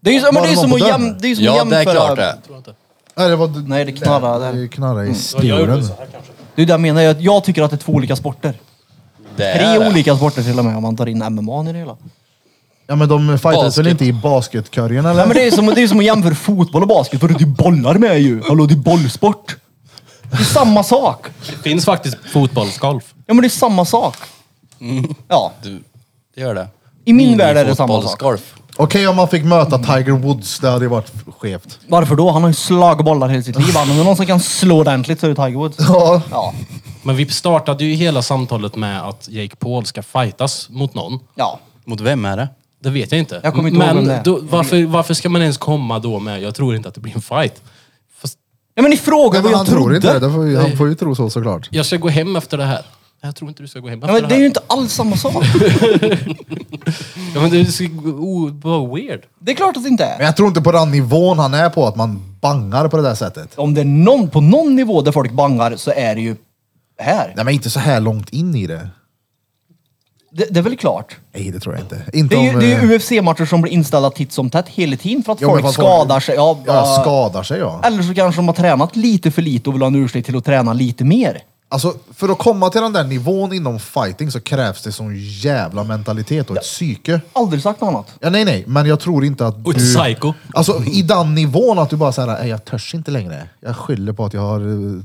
Det är ju, ja, men
Bara
det är ju
vara
som,
på
att
dörren.
jäm, det är ju som att
Ja, det
jämföra.
är klart det.
Nej, det var,
Nej, det knarrar där. Mm.
det knarrar i
Jag
skuren.
gjorde så här kanske.
Det är det jag menar. Jag, jag tycker att det är två olika sporter.
Det
Tre
är det.
olika sporter till och med om man tar in MMA i det hela.
Ja men de fightas väl
Basket.
inte i basketkorgen eller?
Nej, men det är ju som, det är som att jämföra fotboll och basket. För det är ju bollar med ju. Hallå, det är bollsport. Det är samma sak.
Det finns faktiskt fotbollsgolf.
Ja, men det är samma sak. Ja,
Du, det gör det.
i min värld är det samma sak.
Minifotbollsgolf.
Okej om man fick möta Tiger Woods, det hade ju varit skevt.
Varför då? Han har ju slagit bollar hela sitt liv. Han är någon som kan slå ordentligt så är det Tiger Woods.
Ja.
Ja.
Men vi startade ju hela samtalet med att Jake Paul ska fightas mot någon.
Ja.
Mot vem är det?
Det vet jag inte.
Jag kommer inte ihåg vem det
Men
är.
då, varför, varför ska man ens komma då med, jag tror inte att det blir en fight. Fast
Ja, men ni
Nej,
frågar vad
men
jag
han tror
trodde.
inte det, det, får ju, han får ju tro så såklart.
jag ska gå hem efter det här. Jag tror inte du ska gå hem efter
Ja, men det
det
är
här.
ju inte alls samma sak.
Ja, men det är så o- bara oh, weird.
Det är klart att det inte
Men
är.
jag tror inte på den nivån han är på, att man bangar på det där sättet.
Om det är någon på någon nivå där folk bangar så är det ju här.
Nej men inte så här långt in i det.
Det, det är väl klart.
Nej det tror jag inte. Inte
Det är ju,
om...
det
eh,
är ju UFC-matcher som blir inställda titt som tätt hela tiden för att
ja, men
folk
fast-
skadar sig. Ja,
ja,
eh,
skadar sig ja.
Eller så kanske de har tränat lite för lite och vill ha en ursäkt till att träna lite mer.
Alltså för att komma till den där nivån inom fighting så krävs det sån jävla mentalitet och ett psyke.
Aldrig sagt något annat.
Ja, nej, nej, men jag tror inte att
Och ett
du...
psycho.
Alltså i den nivån att du bara såhär, "Nej, jag törs inte längre. Jag skyller på att jag har, eh,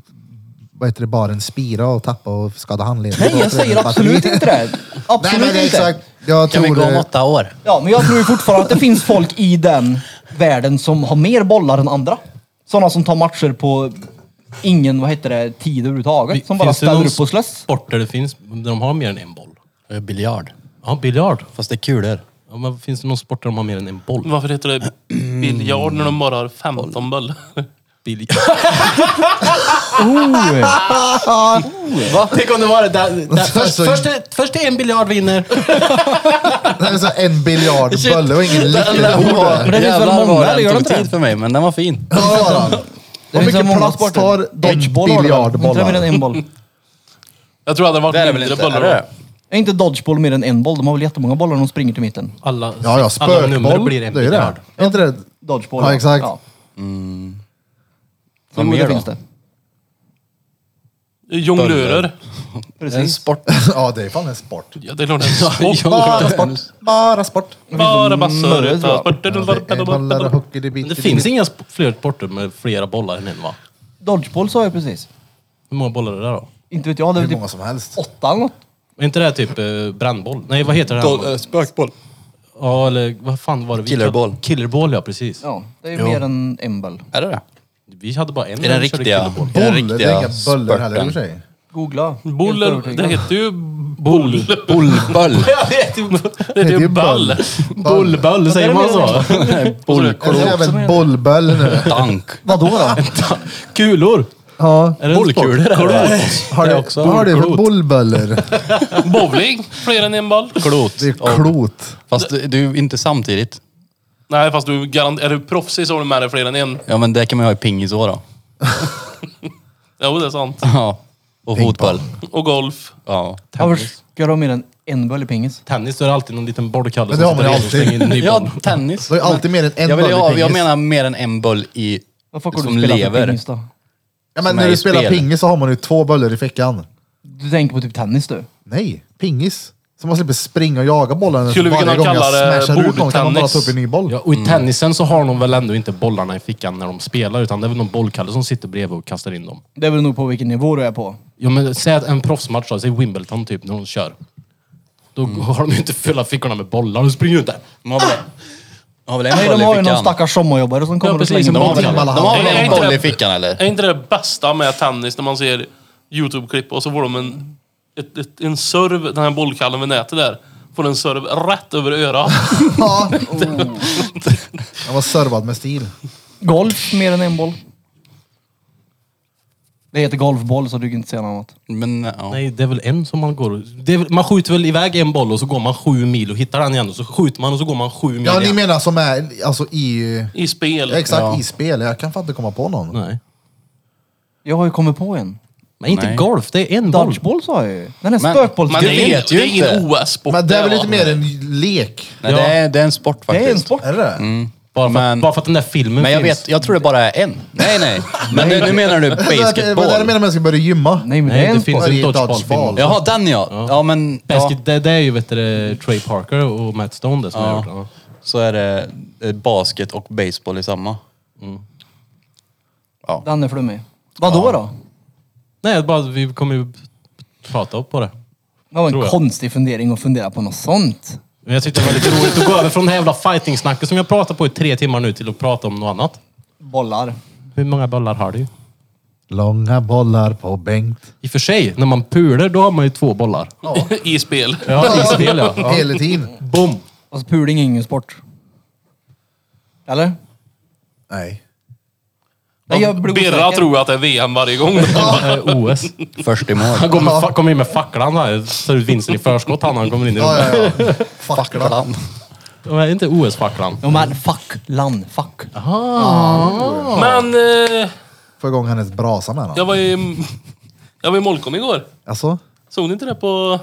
vad heter det, bara en spira och tappa och skada handleden.
Nej, jag säger absolut inte det.
Nej,
Absolut
men det är
inte.
exakt. Jag
Kan vi
tror
gå om
det.
åtta år?
Ja, men jag tror ju fortfarande att det finns folk i den världen som har mer bollar än andra. Sådana som tar matcher på ingen, vad heter det, tid överhuvudtaget. Som bara
Finns det
ställer
någon
upp och slåss.
sporter det finns där de har mer än en boll?
Eh, Biljard.
Ja, biljard.
Fast det är kulor.
Ja, men finns det någon sport där de har mer än en boll?
Varför heter det biljard när de bara har 15 bollar?
Biljard.
Va?
Tänk om det var det där. där först,
Alltså-
först, är- först är en biljard vinner.
Det är så här en biljard bölle och ingen lyckoord.
Men det finns väl
Jävlar
många,
vad
eller
den
gör det
tog
inte
tid
det?
för mig, men den var fin.
Hur
finns
mycket
många
plats
sporter.
tar en
Dodgeball har det väl? Inte det mer än
biljardbollar?
en boll?
Jag tror det hade
Det är det
varit
väl
mindre
inte?
bollar
Är
då.
det?
Är inte dodgeball mer än en boll? De har väl jättemånga bollar de springer till mitten.
Alla,
Ja, ja,
alla nummer
spökboll.
blir en
Det är ju det.
biljard.
Är inte det?
Dodgeball.
Ja, exakt.
Så
Vad mer
det
då?
finns det.
Jonglörer.
Det är en
Precis.
sport.
Ja, det är fan en sport.
Ja, det är klart det är en sport.
Bara sport. Bara sport.
Bara bassor.
Mörre, tror jag.
Det är bollar och
Men
hockey,
det finns inga sp- fler sporter med flera bollar än en va?
Dodgeball sa jag precis.
Hur många bollar är det där då?
Inte vet jag, det är
Hur
typ
många som helst.
åtta eller något.
Är inte det här typ eh, brandboll? Nej, vad heter det? här?
Spökboll.
Ja, eller vad fan var det? vi-
Killerboll.
Killerboll, ja precis.
Ja, det är ju mer än en boll.
Är det det?
Vi hade bara en.
Är den
när vi körde
riktiga?
killerboll.
Är den
Boll, det är
riktiga
inga böller heller i och för
sporten?
sig.
Googla.
Boll,
Helt
är- det
övertygad.
heter ju boll.
Bullböll.
Ja, det heter ju- det heter ju ball.
Bullböll, säger man så? Alltså,
Det är
Bullklot.
väl bollböll nu.
Dank.
Vadå då?
Kulor!
Ja.
Är det en sport?
Bollkulor är det. Mm.
Har
Det
du,
är också
vad har du för
klot.
bollböller?
Bowling, fler än en boll.
Klot.
Det är klot.
Fast det- det är ju inte samtidigt.
Nej, fast du garant- är du proffsig så har du med dig fler än en.
Ja men det kan man ju ha i pingis också då.
Jo, det är sant.
Ja. Och fotboll.
Och golf.
Ja.
Varför ska du ha mer än en boll i pingis?
Tennis, då är det alltid någon liten bollkalle
Men det har man ju
sitter och
alltid.
slänger in en ny boll.
Ja, tennis.
Det är alltid mer än en
jag, vill,
boll i
jag, jag
pingis.
menar mer än en boll i...
Vad fuck har
Som
du spelat
lever.
för pingis då?
Ja, men
som
när
är
du
i
spelar
spel.
pingis så har man ju två böller i fickan.
Du tänker på typ tennis du?
Nej, pingis. Så man slipper springa och jaga bollen.
Skulle vi
Varje
kunna
gång jag
kalla det
smashar ut någon kan man bara
bordtennis?
ta upp en ny boll.
Ja, och i tennisen så har de väl ändå inte bollarna i fickan när de spelar, utan det är väl någon bollkalle som sitter bredvid och kastar in dem.
Det är väl nog på vilken nivå du är på.
Ja, men säg att en proffsmatch då, säg Wimbledon typ, när de kör. Då
Mm.
har de ju inte fulla fickorna med bollar, de springer ju inte.
De har väl, de har väl en
Nej,
boll
de har ju
i
någon
fickan?
stackars sommarjobbare som kommer
Ja,
och
precis,
slänger
en
dem.
boll.
Timmarna
De har
hand.
väl
Nej,
en
inte
boll
det.
i fickan
Är
eller?
inte det bästa med tennis när man ser YouTube-klipp och så får de en, ett, ett, en serv, den här bollkallen vid nätet där, får en serv rätt över örat.
Ja. Jag var servad med stil.
Golf, mer än en boll. Det heter golfboll så du kan inte säga något annat.
Men ja.
Nej, det är väl en som man går och- det är väl, Man skjuter väl iväg en boll och så går man sju mil och hittar den igen och så skjuter man och så går man sju mil
Ja, ni
igen.
menar som är alltså i...
I spel.
Exakt, i spel. Jag kan fan inte komma på någon.
Nej.
Jag har ju kommit på en.
Nej, inte
Nej.
golf. Det är en boll.
Dodgeball sa jag ju. Den är
Men-
spökboll.
men
Men det är,
vet
ingen-
ju
det är ingen
inte.
OS-sport.
Men det är väl
va?
lite mer en lek?
Nej,
Ja.
det, är, det är en sport faktiskt.
Det är en sport.
Är det det?
Bara, för,
Men-
bara för att den där filmen
Men jag
finns.
vet, jag tror det bara är en. Nej, nej. Men nu, nu menar du
Men det är
basketboll.
det jag menar med att jag ska börja gymma.
Nej, men det
Nej,
är en
det
sport.
finns
Det är
en
ju
dodgeball-film
dodgeball.
också.
Jaha, den ja. Ja, men... Ja,
Basket, det, det är ju vet du, det, Trey Parker och Matt Stone det som
Ja.
har gjort den. va?
så är det eh, basket och baseball i samma.
Den är flummig. Vadå då?
Nej, bara, att vi kommer ju prata upp på det.
Det var
Tror
en
jag.
konstig fundering att fundera på något sånt.
Men Jag tyckte det var lite roligt att gå över från det här jävla fighting-snacket som jag pratat på i tre timmar nu till att prata om något annat.
Bollar.
Hur många bollar har du?
Långa bollar på Bengt.
I och för sig, när man pular då har man ju två bollar.
I spel.
Ja, i spel ja. ja.
Hela tiden.
Boom!
Alltså puling är ingen sport. Eller?
Nej.
Nej, jag blir
Birra
osäker.
tror jag att det är VM varje gång.
Eh, OS.
Först i mål.
Han kommer, fa- kommer in med facklan här. Tar ut vinsten i förskott han när han kommer in i
Ja,
rummet.
ja, ja. Fackla.
Facklan.
Det är inte OS-facklan.
Ja, men fuck. Land. Fuck.
Men eh,
Få igång hennes brasa med honom.
jag var i... Jag var i Molkom igår.
Alltså?
Såg ni inte det på...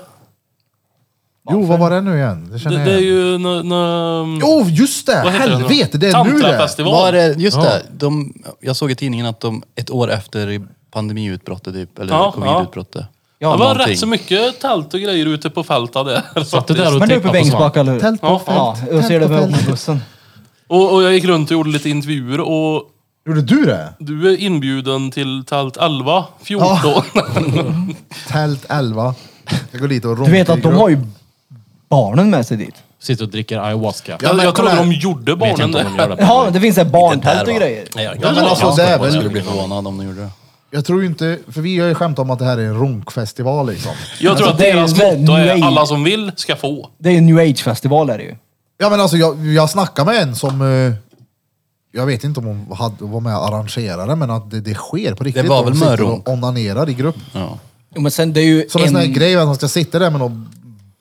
Jo, vad var det nu igen? Det känner jag
Det, det är
igen.
ju... nå- nå-
Jo, just det!
vad heter det nu?
Helvete, det är nu det!
Tantrafestival.
Var det, just det. De, jag såg i tidningen att de ett år efter i pandemiutbrottet typ, eller
Ja,
covidutbrottet.
Det var
någonting.
rätt så mycket tält och grejer ute på fältet där.
Satt du där och
Men du
tittade
är uppe
på
i
Svamp?
Bengtsbacka, eller hur?
Tält på
Ja.
fält.
ja, jag ser det
tält på
med
fält.
bussen.
Och, och jag gick runt och gjorde lite intervjuer och
Gjorde du det?
du är inbjuden till tält 11, 14.
Tält 11. Jag går dit och
Du vet att de har ju barnen med sig dit.
Sitter och dricker ayahuasca.
Ja, men
jag
kolla
trodde
här.
de gjorde
Vet
barnen
inte
det.
om de gör det.
Ja, det finns ett barntält och
va?
grejer.
Nej, jag-
men alltså,
jag-
det är
jag-
väl-
Jag
jag-
skulle bli förvånad om de gjorde det.
Jag tror ju inte, för vi har ju skämtat om att det här är en runkfestival liksom.
Jag tror
Alltså,
att
det är
deras
ju
motto är
nej.
alla som vill ska få.
Det är ju new age-festival är det ju.
Ja men alltså jag, jag snackade med en som, eh, jag vet inte om hon hade, var med och arrangerade men att det, det sker på riktigt.
Det var väl
de sitter
Mörrum.
och onanerar i grupp.
Ja.
Jo, men sen det är ju
Som en sån här grej att man ska sitta där med någon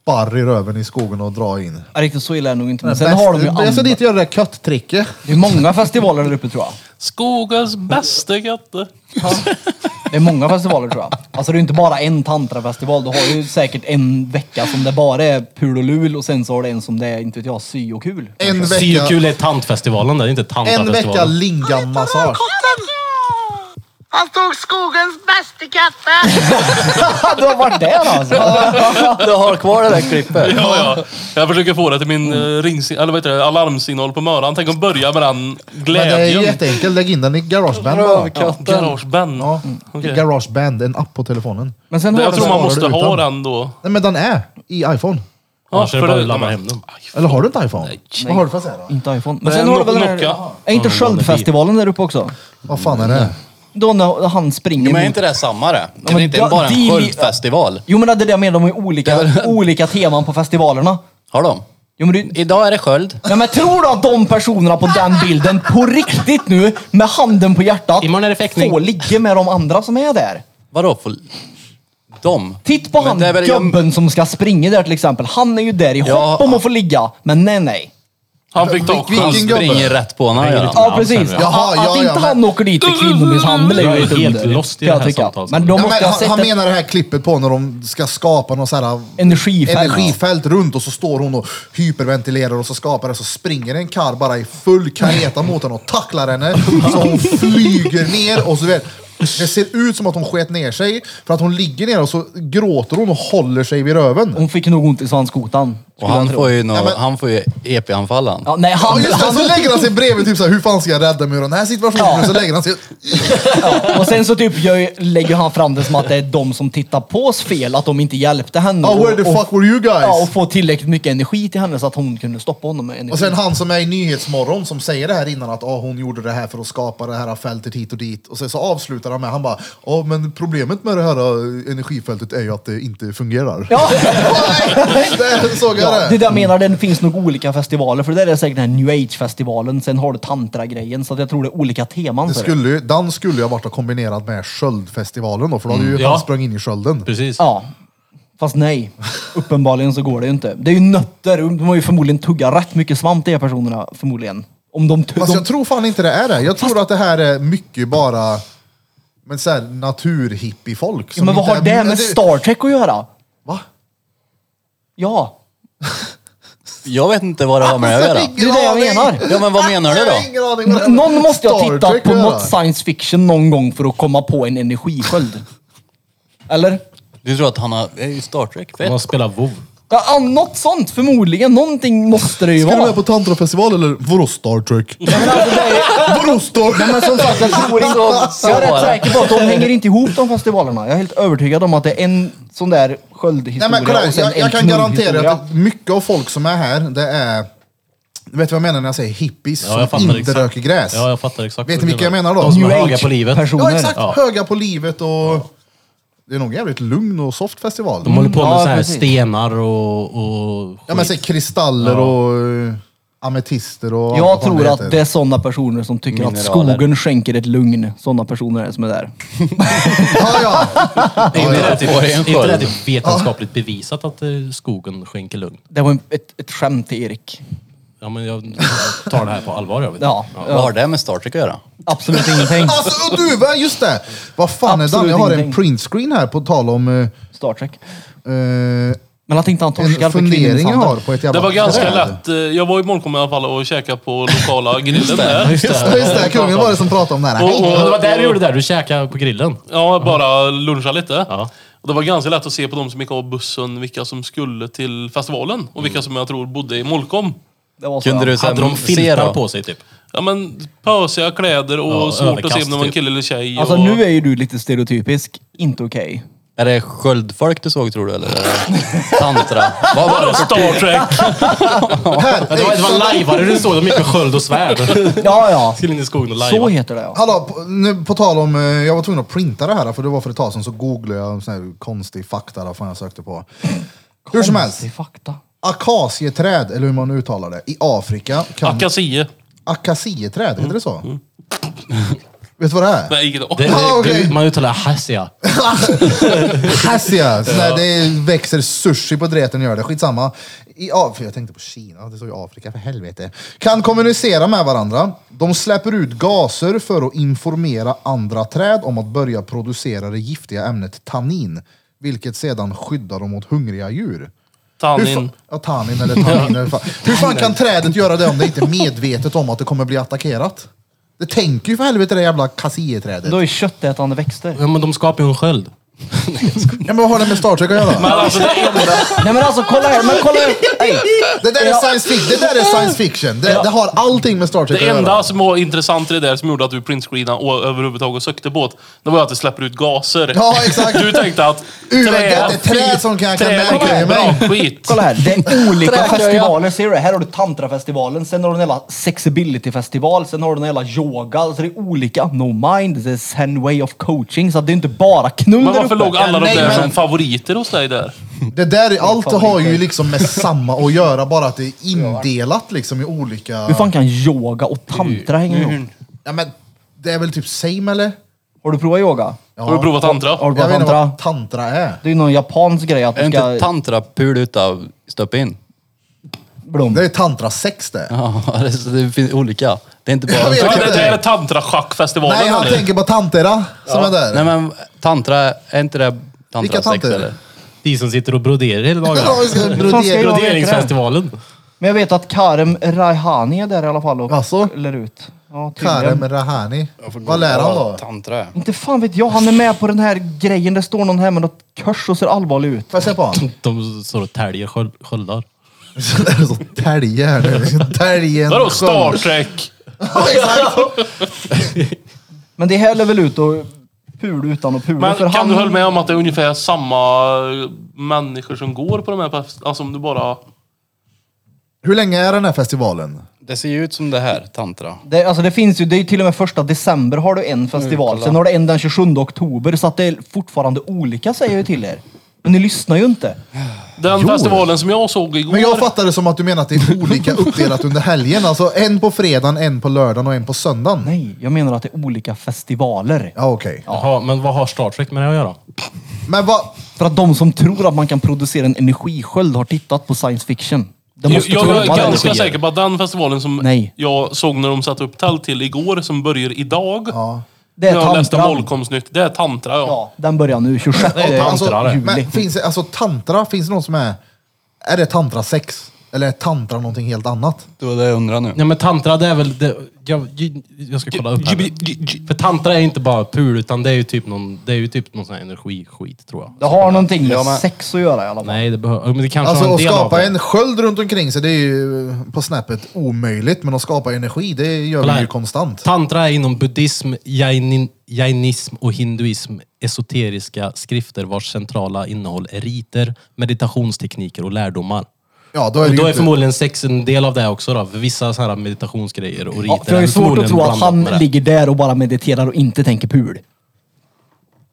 barr i röven i skogen och dra in.
Ja, Riktigt så illa är det nog inte. Men sen har de ju andra.
jag ska dit och göra det där kötttricket.
Det är många festivaler där uppe tror jag.
Skogens bästa katter.
Det är många festivaler tror jag. Alltså det är ju inte bara en tantrafestival. Du har ju säkert en vecka som det bara är pul och lul och sen så har du en som det är, inte vet jag, sy och kul.
En vecka,
Syrkul är tantfestivalen där, inte
en vecka
tantafestivalen.
lingam-massage.
Han tog skogens bästa katter!
du har varit där alltså?
Du har kvar det där klippet?
Ja, ja. Jag försöker få det till min mm. rings, eller vad heter det, alarmsignal på morgonen. Tänk att börja med den
Men det är
glädjen.
jätteenkelt, lägg in den i garageband bara.
Rövkatten.
Garageband.
Ja,
Okej.
garageband, en app på telefonen.
Men sen har
Jag
du
tror man
Svarar
måste
du
ha
utan?
den då.
Nej men den är i iPhone.
Annars är det
för
bara
det-
att ladda
men-
hem dem.
Eller har du inte iPhone? Vad har du för att säga då?
Inte iPhone. Men
Det är
sen har du väl den
Nokia.
här... Är inte Sköldfestivalen där uppe också?
Vad fan är det?
Då när han springer
Men är
mot-
inte det samma det? Det är
men
inte
ja,
bara en
det-
sköldfestival.
Jo men det är det jag menar, de har ju olika,
Det är väl-
olika teman på festivalerna.
Har de?
Jo men det,
Idag är det sköld.
Nej men tror du att de personerna på den bilden på riktigt nu, med handen på hjärtat,
Imorgon är det fäktning.
får ligga med de andra som är där?
Vadå? För... De?
Titt på
Men
han
det är väl- jag-
gubben som ska springa där till exempel. Han är ju där i
Ja.
hopp om att få ligga. Men nej nej.
Han fick ta
Vilken
Han
chans.
gubbe?
springer rätt på honom.
Springer
Ja.
lite
Ja
men han
precis.
ser det.
Jaha,
att
ja,
att
ja,
inte
men-
han åker dit för kvinnomisshandel är
Jag
ju
är
lite
helt
under,
lost i
kan
det
jag
här
tycka.
samtalet.
Men de
Ja,
måste
men,
ha
han,
sett
han
ett
menar det här klippet på när de ska skapa någon sån här
energifält.
energifält runt och så står hon och hyperventilerar och så skapar det så springer en karl bara i full kareta mot henne och tacklar henne så hon flyger ner och så vet det ser ut som att hon sket ner sig för att hon ligger ner och så gråter hon och håller sig vid röven.
Hon fick nog ont i svanskotan.
Och
skulle jag
han
tro.
får ju, nå-
Ja, men-
han får ju E EP-anfall han.
Ja, nej,
Ja,
han,
just det,
han,
så lägger han sig bredvid typ så här, hur fan ska jag rädda mig ur den här situationen?
Ja.
Och så lägger han sig...
ja. Och sen så typ gör, ju- lägger han fram det som att det är de som tittar på oss fel, att de inte hjälpte henne.
Oh, where the
och,
fuck were you guys?
Ja, och få tillräckligt mycket energi till henne så att hon kunde stoppa honom med energi.
Och sen han som är i Nyhetsmorgon som säger det här innan att ah, hon gjorde det här för att skapa det här fältet hit och dit. Och sen så avslutar han med, han bara, ja men problemet med det här eh, energifältet är ju att det inte fungerar.
ja.
Nej, det såg jag
Ja, det är
det.
det jag menar, det finns nog olika festivaler. För det där är säkert den här new age-festivalen, sen har du tantra-grejen. Så att jag tror det är olika teman
det
för
skulle, ju- den skulle ju ha varit kombinerad med Sköldfestivalen då, för då hade ju
Mm. ja.
han sprang in i skölden.
Precis.
Ja. Fast nej, uppenbarligen så går det ju inte. Det är ju nötter, de har ju förmodligen tuggat rätt mycket svamp de här personerna, förmodligen. Om de, tu-
Fast
de
jag tror fan inte det är det. Jag tror att det här är mycket bara Men såhär naturhippie-folk.
Ja, men vad
inte
har
är-
det med Star Trek att göra?
Va?
Ja,
Jag vet inte vad det har med det att
Alltså,
göra.
det är det jag menar.
Ja, men vad menar du
Jag har
då?
ingen aning vad det-
Någon måste ju ha
Star
tittat
Trek
på
att
något
göra.
science fiction någon gång för att komma på en energisköld. Eller?
Du tror att han har... Det är ju Star Trek.
Man
Fett.
spelar WoW.
Ja, ah, något sånt förmodligen. Någonting måste det ju
Ska du
vara.
med på tantrafestival eller vadå Star Trek?
alltså,
Vadå Star Trek?
Men som sagt, jag tror inte... Jag är rätt säker på att de hänger inte ihop de festivalerna. Jag är helt övertygad om att det är en sån där sköldhistoria
Nej, men kolla,
och sen
jag,
en
jag kan
knullhistoria.
garantera att mycket av folk som är här, det är... Vet du vad jag menar när jag säger hippies
Ja, jag
som
fattar
inte
exakt.
röker gräs?
Ja, jag fattar exakt.
Vet
vad
ni
du
vilka jag menar då?
De som är
New
höga på livet.
Age-personer.
ja exakt,
Ja.
höga på livet och... Det är nog en jävligt lugn och soft festival.
De håller på med
Ja,
så här
precis.
stenar och... och
Ja men säg kristaller och eh, ametister och... allt
Jag
vad fan
tror att
heter.
det är sådana personer som tycker att
Mineraler.
skogen skänker ett lugn. Sådana personer är det som är där.
Ja, ja.
Är inte det typ,
Får jag en
är inte det
sköld?
typ vetenskapligt bevisat att eh, skogen skänker lugn?
Det var en- ett, ett skämt till Erik.
Ja, men jag tar det här på allvar. Jag vet.
Ja,
Vad har det med Star Trek att göra?
absolut ingenting.
Alltså och du, va? just det! Vad fan är
Absolut
det? Jag har en
ingenting.
printscreen här på tal om... eh,
Star Trek.
eh,
Men att inte han torskar
en
för
fundering jag har
kvinnomisshandel.
på ett jävla
Det var ganska
träd.
lätt. Eh, Jag var i Molkom i alla fall och käkade på lokala grillen där.
Ja, Just det, kungen var det som pratade om det här.
Och-
Ja,
och-
det var där du gjorde det där. Du käkade på grillen.
Ja, bara luncha lite.
Ja.
Och det var ganska lätt att se på de som gick av bussen vilka som skulle till festivalen och
Mm.
vilka som jag tror bodde i Molkom.
Det var så,
Kunde
ja. Alltså,
du så här,
Hade de
se
filtar
då?
på sig typ?
Ja men pösiga kläder och
Ja,
svårt att se
överkast,
om det var en
typ.
kille eller tjej.
Alltså
och...
nu är ju du lite stereotypisk. Inte okej.
Är det sköldfolk du såg tror du eller? är det Tantra? Vad var det?
Star Trek!
Här,
Ja, det var, det
exakt.
var lajvare du såg. De gick med sköld och svärd.
Ja, ja.
Skulle in i skogen och
Så
lajva.
heter det ja.
Hallå, på, nu, på tal om, eh, jag var tvungen att printa det här för det var för ett tag sedan så googlade jag en sån här konstig fakta där, fan jag sökte på. Hur som helst,
Konstig fakta.
akacieträd, eller hur man uttalar det, i Afrika kan...
Akasie. Mm.
akacieträd, heter det så? Vet du vad det är?
Nej, ingen
Det,
aning.
det,
Ah, okej.
Man uttalar hasia.
Akacia! Sån där, det växer sushi på dräten gör det, skitsamma. I Afrika, jag tänkte på Kina, det står ju Afrika för helvete. Kan kommunicera med varandra. De släpper ut gaser för att informera andra träd om att börja producera det giftiga ämnet tannin. Vilket sedan skyddar dem mot hungriga djur. Hur
Tannin.
fa- ja, tannin eller tannin. eller fan. Hur fan kan trädet göra det om det inte är medvetet om att det kommer bli attackerat? Det tänker ju för helvete det jävla kassieträdet.
Då är köttätande växter.
Ja, men de skapar ju en sköld.
Ja, men vad har det med Star Trek att göra?
Men alltså, det enda,
Nej men alltså kolla här, men kolla här. Hej.
Det där är science fiction. Det, där är science fiction. det, det har allting med Star Trek
det
att
enda
göra.
som var intressant i det där som gjorde att du printscreenade och överhuvudtaget sökte på det, det var ju att det släpper ut gaser.
Ja, exakt.
Du tänkte att...
Ur vad gött, det är träd som kan- kan märka
bra
mig.
skit.
Kolla här, det är olika festivaler. Ser du det? Här har du tantrafestivalen, sen har du en jävla sexability-festival, sen har du en jävla yoga. Alltså det är olika. No mind, det är Zen way of coaching. Så att det är inte bara knull
Men
där
varför
uppe.
låg alla de
Nej,
där
men-
som favoriter hos dig där?
Det där, är- allt har ju liksom med samma att göra, bara att det är indelat liksom i olika...
Hur fan kan yoga och tantra hänga ihop?
Ja, men, det är väl typ same eller?
Har du provat yoga?
Har du provat andra?
Har du
Jag
provat
vet inte
tantra?
vad tantra är.
Det är ju någon japansk grej att
Är det
du
inte
ska...
tantrapul utav stöp in?
Blom.
Det är tantrasex det.
Ja, det- det finns olika. Det är inte
Jag
bara...
vet
Ja, det
inte.
där är tantraschackfestivalen.
Nej, jag
eller?
tänker på tantera som är
Nej
där.
men tantra, är inte det
Vilka
tantrasex
tanter?
eller?
De som sitter och broderar hela
Ja, vi
dagarna.
ska
Fan, ska
brodera.
jag-
Broderingsfestivalen.
Men jag vet att Karem Raihani är där i alla fall och
Asså?
lär ut. Ja, tydligen.
Karem Rahani. Vad lär han då?
Tantra.
Inte fan vet jag, han är med på den här grejen. Det står någon här med något kors och ser allvarlig ut.
Får jag se på honom?
De står och täljer sköld- sköldar.
Det är så tälje här nu. Täljen.
Vadå Star Trek?
Men det häller väl ut och pul utan att pula.
Men
för
kan
han...
du hålla med om att det är ungefär samma människor som går på de här fest- Alltså om du bara...
Hur länge är den här festivalen?
Det ser ju ut som det här, tantra.
Det, alltså det finns ju, det är ju till och med första december har du en festival.
Mm,
Sen har du en den 27 oktober. Så att det är fortfarande olika säger jag ju till er. Men ni lyssnar ju inte.
Den festivalen som jag såg igår.
Men jag fattar det som att du menar att det är olika uppdelat under helgen. Alltså en på fredagen, en på lördagen och en på söndagen.
Nej, jag menar att det är olika festivaler.
Ja okej.
Jaha, men vad har Star Trek med det att göra?
Men vad...
För att de som tror att man kan producera en energisköld har tittat på science fiction. Det
jag,
måste
jag
prova
är ganska
energier.
säker på att den festivalen som
Nej.
jag såg när de satte upp tält till igår, som börjar idag.
Det är
jag har läst om
tantran.
Molkomsnytt. Det är tantra, ja.
Ja, den börjar nu 26
alltså,
juli.
men finns det, alltså tantra, finns det någon som är... Är det tantra sex? Eller är tantra någonting helt annat?
Det var det jag undrade nu.
Nej men tantra det är väl... Det, jag, jag ska kolla upp här. nu. För tantra är inte bara pul utan det är ju typ någon, det är ju typ någon sån här energiskit tror jag.
Det har någonting med
Ja, men-
sex att göra i alla fall.
Nej det behöver... Men det kanske
Alltså
har en
att
del av
skapa
det.
en sköld runt omkring sig, det är ju på snäppet omöjligt. Men att skapa energi, det gör
Kolla
vi
här.
ju konstant.
Tantra är inom buddhism, jainin, jainism och hinduism esoteriska skrifter vars centrala innehåll är riter, meditationstekniker och lärdomar.
Ja, då är det
Och då
ju
är
inte-
förmodligen sex en del av det också då, för vissa sådana här meditationsgrejer och riter.
Ja, för jag
är
är svårt
förmodligen
att tro att
blandat
han
med det.
ligger där och bara mediterar och inte tänker pul.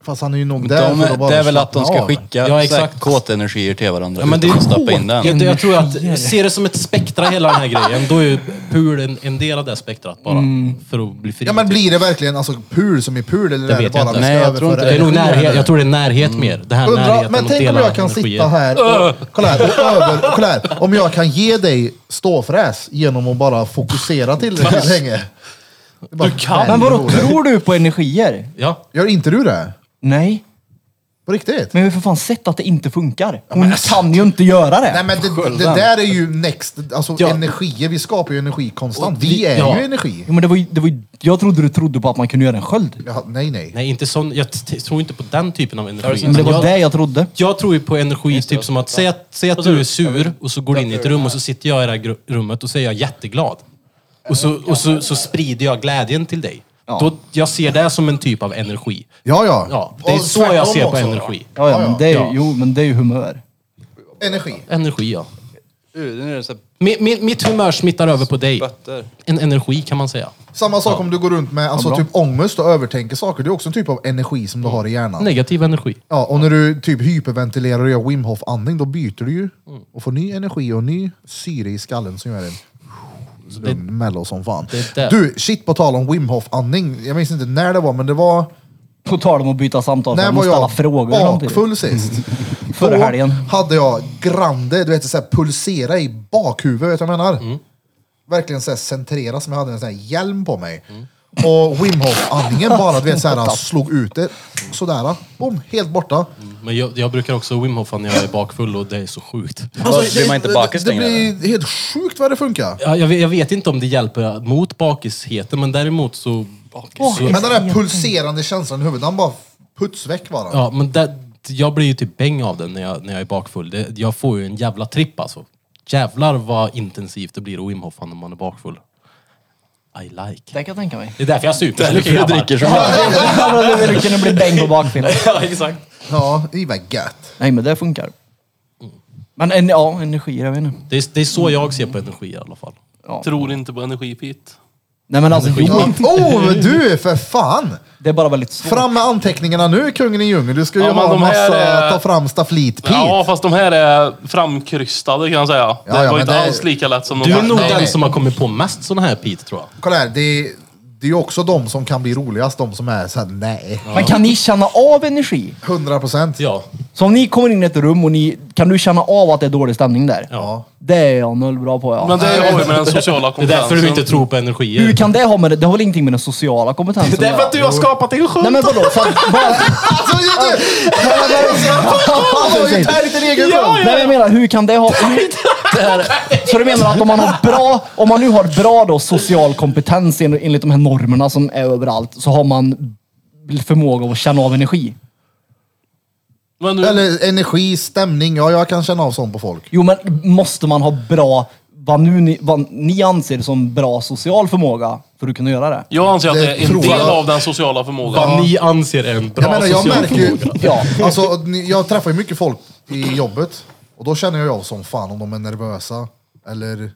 Fast han är ju nog där för att
De,
bara
det är väl att de
slappna
ska
av.
skicka
Ja,
så här
exakt.
kåta energier till varandra
Ja, men det är
utan att stoppa in den.
Jag, jag tror att, ser det som ett spektra hela den här grejen, då är ju pul en, en del av det spektrat bara.
Mm.
För att bli fri.
Ja men blir det verkligen alltså pul som i pul eller är det
vet jag
bara
inte.
vi ska
Nej, jag tror
överföra
det är nog
energi?
närhet, jag tror det är närhet
Mm.
mer. Det här
Undra,
närheten
men
att
tänk om
dela
jag kan
energier.
sitta här
Äh.
och, kolla här, och över, och kolla här, om jag kan ge dig ståfräs genom att bara fokusera tillräckligt länge. Det är bara-
Du kan.
Nej,
Men vadå,
det är roligt.
tror du på energier?
Ja.
Gör inte du det?
Nej,
På riktigt?
men vi har för fan sett att det inte funkar. Hon kan ju inte göra det.
Nej men det, det där är ju next, alltså
Ja.
energier, vi skapar ju energi konstant. Vi är
ja.
ju energi.
Jo, men det var, ju- det var, ju- jag trodde du trodde på att man kunde göra en sköld.
Ja, nej nej.
Nej, inte sån. Jag t- tror inte på den typen av energi.
Men det var
jag,
det jag trodde.
jag tror ju på energi, typ som att säga, att säga att du är sur och så går du in i ett rum och så sitter jag i det här gru- rummet och så är jag jätteglad. Och så, och så, så sprider jag glädjen till dig. Då, jag ser det som en typ av energi.
Ja ja.
Ja, det är
Och
så jag
tvärtom
ser på
också.
energi.
Ja, ja, men det är, ju-
Ja.
Jo, men det är ju humör.
Energi.
Energi, ja.
Uh, nu är det så här
Mi- mi- mitt humör smittar över på dig.
bötter.
En energi kan man säga.
Samma sak om du går runt med alltså, typ ångest och övertänker saker. Det är också en typ av energi som
Mm.
du har i hjärnan.
Negativ energi.
Ja, och när du typ hyperventilerar och gör Wim Hof andning då byter du ju
Mm.
och får ny energi och ny syre i skallen som gör en lugn mello som fan.
det är det.
Du, shit på tal om Wim Hof andning Jag minns inte när det var, men det var...
På tal om att byta samtal,
När
man
var
måste ställa
jag
frågor samtidigt.
bakfull sist?
Förra
Då
helgen.
hade jag grande, du vet såhär pulsera i bakhuvudet, vet du vad jag menar?
Mm.
Verkligen såhär centrera som jag hade en sån här hjälm på mig.
Mm.
Och Wim Hof andningen bara, du vet såhär, slog ut det. Sådär, boom, helt borta.
Men jag, jag brukar också Wim Hofa när jag är bakfull och det är så sjukt.
Vad, blir man inte bakis
Alltså, det, det
längre,
blir helt sjukt vad det funkar.
Ja, jag, vet- jag vet inte om det hjälper mot bakisheten, men däremot så... så
Men den där pulserande känslan i huvudet, den bara puts väck bara.
ja, men det, jag blir ju typ bäng av den när jag, när jag är bakfull. Det, jag får ju en jävla tripp alltså. Jävlar vad intensivt det blir att Wim Hofa när man är bakfull. I like.
Det kan jag tänka mig.
Det är därför jag super så mycket grabbar.
som
Du vill kunna bli bäng på bakfyllan.
Ja, exakt.
Ja, det är väl gött.
Nej, men det funkar. Men en, ja, energi, jag vet inte.
Det är, det är så jag ser på energi i alla fall.
Tror inte på energipit.
Nej men alltså, jo,
Ja. Oh, du för fan!
det är bara väldigt svårt.
Fram med anteckningarna nu kungen i djungeln. Du ska ju
Ja, men
ha en
de här
massa,
är-
ta fram staflitpit.
Ja, fast de här är framkrystade kan jag säga.
ja,
det var
men
inte
det är-
alls lika lätt som de
Du är
här.
nog
nej,
den
nej.
som har kommit på mest såna här Pete, tror jag.
Kolla här, det är, det är ju också de som kan bli roligast, de som är såhär nej.
Men kan ni känna av energi?
100 procent.
Ja.
Så om ni kommer in i ett rum och ni, kan du känna av att det är dålig stämning där?
Ja.
Det är jag noll bra på ja.
Men det har ju med den sociala
Det är därför
kompetensen.
du inte tror på energier.
Hur kan det ha med det? Det har väl ingenting med den sociala kompetensen att göra?
du har skapat din
Nej men vadå? För att, bara,
Alltså, du, du, Alltså, du har ju tärt din egen sjön.
Nej, men jag menar, hur kan det ha... Hur, det här, så du menar att om man har bra, om man nu har bra då social kompetens en- enligt de här normerna som är överallt så har man förmåga att känna av energi?
Men nu,
Eller energi, stämning. Ja, jag kan känna av sånt på folk.
Jo, men måste man ha bra, vad nu ni, vad ni anser som bra social förmåga för att kunna göra det?
jag anser att
Det
det är en
tror jag.
del av den sociala förmågan.
Vad ni anser är en bra
Jag menar, jag
social
märker ju...
förmåga.
Ja, alltså, ni- jag träffar ju mycket folk i jobbet och då känner jag av som fan om de är nervösa eller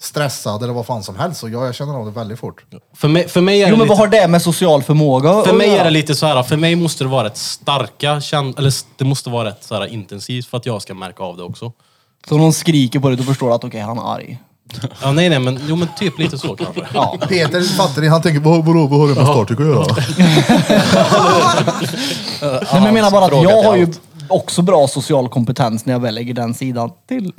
stressade eller vad fan som helst. Så ja, jag känner av det väldigt fort.
För mig, för mig är
Jo,
det
men vad
lite,
har oh, det med social förmåga
för
att
mig
göra?
är det lite så här, för mig måste det vara rätt starka känn, eller s- det måste vara rätt så här intensivt för att jag ska märka av det också.
Så någon skriker på dig, då förstår du att okej, han är arg.
Ja, nej, nej, men, jo, men typ lite så kanske.
Ja.
Peter, fattar ni? Han tänker, vad, vadå, vad har det med Startic att göra?
Nej, men jag menar bara att
fråga
jag
till
har ju
allt.
också bra social kompetens när jag väl lägger den sidan till.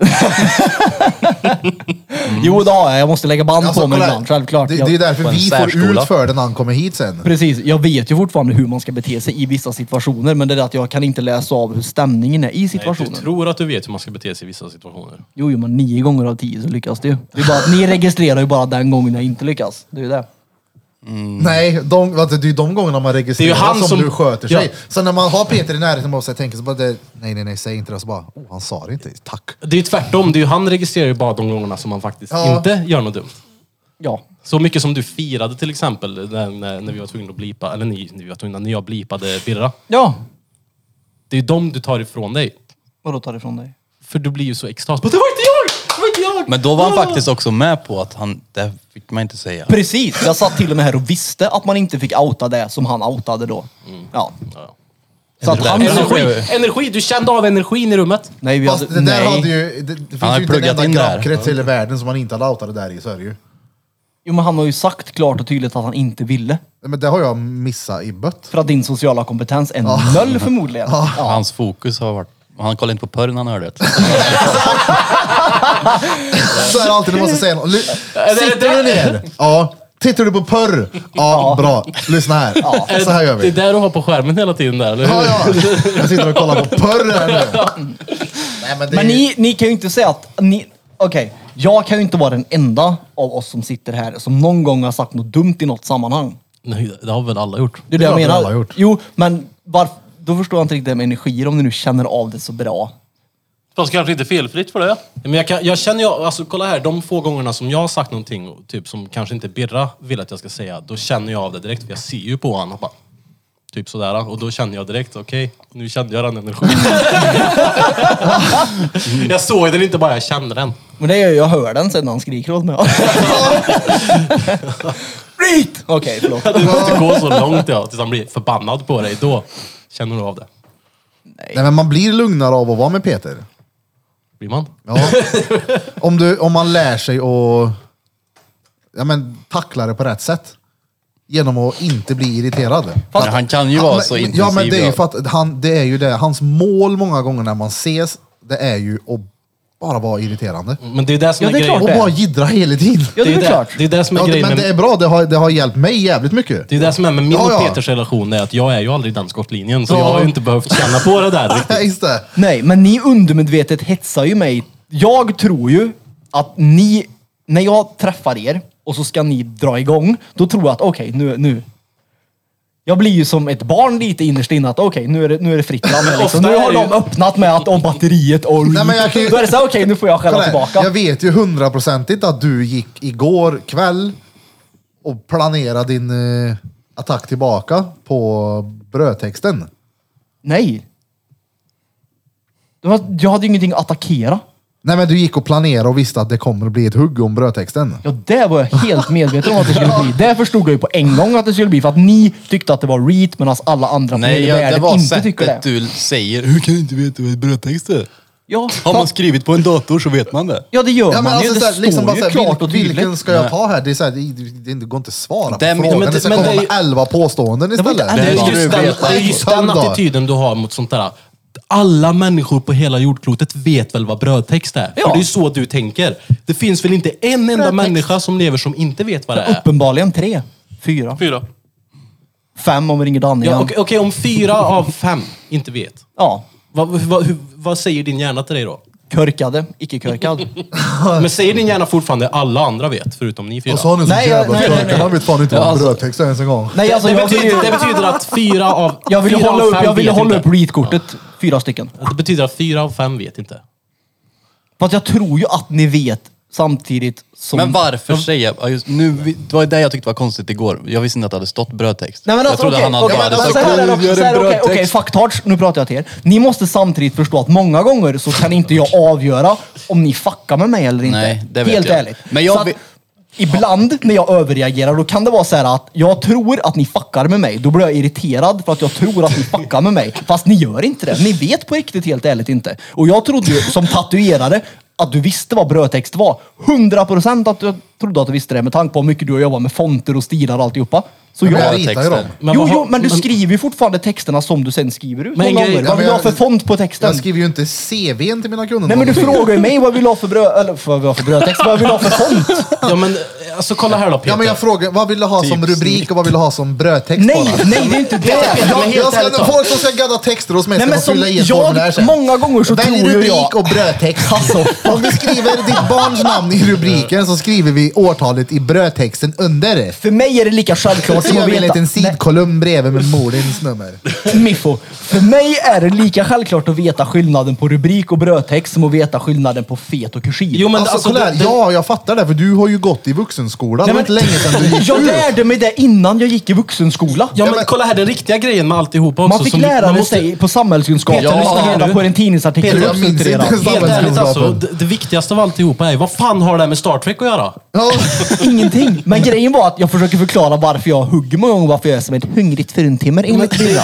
Jo, det har jag. Jag måste lägga band på mig
Alltså, kolla här.
ibland, självklart. Mm.
Det,
Jag-
det är därför
På en
vi får
särskola.
ut för den när han kommer hit sen.
Precis, jag vet ju fortfarande hur man ska bete sig i vissa situationer, men det är det att jag kan inte läsa av hur stämningen är i
Nej, du
situationen.
tror att du vet hur man ska bete sig i vissa situationer.
Jo, jo, men nio gånger av tio så lyckas det ju. Det är bara att ni registrerar ju bara den gången jag inte lyckas. Det är ju det.
Nej, de, vänta, det är ju de gångerna man registrerar
Det är ju han
som,
som-
du sköter
Ja.
sig. Så när man har Peter i närheten och sig tänker så bara, det, nej nej nej, säg inte det. Så bara, oh, han sa det inte, tack.
Det är ju tvärtom. Det är ju, han registrerar ju bara de gångerna som han faktiskt
Ja.
inte gör något dumt.
Ja.
Så mycket som du firade till exempel när, när, när vi var tvungna att blipa, eller ni, ni var tvungna, när jag blipade Birra.
Ja.
Det är ju dem du tar ifrån dig.
Vadå tar det från dig?
För du blir ju så extas. Det var inte jag! Det var inte jag!
Men då var han faktiskt också med på att han, det fick man inte säga.
Precis! Jag satt till och med här och visste att man inte fick outa det som han outade då. Ja.
Ja.
Så att han...
Energi, energi! Du kände av energin i rummet.
Nej, vi
Fast
hade...
det där hade
Nej.
ju, det, det finns
har
ju inte en
pluggat
enda
in där.
grabbkrets i hela världen som man inte hade outat det där i, så är det ju.
Jo, men han har ju sagt klart och tydligt att han inte ville.
Nej, Men det har jag missat i bött.
För att din sociala kompetens är noll förmodligen. Ja.
Hans fokus har varit... Han kollade inte på porr när han hörde det.
Så är det alltid när man ska säga något. Ly- Sitter du ner? Ja. Tittar du på porr? Ja, bra. Lyssna här. Så här gör
Det
vi.
är där du har på skärmen hela tiden där, eller hur?
Ja, ja. Jag sitter och kollar på porr här nu. Nej, men det är
Men
ju-
ni, ni kan ju inte säga att ni... Okej, jag kan ju inte vara den enda av oss som sitter här som någon gång har sagt något dumt i något sammanhang.
Nej, det har väl alla gjort.
Det är det,
Det har
jag
väl
menar.
alla gjort.
Jo, men varf, då förstår jag inte riktigt det med energier om ni nu känner av det så bra.
Fast kanske inte felfritt för det.
Men jag, kan, jag känner ju, alltså kolla här, de få gångerna som jag har sagt någonting, och typ som kanske inte Birra vill att jag ska säga, då känner jag av det direkt, för jag ser ju på honom. och Bara, typ sådär, och då känner jag direkt, okej, nu kände jag den energin. jag såg den inte bara, jag kände den.
Men det gör jag, jag hör den sen när han skriker åt mig. Skit! Okej, förlåt.
Du måste gå så långt ja, tills han blir förbannad på dig. Då känner du av det.
Nej, men man blir lugnare av att vara med Peter.
Blir man?
Ja. Om, du, om man lär sig att ja, men, tackla det på rätt sätt. Genom att inte bli irriterad.
Men han kan ju vara så intensiv.
Ja, men det är ju
ja.
för att han, det är ju det. Hans mål många gånger när man ses, det är ju att bara vara irriterande.
Men det är Mm. det som
Ja,
är,
det är
grejen.
Och
klart det.
bara jiddra hela tiden.
Ja, det är
det,
klart.
det är det som är
Ja,
grejen.
men
med-
det är bra, det har, det har hjälpt mig jävligt mycket.
Det är det som är med min
Ja, ja.
och Peters relation, är att jag är ju aldrig den skottlinjen. Så
Ja.
jag har ju inte behövt känna på det där
Ja,
riktigt.
just det.
Nej, men ni undermedvetet hetsar ju mig. Jag tror ju att ni, när jag träffar er och så ska ni dra igång, då tror jag att okej, nu, nu. Jag blir ju som ett barn lite innerst inne att okej, nu är det, nu är det fritt fram. här Liksom.
Ofta
Nu
är
har
det
de
ju-
öppnat med att om batteriet och
Nej, men jag kan ju-
Då är det så här, okej, nu får jag skälla
Kolla här,
tillbaka.
jag vet ju hundraprocentigt att du gick igår kväll och planerade din eh, attack tillbaka på brödtexten.
Nej. Det var- Jag hade ju ingenting att attackera.
Nej men du gick och planerade och visste att det kommer att bli ett hugg om brödtexten.
Ja, det var jag helt medveten om att det skulle bli. Det förstod jag ju på en gång att det skulle bli. För att ni tyckte att det var reat medan alla andra på
Nej,
hela
ja, det
världen
var
inte tycker det.
sättet du säger. Hur kan du inte veta vad ett brödtext är?
Ja,
Har man
fast-
skrivit på en dator så vet man det.
ja, det gör
Ja, men
man ju.
alltså,
Det
såhär,
står
liksom bara
ju
såhär,
klart och
vil- vilken
tydligt.
ska jag ta här? Det, är såhär, det, det, det går inte att svara
Det-
på
men-
frågan.
men
det
det-
ska
men
komma
det-
med elva påståenden
var
istället.
inte
Det är
Ja,
just
du
den,
vet.
det är just den
Söndag.
attityden du har mot sånt där. Alla människor på hela jordklotet vet väl vad brödtext är?
Ja.
För det är ju så du tänker. Det finns väl inte en enda människa som lever som inte vet vad det är?
Uppenbarligen tre, fyra,
Fyra.
fem om vi ringer Danne
Ja,
igen.
Okej, okej, om fyra av fem inte vet.
Ja,
Vad, vad, hur, vad säger din hjärna till dig då?
körkade, icke-körkad.
Men säger din hjärna fortfarande alla andra vet, förutom ni fyra?
Och så har ni så
Nej, Alltså, jag-
jävla
nej, nej,
körkar. Han vet fan inte
Ja,
vad
alltså-
brödtext är ens en gång.
Nej, alltså
det,
jag vill
betyder, det
ju...
betyder att fyra av
Jag ville
fyra av
hålla upp,
fem
jag ville
vet
hålla upp
inte.
reat-kortet. Fyra stycken.
Det betyder att fyra av fem vet inte.
Fast jag tror ju att ni vet samtidigt som...
Men varför säga... Ja, just, nu, vi- det var ju det jag tyckte var konstigt igår. Jag visste inte att det hade stått brödtext.
Nej men
jag
alltså
trodde
okej,
han hade
okej,
bara
men
hade
så här är det
"Kom,
också,
gör
så här
en
är det okej, okej,
brödtext."
fucktards, nu pratar jag till er. Ni måste samtidigt förstå att många gånger så kan inte jag avgöra om ni fuckar med mig eller inte.
Nej, det vet
Helt
jag.
ärligt.
Men jag
så att,
vet-
Ibland när jag överreagerar, då kan det vara så här att jag tror att ni fuckar med mig. Då blir jag irriterad för att jag tror att ni fuckar med mig. Fast ni gör inte det. Ni vet på riktigt helt ärligt inte. Och jag trodde ju som tatuerare att du visste vad brödtext var. 100% att du trodde att du visste det med tanke på hur mycket du har jobbat med fonter och stilar och alltihopa. Så
Men
jag...
jag ritar ju dem.
Men
jo,
vad har-
jo, men du
men-
skriver ju fortfarande texterna som du sen skriver ut.
Men
Men
en grej-
gånger. Vad
Ja, men
vill du ha
jag-
för font på texten?
Jag skriver ju inte CVn till mina kunder.
Nej men du frågar ju mig vad vill du ha för bröd... Eller vad vill du ha för brödtext? Vad vill du ha för font?
Ja men alltså kolla här då Peter.
Ja men jag frågar, vad vill du ha som rubrik och vad vill du ha som brödtext
Nej,
bara?
nej det är inte det!
Jag,
Jag,
jag ska,
ärligt talat.
folk som ska gadda texter hos mig
Nej,
ska
men
få
som
fylla i ett
jag-
formulär sen.
många gånger så
Välj
tror ju
rubrik
jag- Alltså,
och brödtext. Om du skriver ditt barns namn i rubriken så skriver vi årtalet i brödtexten under det.
För mig är det lika självklart
Så
som
gör
att
vi en
veta...
liten
Nej,
sidkolumn bredvid med morins nummer.
Miffo. För mig är det lika självklart att veta skillnaden på rubrik och brödtext som att veta skillnaden på fet och kursiv.
Jo men
Alltså,
alltså,
kolla här,
det, det,
ja jag fattar det för du har ju gått i vuxenskolan. Det var inte länge sedan du gick
Jag
ur.
lärde mig det innan jag gick i vuxenskola.
ja
men-
men kolla här den riktiga grejen med alltihopa också.
man fick
som-
lära
man måste-
sig på samhällskunskap
Peter, lyssna
ja,
här
reda
nu.
på en tidningsartikel.
Peter, jag minns inte
uppdaterad.
ens-
Helt ärligt alltså,
Samhällskunskapen.
det, det viktigaste av alltihopa är vad fan har det här med Star Trek att göra?
Ja.
Ingenting. Men grejen var att jag försöker förklara varför jag hugger många gånger varför jag är som ett hungrigt fruntimmer enligt Birra.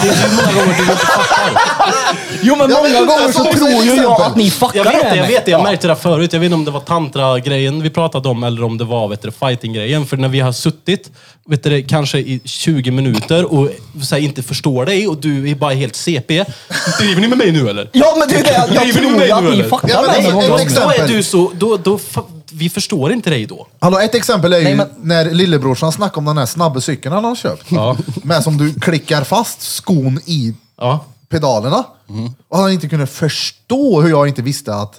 Jo men
Ja, men
många gånger
jag
så
sa också
tror ju
exempel.
jag att ni fuckar
Jag vet det, jag
med
vet det.
mig.
Jag märkte det förut. Jag vet inte om det var tantra-grejen vi pratade om eller om det var vet du, fighting-grejen. För när vi har suttit vet du, kanske i 20 minuter och så här, inte förstår dig och du är bara helt CP. Driver ni med mig nu eller?
Ja men det är det, jag
Driver ni med
tror
mig
ju att
nu,
ni
eller?
fuckar
Ja, men
med
det-
mig många
ett
gånger.
Då
exempel.
är du så... Då, då, fa- vi förstår inte dig då.
Hallå, ett exempel är ju
Nej, men-
när lillebrorsan snackade om den här snabba cykeln han har köpt. Med som du klickar fast skon i
Ja.
pedalerna. Och han inte kunde förstå hur jag inte visste att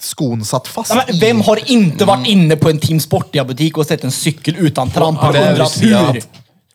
skon satt fast
Ja, men
i.
vem har inte varit
Mm.
inne på en Team Sportia-butik och sett en cykel utan tramp och
det är
undrat
Lucia.
hur?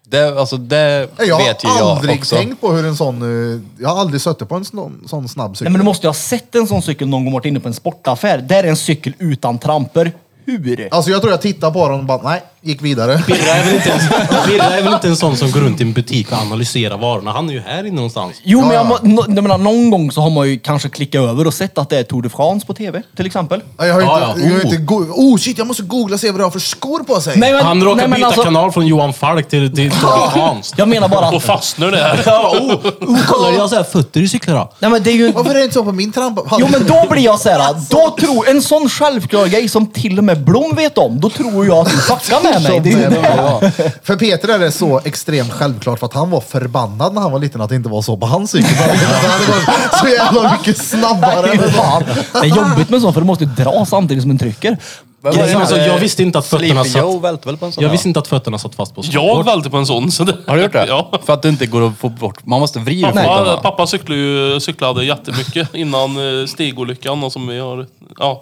Det, alltså, det
jag
vet ju
har aldrig
jag också.
tänkt på hur en sån... eh, Jag har aldrig suttit på en sån, sån snabb cykel.
Nej men du måste ju ha sett en sån cykel någon gång varit inne på en sportaffär. Där är en cykel utan tramper. Hur?
Alltså jag tror jag tittade på den och bara, nej, gick vidare.
Birra är, väl inte ens, Birra är väl inte en sån som går runt i en butik och analyserar varorna. Han är ju här inne någonstans.
Jo,
Ja,
men jag,
ja.
må, nå- jag menar, någon gång så har man ju kanske klickat över och sett att det är Tour de France på TV, till exempel.
Nej, Jag har ju
Ja,
inte...
ja.
Jag har
Oh.
inte go- oh shit, jag måste googla och se vad du har för skor på sig.
men, alltså-
Han råkar byta kanal från Johan Falk till, till Tour de France.
Jag menar bara
Då
att...
fastnar det här.
Ja, oh, oh, kolla, jag har så här fötter i cyklar. då.
Nej, men det är ju...
Varför är det inte så på min trampa?
Jo, men då blir jag så här. Då tror... En sån självklar grej som till och med Blom vet om, då tror jag att du fuckar med mig. Det är ju det.
För Peter är det så extremt självklart för att han var förbannad när han var liten att det inte var så på hans cykel. För Han hade varit så jävla mycket snabbare.
Nej, fan. Det är jobbigt med sånt, för du måste ju dra samtidigt som den trycker.
Vem var det?
Grejen är så, alltså, jag visste inte att fötterna
Sleepy Joe
satt...
välte väl på en sån?
Jag
ja.
visste inte att fötterna satt fast på
Jag
skateboard.
välte på en sån. Så det,
Har du gjort det?
Ja.
För att det inte går att få bort. Man måste vrida
Pappa,
fötterna.
pappa cyklade ju, cyklade jättemycket innan eh, stigolyckan och som vi har... Ja.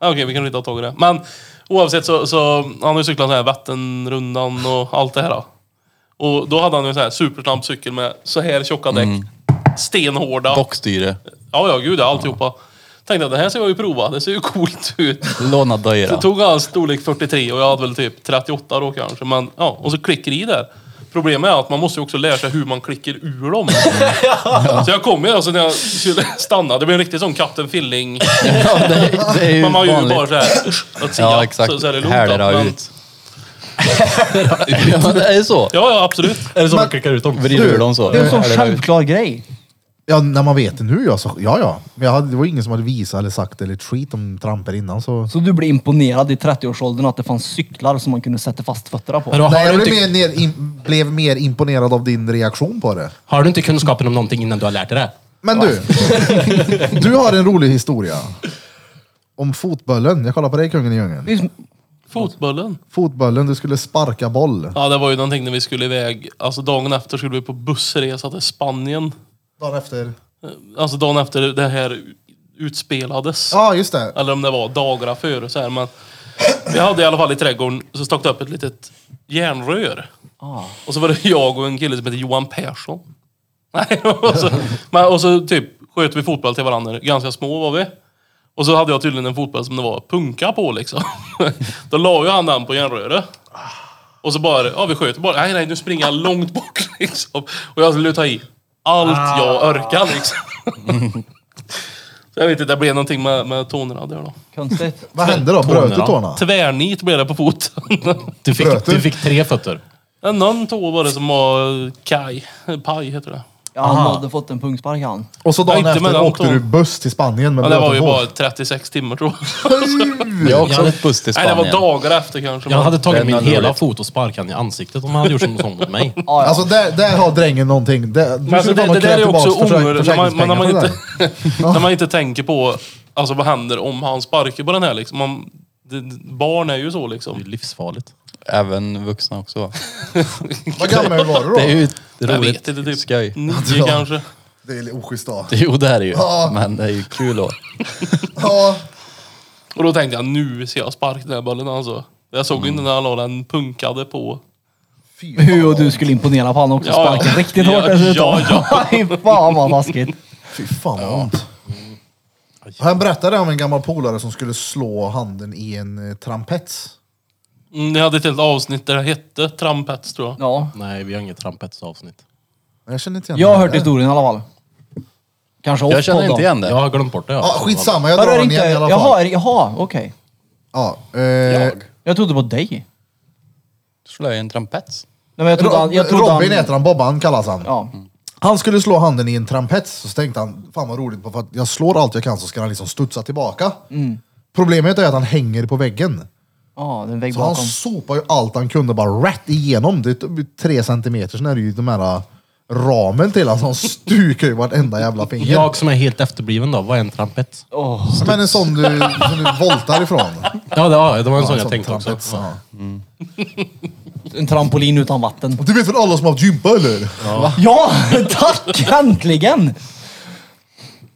Ja, Okej, vi kan inte ta tag i det. Men oavsett så, så han har ju cyklat så här Vätternrundan och allt det här. då. Och då hade han ju en så här supersnabb cykel med så här tjocka däck. Stenhårda.
Bockstyre.
Ja, ja, gud ja, alltihopa. Tänkte att det här ska jag ju prova. Det ser ju coolt ut.
Låna
Så
döjra.
tog han storlek 43 och jag hade väl typ 38 då kanske. Men, ja, och så klickar i där. Problemet är att man måste ju också lära sig hur man klickar ur dem. Så jag kom ju alltså när jag skulle stanna. Det blev en riktig sån Captain Filling.
Ja, det, är- det är ju
Man har ju
vanligt.
bara såhär... att sia.
Ja, exakt.
Så, så är det lugnt.
Härdar
då. Men-
ut. ja, men det är ju så.
Ja, ja, absolut.
Är det så
Men-
de klickar ut dem?
Vrider ur dem så.
Det är en sån
Härdar ut.
självklar grej.
Ja, när man vet det nu ja, så, ja ja. Men jag hade, det var ingen som hade visat eller sagt eller ett skit om tramper innan så.
Så du blev imponerad i 30-årsåldern att det fanns cyklar som man kunde sätta fast fötterna på?
Men då,
Nej,
har,
jag
du
blev
inte,
mer, ner, im- blev mer imponerad av din reaktion på det.
har du inte kunskapen om någonting innan du har lärt dig det?
Men du, du har en rolig historia. Om fotbollen. Jag kollar på dig kungen i djungeln.
Det är som-
Fotbollen.
Fotbollen, du skulle sparka boll.
Ja, det var ju någonting när vi skulle iväg. Alltså dagen efter skulle vi på bussresa till Spanien.
Dagen efter.
Alltså dagen efter det här utspelades.
Ja, just det.
Eller om det var dagarna före så här. Men vi hade i alla fall i trädgården så stack det upp ett litet järnrör. Och så var det jag och en kille som hette Johan Persson. Nej, och, så, men, och så typ sköt vi fotboll till varandra. Ganska små var vi. Och så hade jag tydligen en fotboll som det var punka på liksom. Då la ju han den på järnröret. Och så bara, ja vi sköt bara, nej nej nu springer jag långt bort liksom. Och jag skulle ta i allt jag orkar liksom. Så jag vet inte, det blev någonting med, med tonerna där då.
Konstigt.
Vad hände då? Bröt du
Tårna.
tårna?
Tvärnit blev det på foten.
Du fick,
Bröt du?
du fick tre fötter.
Ja, Någon tå var det som var kaj. eh, Paj heter det.
Ja, han
Aha.
hade fått en pungspark han.
Och så dagen
inte mellan
efter åkte
tåg.
du buss till Spanien med
Ja, det var ju bara
blöta
36 timmar tror jag.
Jag har också
Jag hade-
åkt buss till
Nej, det
Spanien.
var dagar efter kanske.
Jag
men-
hade tagit
Den
min
hade
hela
roligt.
fot och sparkat han i ansiktet om han hade gjort som sånt mot mig.
tåg. Alltså där, där har drängen någonting. Det,
Men alltså, det, det där är ju också onödigt. När man, när, man inte, när man inte tänker på alltså, vad händer om han sparkar på den här. Liksom. Man, det, barn är ju så
Det
liksom.
är livsfarligt.
Även vuxna också.
Vad gammal var du
Det är
då?
ju
Jag vet
roligt.
inte, typ
Skoj.
nio
Ja.
kanske.
Det är oschysst då.
Jo det är det ju.
Ja.
Men det är ju kul då.
Ja,
Och då tänkte jag nu ska jag sparka den här bollen alltså. Jag såg ju inte när han la den punkade på.
fy fan.
Hur och du skulle imponera på honom också.
Ja, ja.
Sparken riktigt
Ja,
hårt dessutom.
ja,
Fy fan vad taskigt.
Fy fan vad ont. Han berättade om en gammal polare som skulle slå handen i en eh, trampets.
Mm, jag hade ett helt avsnitt där det hette trampets tror jag.
Ja.
Nej, vi har inget trampetsavsnitt.
Jag känner inte igen
Jag har
det
hört
där.
historien i alla fall. Kanske off
Jag känner inte igen
Jag
det.
har glömt bort det.
Ja, skitsamma, jag
Jag
drar
rör
den
inte.
igen i alla fall.
Jaha, är det- jaha okej.
Ja, eh,
Jag trodde på dig.
Slöja i en trampets.
Nej, men jag trodde han, jag
Ro-
trodde
Robin
han,
heter han, Bobban kallas han.
Ja.
Han skulle slå handen i en trampets, så tänkte han, fan vad roligt, för att jag slår allt jag kan så ska han liksom studsa tillbaka.
Mm.
Problemet är att han hänger på väggen.
Ja, den vägg
Så han
bakom.
sopar ju allt han kunde bara rätt igenom. Det är typ tre centimeter, sen är det ju de här äh, ramen till honom. Så han stukar ju vartenda jävla finger.
Jag som är helt efterbliven då, vad är en trampett?
Men en sån du, som du voltar ifrån.
Ja, det var, det var en
En
sån
sån
jag tänkte också.
trampets,
Ja.
ja.
En trampolin utan vatten.
Du vet väl alla som har haft gympa eller?
Ja, tack! Äntligen!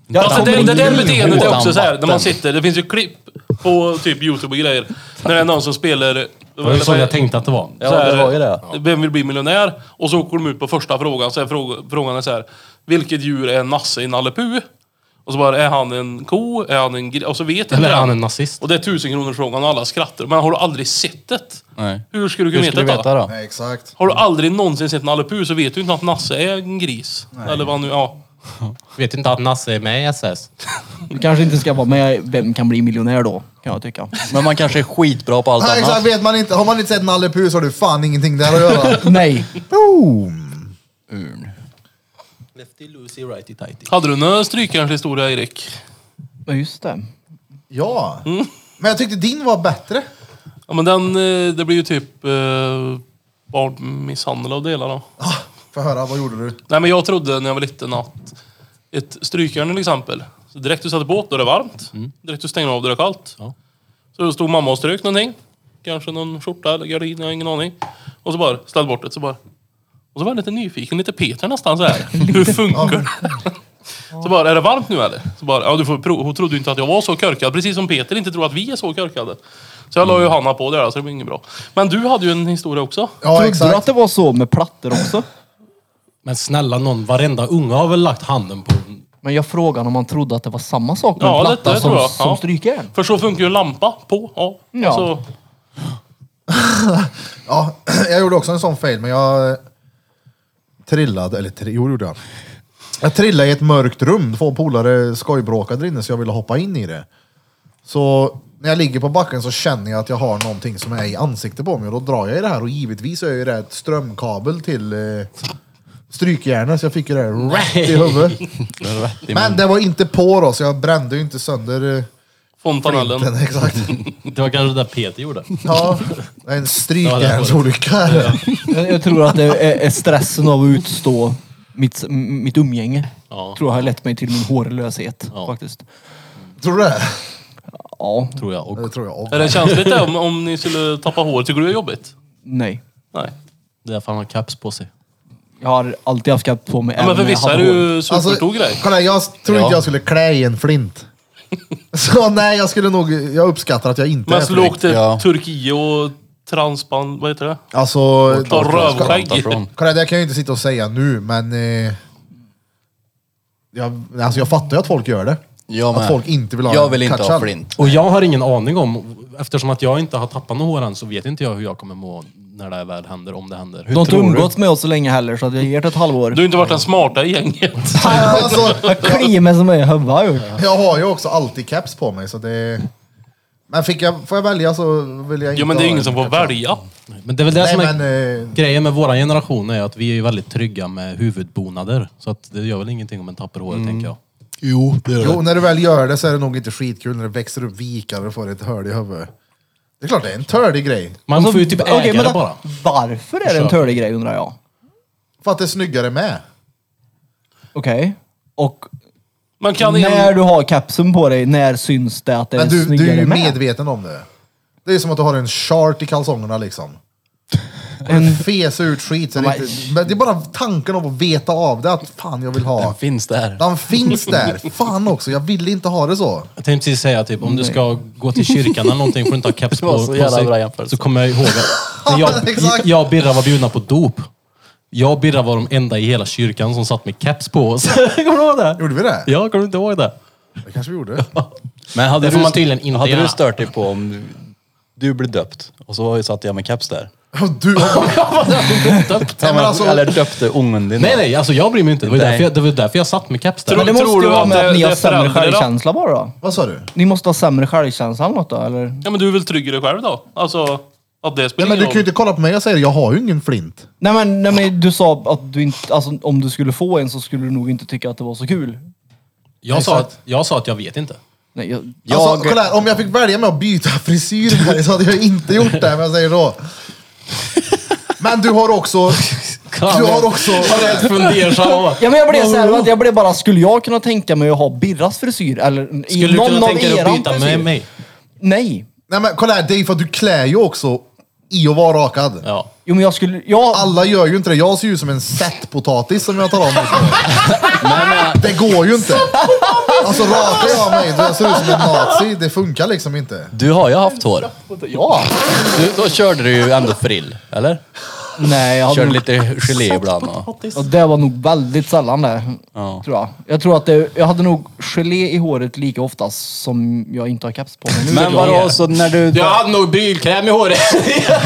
Jag
Alltså,
kommer
det, det där
in i
beteendet
hålan.
är också så här när man sitter, det finns ju klipp på typ youtube och grejer. När det är någon som spelar...
Det var ju så jag tänkte att det var.
Ja, det var ju det.
Vem vill bli miljonär? Och så åker de ut på första frågan, så är fråga, frågan är så här. Vilket djur är Nasse i Nalle Puh? Och så bara, är han en ko? Är han en gris? Och så vet
Eller
inte
är han
den.
en nazist?
Och det är tusenkronorsfrågan och alla skrattar. Men har du aldrig sett det?
Nej.
Hur skulle du
Hur
kunna
ska du
veta det?
veta
då?
då?
Nej, exakt.
Har du aldrig någonsin sett Nalle Puh så vet du inte att Nasse är en gris. Eller vad nu, ja.
Vet inte att Nasse är med i SS?
Du kanske inte ska vara med Vem kan bli miljonär då? Kan jag tycka.
Men man kanske är skitbra på allt
Nej, exakt
annat.
vet man inte, har man inte sett Nalle Puh så har du fan ingenting där att göra.
Nej.
Boom!
Lefty Lucy, righty tighty.
Hade du någon strykjärnshistoria Erik?
Men just det.
Ja.
Mm.
Men jag tyckte din var bättre.
Ja men den, eh, det blir ju typ eh, barnmisshandel av delar då.
Ah, Får jag höra, vad gjorde du?
Nej men jag trodde när jag var liten att ett strykjärn till exempel. Så direkt du satte på då är det varmt. Direkt du stänger av då är det kallt.
Ja.
Så då stod mamma och strök någonting. Kanske någon skjorta eller gardin, jag har ingen aning. Och så bara ställde bort det så bara. Och så var jag lite nyfiken, lite Peter nästan så här. Hur funkar det? Så bara, är det varmt nu eller? Så bara, ja du får prova. Hon trodde ju inte att jag var så körkad. Precis som Peter inte tror att vi är så körkade. Så jag la ju Hanna på där så det blev inget bra. Men du hade ju en historia också.
Ja,
Trodde du att
exakt.
det var så med plattor också?
Men snälla någon, varenda unge har väl lagt handen på...
Men jag frågade om man trodde att det var samma sak med
Ja, det-
platta
det
som,
tror jag.
som
Ja.
strykjärn.
För så funkar ju en lampa. På, ja.
Ja.
Alltså,
Ja, jag gjorde också en sån fail, men jag eh, trillade, eller tri- jo, det gjorde jag. Jag trillade i ett mörkt rum, två polare skojbråkade där inne så jag ville hoppa in i det. Så när jag ligger på backen så känner jag att jag har någonting som är i ansiktet på mig och då drar jag i det här och givetvis är ju det ett strömkabel till eh, strykjärnet så jag fick ju det här rätt i huvudet. Men det var inte på då så jag brände ju inte sönder eh,
fontanellen.
den exakt.
Det var kanske det Peter gjorde.
Ja, det är en strykjärnsolycka.
Jag, jag tror att det är, är stressen av att utstå mitt, m- mitt umgänge.
Ja.
Tror jag har lett mig till min hårlöshet
Ja.
faktiskt.
Tror du det?
Ja,
Tror jag.
Det
Och
tror jag. också.
Är det känsligt det om, om ni skulle tappa hår? Tycker du det är jobbigt?
nej.
Nej.
det är därför han har caps på sig.
Jag har alltid haft skatt på mig.
Ja, men
även
för
när jag
vissa är det
hade hår. Alltså,
ju superstor grej.
Alltså, kolla, jag tror inte jag skulle klä i en flint. Så nej, jag skulle nog, jag uppskattar att jag inte
Man
är
skulle
flint.
åka till
ja.
Turkiet och transband, vad heter det?
Alltså,
Ta
Skämt
rövskägg.
därifrån.
kolla, det kan jag ju inte sitta och säga nu, men eh, jag, alltså, jag fattar ju att folk gör det.
Jag
att
med.
folk inte vill ha
Jag
en
vill inte ha
katschall.
flint.
Och jag har ingen aning om, eftersom att jag inte har tappat några hår än så vet inte jag hur jag kommer må när det här väl händer, om det händer.
De har inte umgåtts med oss så länge heller så att jag ger det ett halvår.
Du har inte varit den smarta i gänget.
Alltså,
Jag kliar mig som en höva ju.
jag har ju också alltid caps på mig, så det, Men fick jag, får jag välja så vill jag inte
Jo men det är
ha
ju ingen
en
som får
kapsel.
välja.
Men det är väl det
Nej
som är
men, eh,
grejen med våra generation är att vi är ju väldigt trygga med huvudbonader. Så att det gör väl ingenting om en tappar håret, tänker jag.
Jo, det är
jo när du väl gör det så är det nog inte skitkul när det växer upp vikar och får ett hål i huvudet. Det är klart det är en tördig grej.
Man får ju typ äga
Alltså, okej, men
det
då-
bara.
Varför är det en törlig grej undrar jag?
För att det är snyggare med.
Okej. Och
Man kan
när
en...
du har kapseln på dig, när syns det att det är
Men du,
snyggare
du är ju
med?
medveten om det. Det är som att du har en chart i kalsongerna liksom.
En-
Fes ut skit. Så det, är inte, men det är bara tanken om att veta av det, att fan jag vill ha.
Finns där.
Den finns där. Fan också, jag ville inte ha det så.
Jag tänkte precis säga typ om du ska gå till kyrkan eller någonting får du inte ha keps
Det var
på,
så
på
jävla bra
sig.
jämförelse.
Så kommer jag ihåg att när jag,
Exakt.
jag och Birra var bjudna på dop. Jag och Birra var de enda i hela kyrkan som satt med keps på oss. kommer du ihåg det?
Gjorde vi det?
Ja, kommer du inte ihåg det?
Det kanske vi gjorde.
Men hade
Det får
du,
man tydligen inte
Hade
göra.
du stört dig på om du, du blev döpt och så satt jag med keps där?
Du,
Döpt?
men alltså-
Eller döpte ungen din?
Nej, nej, alltså jag bryr mig inte. Det var ju
Nej.
därför jag, det var därför jag satt med keps där.
Men det
Tror
måste ju
du
vara
att
med att,
det-
ni
det
har sämre
förändrar då?
självkänsla bara då.
vad sa du?
Ni måste ha sämre självkänsla eller något då, eller?
Ja men du är väl trygg i dig själv då? Alltså, att det
Nej,
spelar
men du
ingen
kan ju
roll.
inte kolla på mig och säga jag har ju ingen flint.
Nej men, nej men du sa att du inte, alltså om du skulle få en så skulle du nog inte tycka att det var så kul.
Jag sa, att, jag sa att jag vet inte.
Nej, jag,
Jag... Alltså, kolla här, om jag fick välja med att byta frisyr här, så hade jag inte gjort det, men jag säger så. Men du har också... Du har också...
Fundersam.
Ja men jag blev såhär, att jag blev bara, skulle jag kunna tänka mig att ha Birras frisyr? Eller i
Skulle du
någon
kunna
av
tänka dig
eran
att byta
frisyr?
med mig?
Nej.
Nej men kolla här, det är ju för att du klär ju också i att vara rakad.
Ja.
Jo men jag skulle, jag...
Alla gör ju inte det. Jag ser ju ut som en sättpotatis som jag tar av mig just nu. Det går ju inte. Alltså rakar jag mig, då jag ser ut som en nazi. Det funkar liksom inte.
Du har ju haft hår.
Ja.
Du, då körde du ju ändå frill, eller?
Nej jag hade
Körde
nog,
lite gelé ibland. Och,
och det var nog väldigt sällan det.
Ja.
Tror jag. Jag tror att det, jag hade nog gelé i håret lika ofta som jag inte har keps på mig nu.
men vadå, så när du...
Jag hade nog brylkräm i håret.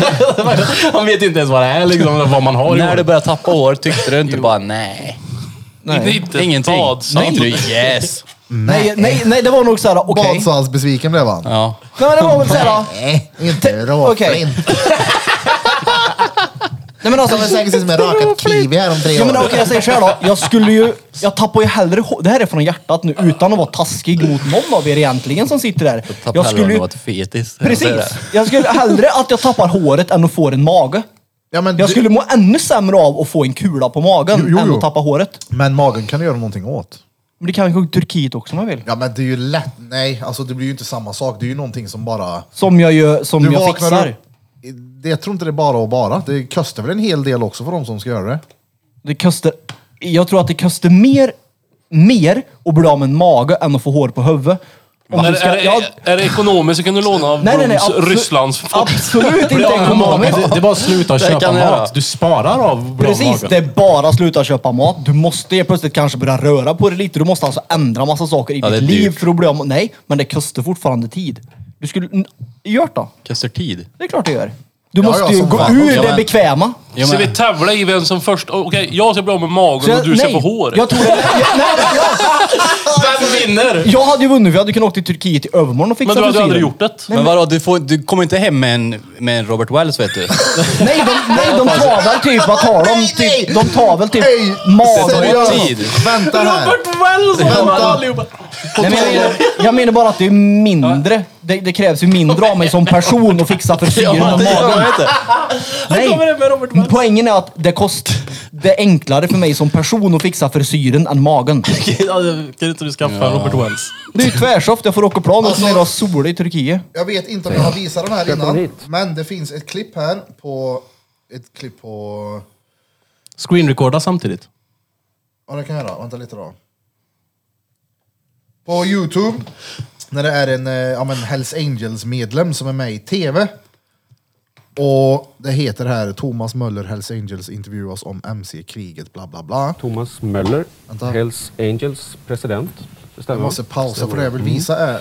Han vet inte ens vad det är liksom, vad man har i
När du
håret.
började tappa hår tyckte du inte bara nej.
Nej.
Inte
Ingenting.
badsatt.
Tänkte du yes.
Nej, nej, nej, det var nog såhär, okej.
Badsalsbesviken blev han.
Ja.
Nej men det var väl såhär,
Nej, inte råflint.
nej men alltså.
Det var säkert som en rakad kiwi här om tre
Ja, men
år.
okej, jag säger så här då. Jag skulle ju... Jag tappar ju hellre... hå- Det här är från hjärtat nu, utan att vara taskig mot någon av er egentligen som sitter där.
Tappade
Jag skulle
hellre om det var
ju...
ett fetis.
Precis! Jag skulle hellre att jag tappar håret än att få en mage.
Ja, men,
Jag
du-
skulle må ännu sämre av att få en kula på magen
Jo, jo,
än
jo.
att tappa håret.
men magen kan du göra någonting åt.
Men det kan ju gå till Turkiet också om jag vill.
Ja men det är ju lätt, nej alltså det blir ju inte samma sak. Det är ju någonting som bara...
Som jag gör, som
Du
jag
vaknar
fixar.
upp. Det, jag tror inte det är bara och bara. Det kostar väl en hel del också för de som ska göra det.
Det kostar... Jag tror att det kostar mer, mer att bli av med en mage än att få hår på huvudet. Om
Är,
du ska-
är,
ja,
är, är det ekonomiskt så kan du låna av
Nej, nej, nej,
Broms
absolut-
Rysslands folk.
Absolut inte ekonomiskt!
Det, det är bara att sluta köpa
kan jag göra.
mat. Du sparar av bra
Precis,
magen.
det är bara att sluta köpa mat. Du måste helt plötsligt kanske börja röra på dig lite. Du måste alltså ändra massa saker i
Ja, det är
ditt liv
dyrt.
för att bli av med- Nej, men det kostar fortfarande tid. Du skulle... n- Gör då.
Kastar tid.
Det är klart det gör. Du
Ja, ja,
måste ju
som
gå
fan.
ur
Ja,
det
men-
bekväma.
Ja,
Ska vi
men,
tävla i vem som först... Okej, jag ska bli av med magen och du ska få håret.
Jag tror det. Jag, nej, nej,
Vem vinner?
jag, jag hade ju vunnit. Vi hade kunnat åka till Turkiet i övermorgon och fixa
Men du hade
frisyren.
aldrig gjort det.
men vadå, du, får, du kommer inte hem med en, med en Robert Wells vet du.
Nej, de, nej, de tar väl typ... Vad tar de? Typ, de tar väl typ
Hej,
magen.
seriöst.
Seriöst!
tid.
Vänta här!
Wells!
Vänta.
Nej, men jag, menar, jag menar bara att det är mindre. Det, det krävs ju mindre av mig som person att fixa frisyren och magen. Nej, poängen är att det kost det är enklare för mig som person att fixa frisyren än magen.
Kan inte du skaffa Robert Wells?
Det är ju tvärsoft, jag får åka plan och
Alltså-
nere och sola i Turkiet.
Jag vet inte om jag har visat den här
kom
innan,
hit.
men det finns ett klipp här på... Ett klipp på...
Screenrecorda samtidigt.
Ja, det kan jag göra. Vänta lite då. På Youtube, när det är en eh, ja, men Hells Angels-medlem som är med i TV. Och det heter här Thomas Möller, Hells Angels intervjuas om MC-kriget, bla bla bla.
Thomas Möller,
Vänta.
Hells Angels president. Det stämmer.
Jag måste pausa för det Mm. jag vill visa är...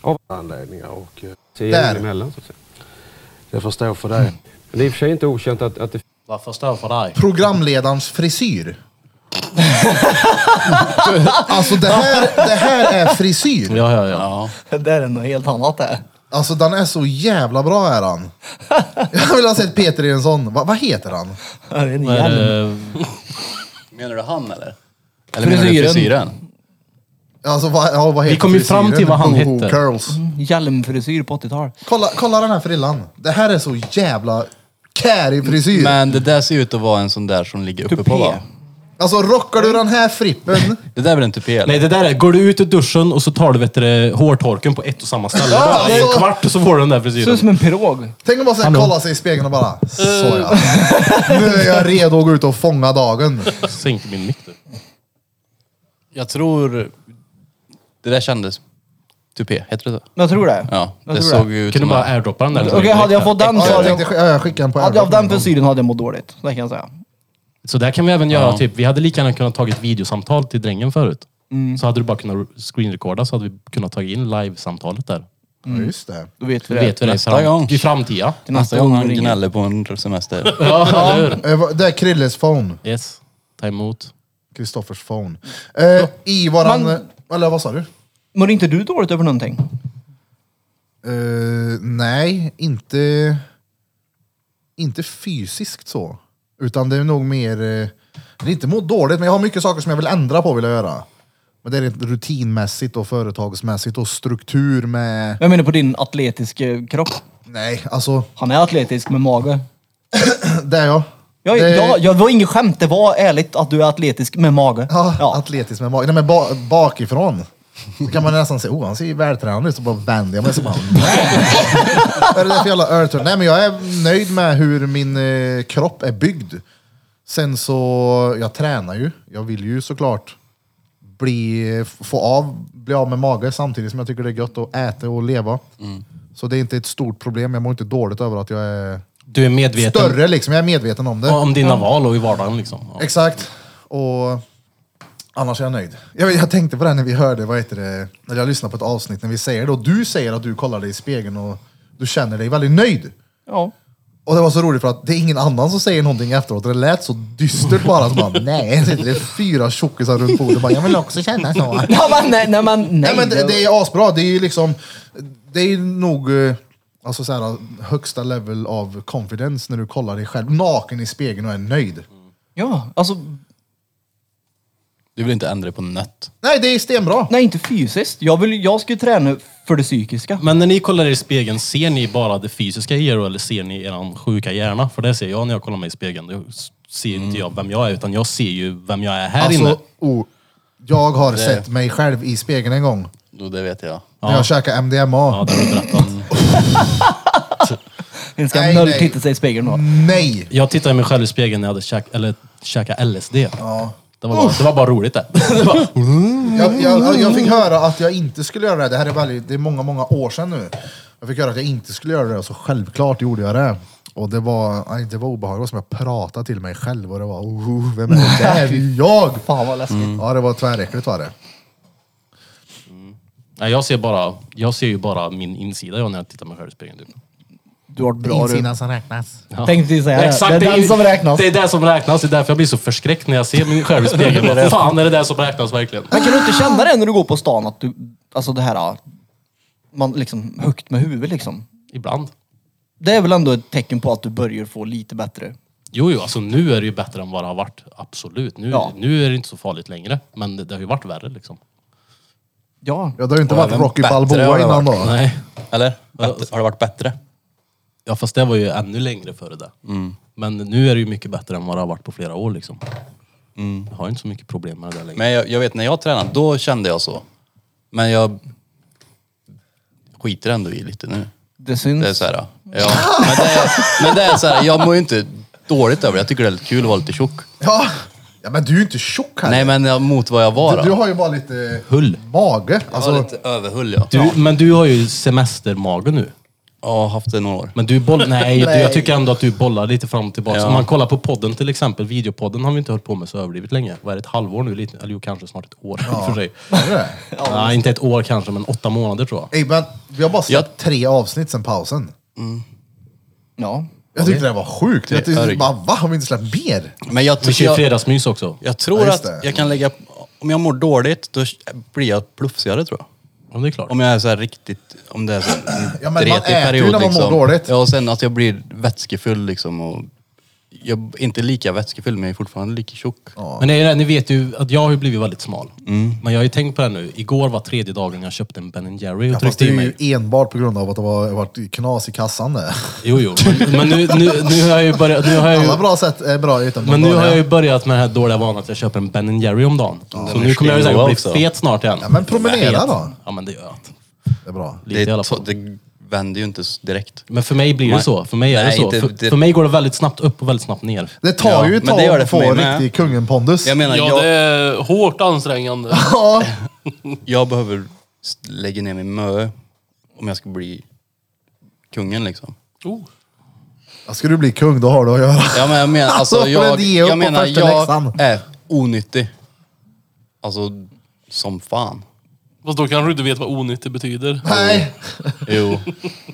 Av anledningar och eh, se
Där.
emellan så att säga. Jag förstår för det. Men det är i och för sig inte okänt att, att det
Varför stör för dig?
programledarens frisyr. alltså det här, det här är frisyr.
Ja, ja, ja.
Det där är något helt annat det.
Alltså den är så jävla bra är han. Jag vill ha sett Peter i en sån. Va, vad heter han?
Ja, det är en jävla-
Eh,
Menar du han eller? Eller menar du
Frisyren.
frisyren?
Alltså, vad, ja, vad heter
Vi kom ju fram
frisyren?
till vad han
Boho
hette.
Curls.
Hjälmfrisyr på 80-tal.
Kolla, kolla den här frillan. Det här är så jävla kärig frisyr.
Men det där ser ut att vara en sån där som ligger uppe på
Tupé.
va?
Alltså rockar du den här frippen.
Det där är väl en tupé eller?
Nej, det där är, går du ut ur duschen och så tar du vet du, det, hårtorken på ett och samma ställe.
Ja,
Bara i en
så-
kvart så får du den där
Ser ut
frisyren.
som en pirog.
Tänk om man sen
Hallå?
kollar sig i spegeln och bara
Eh.
såja. Nu är jag redo att gå ut och fånga dagen.
Sänker min mick typ. nu.
Jag tror... Det där kändes... Tupé, heter det så?
Men jag tror det.
Ja,
Jag
det
tror
såg
det.
ju ut
Kan du
som
bara
att-
airdroppa den där? liksom.
Okej, hade jag fått den så
Ja, jag
hade jag,
tänkte sk- jag skickar den på
hade jag haft den
Airdrop.
frisyren hade jag mått dåligt. Det kan jag säga.
Så där kan vi även göra,
Ja.
typ, vi hade lika gärna kunnat tagit videosamtal till drängen förut. Så hade du bara kunnat screenrecorda så hade vi kunnat ta in live-samtalet där.
Ja, Mm, Just det.
Då vet vi
Det
det.
vet vi det i
Nästa
fram-
gång.
i framtida.
Till
Nästa gång
gång
han
ringer.
gnäller på en semester.
Ja, eller hur?
Eh, vad- Det är Krilles phone.
Yes. Ta emot.
Kristoffers phone. Eh, I våran...
Men-
Eller vad sa du?
Mår inte du dåligt över någonting?
Eh, nej, inte... Inte fysiskt så. Utan det är nog mer... eh, Det är inte må dåligt, men jag har mycket saker som jag vill ändra på vill jag göra. Men det är rent rutinmässigt och företagsmässigt och struktur med...
Jag menar på din atletiska kropp.
Nej, alltså,
Han är atletisk med mage.
det är jag.
Jag,
det...
jag, jag, det var inget skämt, det var ärligt att du är atletisk med mage.
Ja, atletisk med magen. Nej men ba bakifrån. Så kan man nästan se, oh han ser ju vältränad ut, så bara vänder jag mig så bara nej. Vad är det där för jävla örtur? Nej men jag är nöjd med hur min eh, kropp är byggd. Sen så, jag tränar ju. Jag vill ju såklart bli, få av, bli av med mage samtidigt som jag tycker det är gött att äta och leva.
Mm.
Så det är inte ett stort problem, jag mår inte dåligt över att jag är
Du är medveten
större liksom, jag är medveten om det.
om dina val och i vardagen liksom. Ja.
Exakt. Och annars är jag nöjd. Jag, jag tänkte på det här när vi hörde, vad heter det, när jag lyssnade på ett avsnitt, när vi säger det och du säger att du kollar dig i spegeln och du känner dig väldigt nöjd.
Ja.
Och det var så roligt för att det är ingen annan som säger någonting efteråt och det lät så dystert bara. Så bara nej, det är fyra tjockisar runt bordet bara, jag vill också känna så.
Nej, men nej, nej, men, nej,
Nej, men det, det är asbra. Det är ju liksom, det är ju nog eh, alltså så här, högsta level av confidence när du kollar dig själv naken i spegeln och är nöjd.
Ja, alltså,
Du vill inte ändra på nött.
Nej, det är stenbra.
nej inte fysiskt. Jag, vill, jag ska ju träna för det psykiska.
Men när ni kollar er i spegeln, ser ni bara det fysiska i er då, eller ser ni er sjuka hjärna? För det ser jag när jag kollar mig i spegeln. Då ser inte jag vem jag är, utan jag ser ju vem jag är här inne.
Alltså, oh, jag har sett mig själv i spegeln en gång.
Jo, det vet jag.
När jag käkade MDMA.
Ja, det har du berättat.
Den ska
nej,
nöjd
nej.
titta sig i spegeln då.
Nej!
Jag tittade mig själv i spegeln när jag hade käk, eller, käkat LSD. Det, var bara, det var bara roligt det. det var,
Jag, jag, jag fick höra att jag inte skulle göra det. Det här är, väldigt, det är många, många år sedan nu. Jag fick höra att jag inte skulle göra det, så självklart gjorde jag det. Och det var, nej, det var obehagligt, Det var som jag pratade till mig själv och det var oh, vem är det där? Det är ju jag!
Fan vad läskigt.
Mm.
Ja, det var tväräckligt var det.
nej, jag, ser bara, jag ser ju bara min insida jag när jag tittar mig själv i spegeln. Typ.
Du har varit bra du.
som räknas.
Ja.
Tänkte ju säga det.
Exakt,
Det är den
ju-
som räknas.
Det är det som räknas. Det är därför jag blir så förskräckt när jag ser mig själv i spegeln. Vad fan är det där som räknas verkligen?
Men kan du inte känna det när du går på stan att du, alltså det här, man liksom högt med huvudet liksom.
Ibland.
Det är väl ändå ett tecken på att du börjar få lite bättre.
Jo, jo, alltså nu är det ju bättre än vad det har varit. Absolut. Nu,
Ja.
nu är det inte så farligt längre. Men det, det har ju varit värre liksom.
Ja.
Ja, det har ju inte
Och
varit
även
Rocky
bättre
Balboa
har det
innan
varit.
då.
Nej.
Eller? Bättre- Har det varit bättre?
Ja, fast det var ju ännu längre före det. Men nu är det ju mycket bättre än vad det har varit på flera år liksom. Jag har inte så mycket problem med det där längre.
Men jag, jag vet när jag tränade, då kände jag så. Men jag skiter ändå i lite nu.
Det syns.
Det är så här, ja. men, det är, men det är så här, jag mår ju inte dåligt över det. Jag tycker det är lite kul att vara lite tjock.
Ja. ja, men du är ju inte tjock här.
Nej men jag- mot vad jag var
du, du
då.
har ju bara lite
Hull.
mage.
Jag
Alltså,
har lite överhull ja.
Du, Men du har ju semestermage nu.
Ja, jag har haft det några år.
Men du boll... Nej, Du, jag tycker ändå att du bollar lite fram och tillbaka.
Ja.
Om man kollar på podden till exempel, videopodden har vi inte hållit på med så överdrivet länge. Vad är det, ett halvår nu? Lite, eller jo, kanske snart ett år i och för sig.
är det?
Nej, inte ett år kanske, men åtta månader tror jag.
Ey, men vi har bara släppt
Jag-
tre avsnitt sen pausen.
Ja.
Jag tyckte det var sjukt. Jag tyckte,
Örg.
bara, va? Har vi inte släppt mer?
Men jag,
Vi
tycker
kör ju
jag,
fredagsmys också.
jag tror
Ja, just
att
det.
jag kan lägga... Om jag mår dåligt, då blir jag plufsigare tror jag.
Ja, det är klart.
Om jag är så här riktigt, om det är så en
Ja, men man
dretig
äter ju när
period
man mår
liksom.
dåligt.
Ja, och sen att jag blir vätskefull liksom och jag är inte lika vätskefull men jag är fortfarande lika tjock.
Men det är, det, ni vet ju att jag har ju blivit väldigt smal.
Mm.
Men jag har ju tänkt på det här nu. Igår var tredje dagen jag köpte en Ben Jerry och
Ja, fast
tryckte
det
i
är
mig.
ju enbart på grund av att det var, varit knas i kassan där.
Jo, jo. Men, men nu, nu, nu har jag ju börjat... Nu har jag ju,
Alla bra sätt är bra utan
men nu har
dåliga.
jag ju börjat med den här dåliga vanan att jag köper en Ben Jerry om dagen. så nu kommer jag ju säkert bli
också.
fet snart igen.
Ja, men promenera
Fet.
då.
Ja men det gör jag inte.
Det är bra.
Lite i alla
det,
fall.
det vänder ju inte s- direkt.
Men för mig blir det
Nej.
så. För mig är det
Nej,
så.
det-
för,
det-
för mig går det väldigt snabbt upp och väldigt snabbt ner.
Det tar
Ja,
ju ett
men
tag
det gör det
att
för
få
mig
en
med.
riktig kungen-pondus.
Jag menar,
Ja,
jag,
det är hårt ansträngande.
Ja,
jag behöver s- lägga ner min mö om jag ska bli kungen liksom.
Oh.
Ska du bli kung, då har du att göra.
Ja, men jag menar,
Alltså,
alltså,
får
jag,
det ge upp
jag,
på
menar,
första läxan.
jag är onyttig. Alltså, som fan.
Fast då kanske du inte vet vad onyttig betyder.
Nej.
Jo.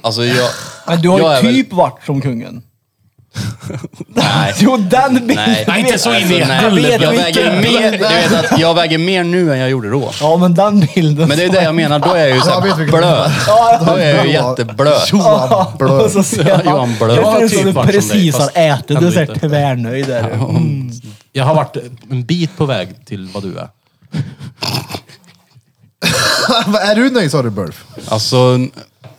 Alltså jag...
Men du har
jag är
ju
väl-
typ varit som kungen.
Nej.
Jo, den bilden.
Nej.
inte så in i
vet vilken
Jag väger, mer, du vet att jag väger mer nu än jag gjorde då.
Ja, men den bilden.
Men det är ju det jag menar, då är jag ju
Jag vet
såhär
vilken du
blöt.
Ja,
Då är jag ju jätteblöt.
Johan
och
Blöt.
så ser man.
Johan Blöt.
Det ser ut
Typ
som
vart
du
som dig,
precis har
fast
ätit. Du
ändå
är såhär
inte.
tvärnöjd. där. Mm.
Jag har varit en bit på väg till vad du är.
är du nöjd sa du Burf?
Alltså,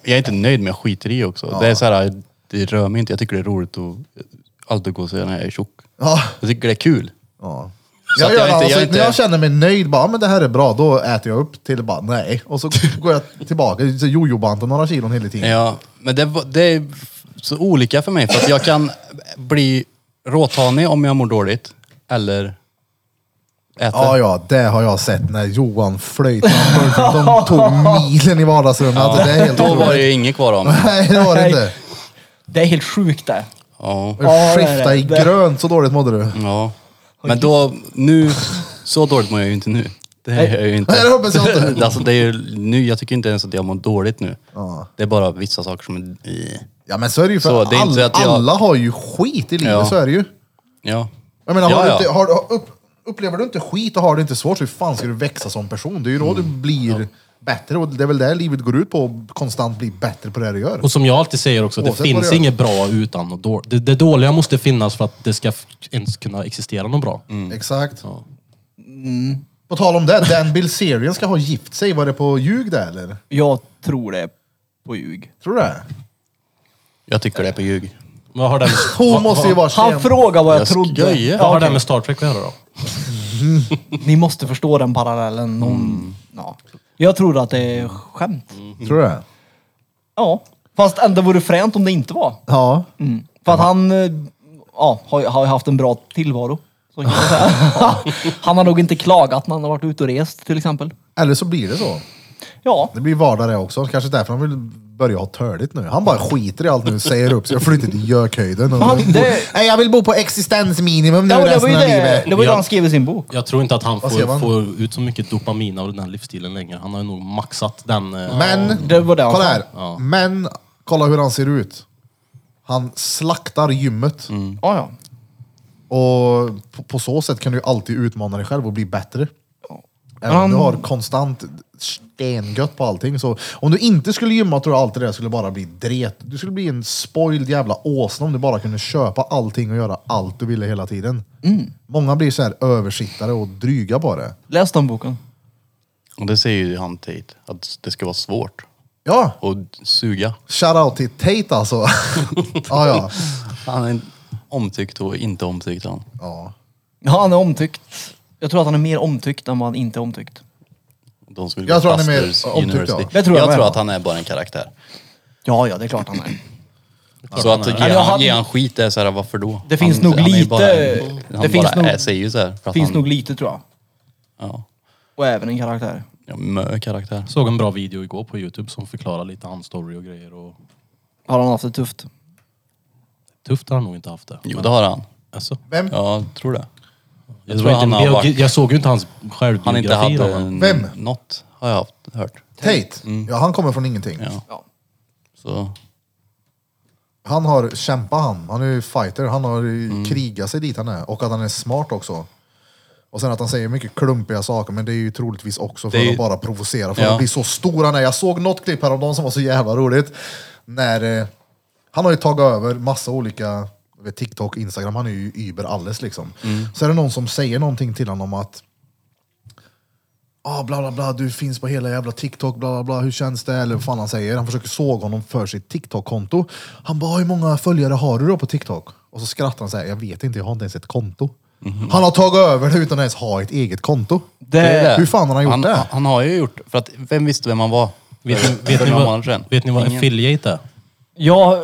jag är inte nöjd men jag skiter i också. Det är såhär, det rör mig inte. Jag tycker det är roligt att alltid gå och säga när jag är tjock.
Ja.
Jag tycker det är kul.
ja.
Så att
Jag
jag
gör
inte- jag
alltså,
inte-
när jag känner mig nöjd, bara, "Ja, men det här är bra, då äter jag upp till bara nej. Och så går jag tillbaka, så jojo-bantar några kilon hela tiden.
Ja, men det, var- det är så olika för mig. För att jag kan bli råtanig om jag mår dåligt. Eller äter.
Ja, ja, det har jag sett när Johan flöjt. De tog milen i vardagsrummet. Alltså, det är helt
Då var det
otroligt.
ju inget kvar av mig.
Nej, det var det inte.
Det är helt sjukt det.
Ja.
Ja, det är
Skifta i
det. Det-
grönt, så dåligt mådde du.
ja. Men då, nu, så dåligt mår jag ju inte nu. Det är jag ju inte.
Nej, det hoppas jag inte.
Alltså det är ju nu, jag tycker inte ens att jag mår dåligt nu.
Ja.
Det är bara vissa saker som är...
Ja, men så är det ju för
Så, det är inte
all,
så att jag-
alla har ju skit i livet,
Ja.
så är det ju.
Ja.
Jag menar, har
Ja,
du
ja.
inte, har, har- upp, upplever du inte skit och har du inte svårt, så hur fan ska du växa som person? Det är ju då du
Mm.
blir bättre och det är väl det livet går ut på, att konstant bli bättre på det du gör.
Och som jag alltid säger också, det
Oavsett vad du
finns
gör.
inget bra utan och då, det, det dåliga måste finnas för att det ska f- ens kunna existera något bra.
Mm. Exakt. Mm. På tal om det, Dan Bilzerian ska ha gift sig. Var det på ljug där eller?
Jag tror det är på ljug.
Tror du det?
Jag tycker det är på ljug.
Vad har det med,
Hon måste ju vara
Han frågar vad jag,
Jag
trodde.
skojar.
vad har
Ja,
det
okej.
med Star Trek att göra då?
Ni måste förstå den parallellen. Någon,
Mm.
ja. Jag tror att det är skämt.
Tror du det?
Ja. Fast ändå vore fränt om det inte var.
Ja.
För att han eh, ja, har, ju- har ju haft en bra tillvaro. Så kan man säga. han har nog inte klagat när han har varit ute och rest till exempel.
Eller så blir det så.
Ja,
Det blir vardag det också. Kanske därför han vill börja ha törligt nu. Han bara skiter i allt nu, säger upp sig och flyttar till gökhöjden. Och
Men han- det-
Nej, jag vill bo på existensminimum nu
ja men det var
resten
ju
av
det,
livet.
det, var ju det
Ja.
han skrev i sin bok.
Jag tror inte att han
ser man?
får, får ut så mycket dopamin av den här livsstilen längre. Han har ju nog maxat den. eh,
Men,
Det var det han
kolla
sa.
här. Men, kolla hur han ser ut. Han slaktar gymmet.
Ja, ja.
Och på, på så sätt kan du ju alltid utmana dig själv och bli bättre. Även om du har konstant stengött på allting. Så om du inte skulle gymma tror jag alltid det skulle bara bli dret. Du skulle bli en spoiled jävla åsna om du bara kunde köpa allting och göra allt du ville hela tiden.
Mm.
Många blir så här översittare och dryga på det.
Läs den boken.
Och det säger ju han Tate, att det ska vara svårt.
Ja,
Och suga.
shoutout till Tate alltså. ja, ja.
Han är omtyckt och inte omtyckt han.
ja.
Ja, han är omtyckt. Jag tror att han är mer omtyckt än vad han inte är omtyckt.
De som vill
Jag
bli
tror han är mer
Busters
omtyckt,
University.
ja.
Det tror jag med.
tror att han är bara en karaktär.
Ja, ja, det är klart han är.
Så att ge
Ja,
han,
han-
ge han skit är såhär, varför då?
Det finns
han,
nog
han är ju
lite-
Bara,
det
han bara
finns nog-
är, säger ju såhär. för att
Finns
han-
nog lite tror jag.
Ja,
Och även en karaktär.
ja mö karaktär.
Såg en bra video igår på Youtube som förklarar lite hans story och grejer. Och
Har han haft det tufft?
tufft har han nog inte haft det.
Jo, det har han.
Alltså,
Vem?
Ja, jag tror det.
jag,
tror
tror inte,
han har
jag,
varit-
jag såg ju inte hans
Han
självbiografi.
inte
då,
hade
men-
en,
Vem?
något, har jag haft, hört.
Tate, ja, han kommer från ingenting.
Mm. Ja.
Ja.
Så,
Han har kämpat han. Han är ju fighter. Han har mm. krigat sig dit han är. Och att han är smart också. Och sen att han säger mycket klumpiga saker, men det är ju troligtvis också för
Det är ju-
att bara provocera. För
Ja.
att bli så stor han är. Jag såg något klipp häromdagen som var så jävla roligt. När, eh, han har ju tagit över massa olika, jag vet, TikTok, Instagram, han är ju über alles liksom.
Mm.
Så är det någon som säger någonting till honom att ah, bla bla bla, du finns på hela jävla TikTok, bla bla bla, hur känns det? Eller vad fan han säger. Han försöker såga honom för sitt TikTok-konto. Han bara, hur många följare har du då på TikTok? Och så skrattar han såhär, jag vet inte, jag har inte ens ett konto. Han har tagit över det utan att ens ha ett eget konto.
Mhm. Det är det.
Hur fan har han gjort
han,
det?
Han har ju gjort, för att vem visste vem han var?
Vet
för
ni, vet ni,
några
vad,
månader sedan?
vet ni vad
Ingen.
affiliate är?
Jag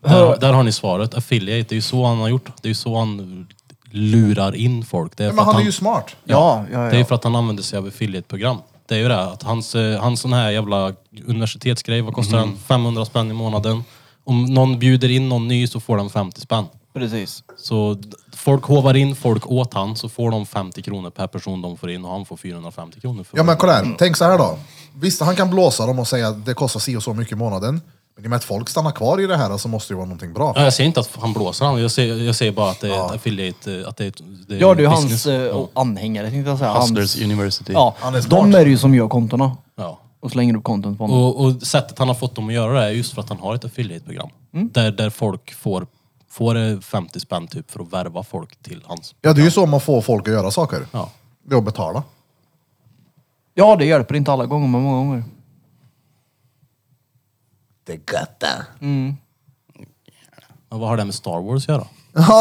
Där, där har ni svaret. Affiliate, det är ju så han har gjort. Det är ju så han lurar in folk. Det är för
Men han
att
är
han,
ju smart.
Ja, ja,
det är för att han använder sig av affiliate-program. Det är ju det, att hans, eh, hans sån här jävla universitetsgrej, vad kostar den? 500 spänn i månaden. Om någon bjuder in någon ny så får den 50 spänn.
Precis.
Så d- folk hovar in folk åt han så får de 50 kronor per person de får in och han får 450 kronor för
Ja
det.
men kolla här, tänk så här då. Visst, han kan blåsa dem och säga att det kostar si och så mycket i månaden. Men i och med att folk stannar kvar i det här så måste det ju vara någonting bra.
Ja, jag säger inte att han blåser han. Jag säger, jag säger bara att det är ett affiliate, eh, att det är ett, det är
Ja, du är hans
business.
eh,
Ja.
anhängare tänkte jag säga. Hans-
Hustlers University.
Ja,
Han är smart.
de är ju som gör kontona
Ja.
och slänger upp content på honom.
Och, och sättet han har fått dem att göra det är just för att han har ett affiliate-program.
Mm.
Där, där folk får, får eh, 50 spänn typ för att värva folk till hans.
Ja, det är ju så man får folk att göra saker.
Ja.
Det är att betala.
Ja, det hjälper inte alla gånger, men många gånger.
Det götta.
Men vad har det med Star Wars att göra?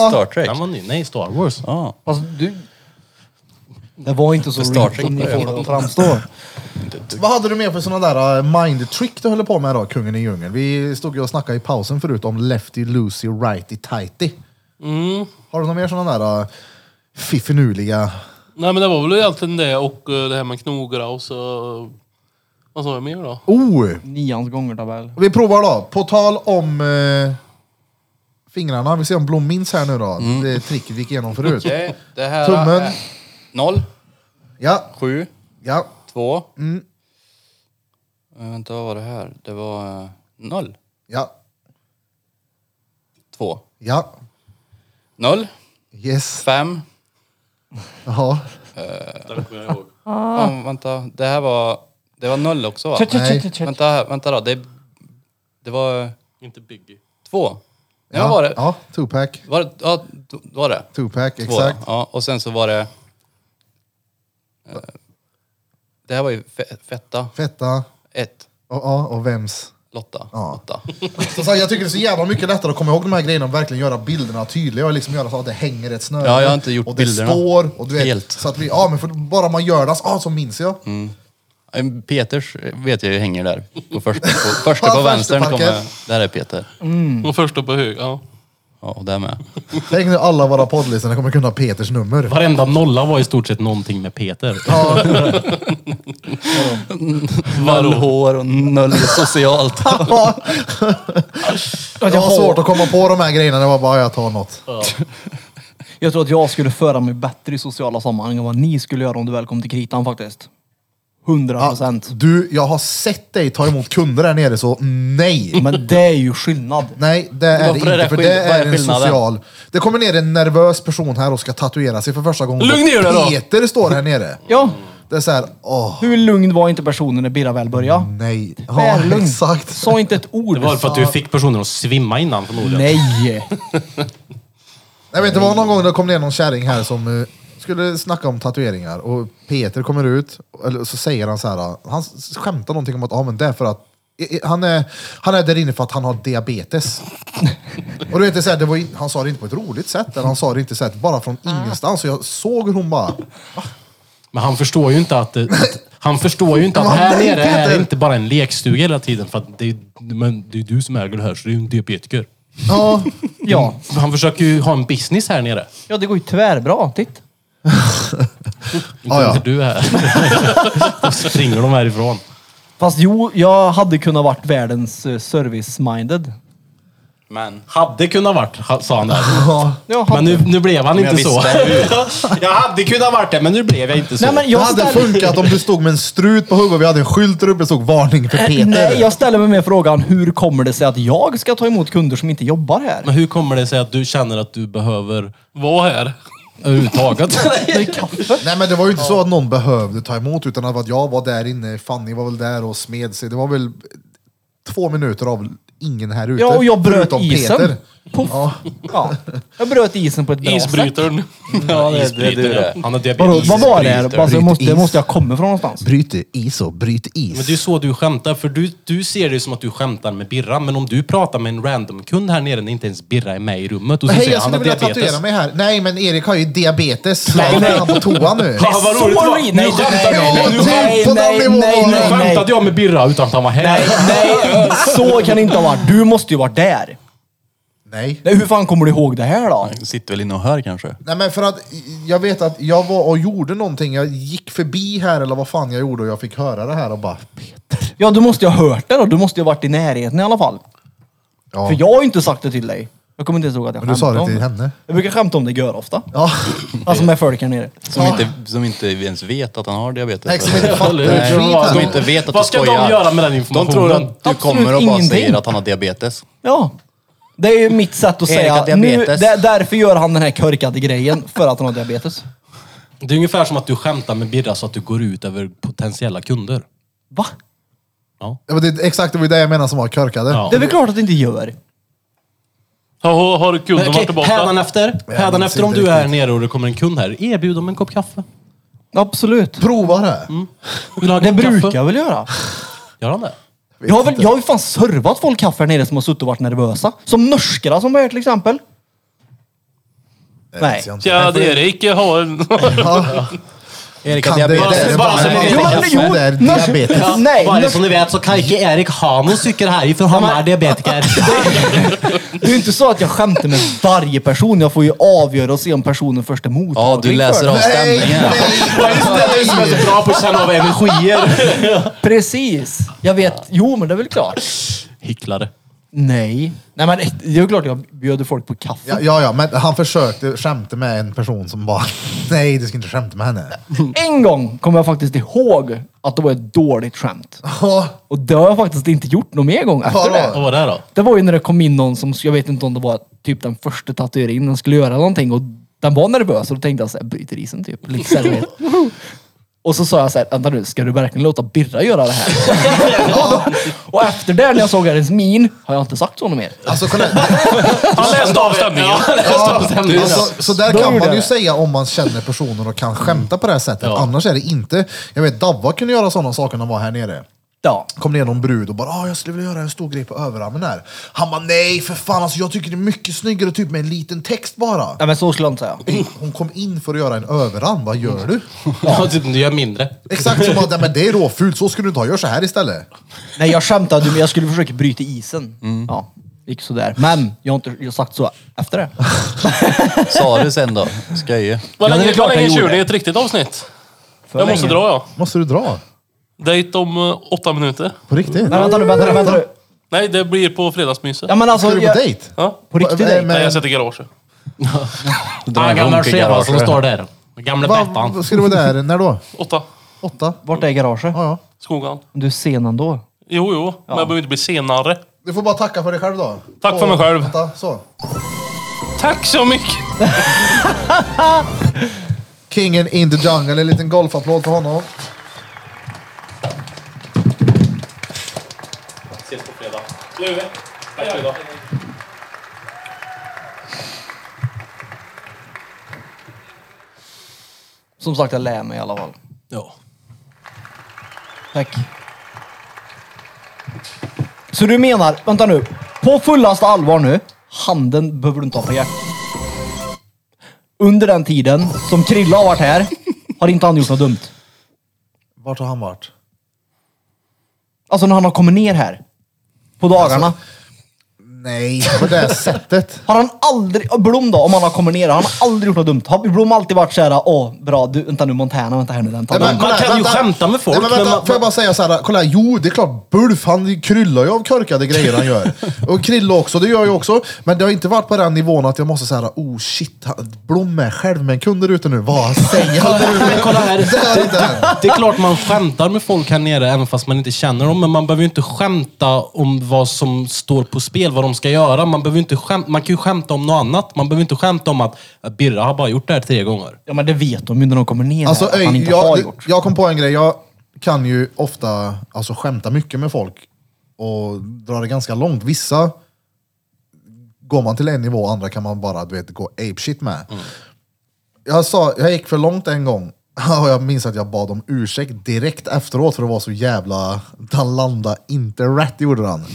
Star Trek.
Den var ny. Nej, Star Wars.
Ja,
Alltså, du...
Det var inte så
För Star
roligt
Trek
som ni
börjar.
får det att framstå.
Vad hade du mer för sådana där eh, mind trick du höll på med då, kungen i djungeln? Vi stod ju och snackade i pausen förut om lefty, loosey, righty, tighty.
Mm.
Har du några mer sådana där eh, fiffinuliga...
Nej men det var väl egentligen det och eh, det här med knogra och så... Vad sa jag mer då?
Oh!
Nians gånger-tabell.
Vi provar då. På tal om eh, fingrarna, vi ser om Blom minns här nu då. Det tricket vi gick igenom förut.
Mm. Okej, det här
Tummen.
är 0,
Ja,
7,
ja.
2.
Mm.
Eh, Vänta, vad var det här? Det var eh, 0,
Ja,
2,
ja,
0,
yes,
5.
jaha.
Vänta, det här var... Det var 0 också va?
Nej.
Vänta, här, vänta då. Det, det var
Inte Biggie.
2. Ja,
Ja,
var det?
Ja, Tupac.
Var det, ja, då- då var det.
Tupac,
Två, då.
exakt.
Ja, och sen så var det... eh, Det här var ju fe, fetta.
Fetta.
Ett.
Och, ja, och vems?
Lotta.
Ja.
Lotta.
Så, så, jag tycker det är så jävla mycket lättare att komma ihåg de här grejerna och verkligen göra bilderna tydliga och liksom göra så att det hänger ett snöre.
Ja, jag har inte gjort
och det
bilderna.
står och du vet,
Helt. Mm.
Så att vi, ja, men för, bara man gör det, så- ah, så minns jag.
En Eh, Peters vet jag ju hänger där. På första på, första på
Första
vänstern
parkett.
kommer... Där är Peter.
Och första på hög, ja.
Ja, och där med.
Tänk nu alla våra poddlyssnare kommer kunna Peters nummer.
Varenda nolla var i stort sett någonting med Peter.
Noll hår och noll socialt.
Jag har svårt att komma på de här grejerna, det var bara jag tar något.
Jag tror att jag skulle föra mig bättre i sociala sammanhang än vad ni skulle göra om du väl kom till kritan faktiskt. 100 procent.
Du, jag har sett dig ta emot kunder där nere så nej.
Men det är ju skillnad.
Nej, det är
Varför
det
är det
inte. För
skill-
det
vad är
är en
skillnaden?
social... Det kommer ner en nervös person här och ska tatuera sig för första gången.
Lugn ner dig då!
Peter står här nere.
Ja,
Det är så här, åh,
hur lugn var inte personen när Birra väl började?
nej.
Väl
Ja,
lugn.
exakt.
Sa inte ett ord.
Det var för att du fick personer att svimma innan förmodligen.
Nej!
Jag vet inte, det var någon gång det kom ner någon kärring här som eh, skulle snacka om tatueringar och Peter kommer ut och så säger han så här, han skämtar någonting om att, ja men det är för att i- i- han är, han är där inne för att han har diabetes. Och du vet, det är så här, det var, in- han sa det inte på ett roligt sätt, eller han sa det inte så här, bara från
Ah.
ingenstans. Och jag såg hur hon bara,
Men han förstår ju inte att, det- att han förstår ju inte att
Men
här
nej,
nere är
Peter!
det inte bara en lekstuga hela tiden. För att det, är- men det är du som äger det här, så du är ju en diabetiker.
ja,
Ja.
Han försöker ju ha en business här nere.
ja, det går ju tvärbra. Titt.
Inte
Ah, ja.
när du är här. Då springer de härifrån.
Fast jo, jag hade kunnat varit världens eh, service-minded.
Men.
Hade kunnat varit, ha- sa han där.
Ja,
Men nu, nu blev han inte
jag
så. jag hade kunnat varit det, men nu blev jag inte så.
Nej, men
det
jag
hade
ställer...
funkat om du stod med en strut på huvudet och vi hade en skylt där uppe det stod varning för Peter.
Eh, Nej, jag ställer mig med frågan hur kommer det sig att jag ska ta emot kunder som inte jobbar här?
Men hur kommer det sig att du känner att du behöver...
Var här.
Överhuvudtaget.
Nej men det var ju inte så att någon behövde ta emot utan att jag var där inne, Fanny var väl där och smed sig. Det var väl två minuter av ingen här ute.
Ja, och jag bröt
förutom
isen.
Peter.
Puff.
Ja.
Ja. Jag bröt isen på ett bra sätt.
Isbrytaren.
Ja, det, det, det, det.
Han har
Vadå,
diabetes.
vad var det? Alltså, jag måste,
Bryt is.
jag måste jag komma från någonstans?
Bryt is och bryt is.
Men det är ju så du skämtar, för du, du ser det som att du skämtar med Birra, men om du pratar med en random kund här nere när inte ens Birra är med i rummet och så
Hej,
säger
jag
han
skulle
har
vilja
diabetes.
tatuera mig här. Nej, men Erik har ju diabetes. Nej, nej. Han på toa nu.
Fan Ah, vad roligt det var. Nej,
Nej,
du skämtar
nej,
med
nej, på den nivån var
mig. Nu
det.
skämtade jag med Birra utan att han var här.
Nej, nej, så kan det inte ha varit. Du måste ju varit där.
Nej.
Nej, hur fan kommer du ihåg det här då?
Sitter väl inne och hör kanske.
Nej, men för att jag vet att jag var och gjorde någonting. Jag gick förbi här eller vad fan jag gjorde och jag fick höra det här och bara...
Ja, du måste ju ha hört det då. Du måste ju ha varit i närheten i alla fall.
Ja.
För jag har ju inte sagt det till dig. Jag kommer inte ens ihåg att jag
Men du sa
skämtade
det
om
till henne.
Jag brukar skämta om det gör ofta.
Ja.
Alltså med folk här nere.
Som, inte, som inte ens vet att han har diabetes.
Nej, som inte
Eller hur?
fattar.
De-
Som
skiten.
inte vet att
Vad
du
ska de
skojar.
göra med den
De
informationen?
tror att du
Absolut
kommer och bara
ingenting.
säger att han har diabetes.
Ja. Det är ju mitt sätt att
Erik har
säga. Nu,
diabetes.
där- därför gör han den här korkade grejen. För att han har diabetes.
Det är ungefär som att du skämtar med Birra så att du går ut över potentiella kunder.
Va?
Ja, men det, exakt, det var ju det jag menade som var körkade.
Ja.
Det är väl klart att det inte gör.
Har, har kunden varit tillbaka?
Hädanefter,
inte
hädanefter om du
riktigt.
är här nere och det kommer en kund här, erbjud dem en kopp kaffe.
Absolut.
Prova det.
Vill du ha en
Det
kopp kaffe?
brukar jag väl göra.
Gör han det?
Jag har, väl, jag har ju fan servat folk kaffe här nere som har suttit och varit nervösa. Som norskarna som var här till exempel.
Det
Nej.
vet jag inte.
Tja, det är Erik. Jag har en...
Ja.
Erik
Kan det, det, det,
Bara
det,
som en
det,
liten
det, det är
kaffe.
diabetes.
Nej,
Bara
nors-
som ni vet så kan inte Erik ha någon cykel här för han är diabetiker.
det är ju inte så att jag skämtar med varje person. Jag får ju avgöra och se om personen först är mottaglig
Ja, du läser
för
av
det.
stämningen.
Det är som är så bra på att känna av energier.
Precis. Jag vet. Jo, men det är väl klart.
Hycklare.
Nej. Nej, men det är ju klart jag bjöd folk på kaffe.
Ja, ja, ja, men han försökte skämta med en person som bara, nej du ska inte skämta med henne.
En gång kommer jag faktiskt ihåg att det var ett dåligt skämt.
Ja,
Och det har jag faktiskt inte gjort någon mer gång efter
Vadå?
det.
Vad var det då?
Det var ju när det kom in någon som, jag vet inte om det var typ den första tatueringen den skulle göra någonting och den var nervös och då tänkte jag såhär, bryter isen typ. Lite seriöst. Och så sa jag såhär, vänta nu, ska du verkligen låta Birra göra det här? och efter det, när jag såg hennes min, har jag inte sagt så något mer.
alltså, kolla, här.
Han läste av stämningen.
alltså, så där
Då
kan
gjorde
man ju
jag.
säga om man känner personen och kan skämta på det här sättet.
Ja.
Annars är det inte. Jag vet Davva kunde göra sådana saker när han var här nere.
Ja.
Kom ner någon brud och bara ah, jag skulle vilja göra en stor grej på överarmen här. Han bara nej för fan alltså, jag tycker det är mycket snyggare typ med en liten text bara.
Nej men så skulle jag inte säga.
Hon kom in för att göra en överarm, vad gör du?
Ja, typ, du gör mindre.
Exakt som att "Nej, men det är råfult, så skulle du inte ha, gör så här istället.
Nej jag skämtade men jag skulle försöka bryta isen. Ja, gick sådär. Men jag har inte jag har sagt så efter det.
Sa du sen då? Sköje.
Vad
Ja, det är
länge,
klart
vad länge
jag gjorde
kör ni
det.
ett riktigt avsnitt?
För
Jag måste
länge.
dra, ja.
Måste du dra?
Dejt om eh, åtta minuter.
På riktigt?
Nej vänta nu, vänta nu, vänta nu.
Nej, det blir på fredagsmyset.
Ja men alltså,
Ska du på
jag-
dejt?
Ja.
på riktigt
Va-
dejt.
men-
Nej, jag sätter garaget.
Den gamla skevan som står där. Gamla
Va,
Bettan.
ska du vara där, när då?
Åtta.
Åtta?
Vart är garaget?
Ja, ja.
Skogan.
Du är sen ändå.
Jo, jo. Men jag behöver inte bli senare.
Du får bara tacka för dig själv då.
Tack för mig själv.
Vänta, så.
Tack så mycket!
Kingen in the jungle, en liten golfapplåd för honom.
Ses på fredag. Nu. Tack för idag.
Som sagt, jag lär mig i alla fall.
Ja.
Tack. Så du menar, vänta nu, på fullaste allvar nu, handen behöver du inte ha på hjärtat. Under den tiden som Krilla har varit här, har inte han gjort något dumt.
Vart har han varit?
Alltså när han har kommit ner här, på dagarna.
Alltså- Nej, inte på det sättet.
har han aldrig, och Blom då, om han har kommit ner, har han aldrig gjort något dumt? Har Blom alltid varit såhär, åh bra, du, vänta nu Montana, vänta här nu, vänta.
Nej, men
Man
kolla här,
kan ju skämta med folk,
Nej, men vänta,
men man-
får jag bara säga så här, kolla här, jo det är klart Bulf, han kryllar ju av korkade grejer han gör. Och Krille också, det gör jag också. Men det har inte varit på den nivån att jag måste säga, oh shit, han- Blom är själv med en kund där ute nu, vad säger han? där ute?
Kolla här.
Det har inte hänt.
Det är klart man skämtar med folk här nere även fast man inte känner dem. Men man behöver ju inte skämta om vad som står på spel, vad de de ska göra. Man, behöver inte skäm- man kan ju skämta om något annat. Man behöver inte skämta om att att Birra har bara gjort det här tre gånger.
Ja men det vet de ju när de kommer ner
Alltså,
här, att man
öj,
inte har
jag,
gjort.
jag kom på en grej. Jag kan ju ofta alltså, skämta mycket med folk och dra det ganska långt. Vissa går man till en nivå, andra kan man bara du vet, gå apeshit med. Jag, sa, jag gick för långt en gång och jag minns att jag bad om ursäkt direkt efteråt för det var så jävla... Han landade inte rätt, gjorde han.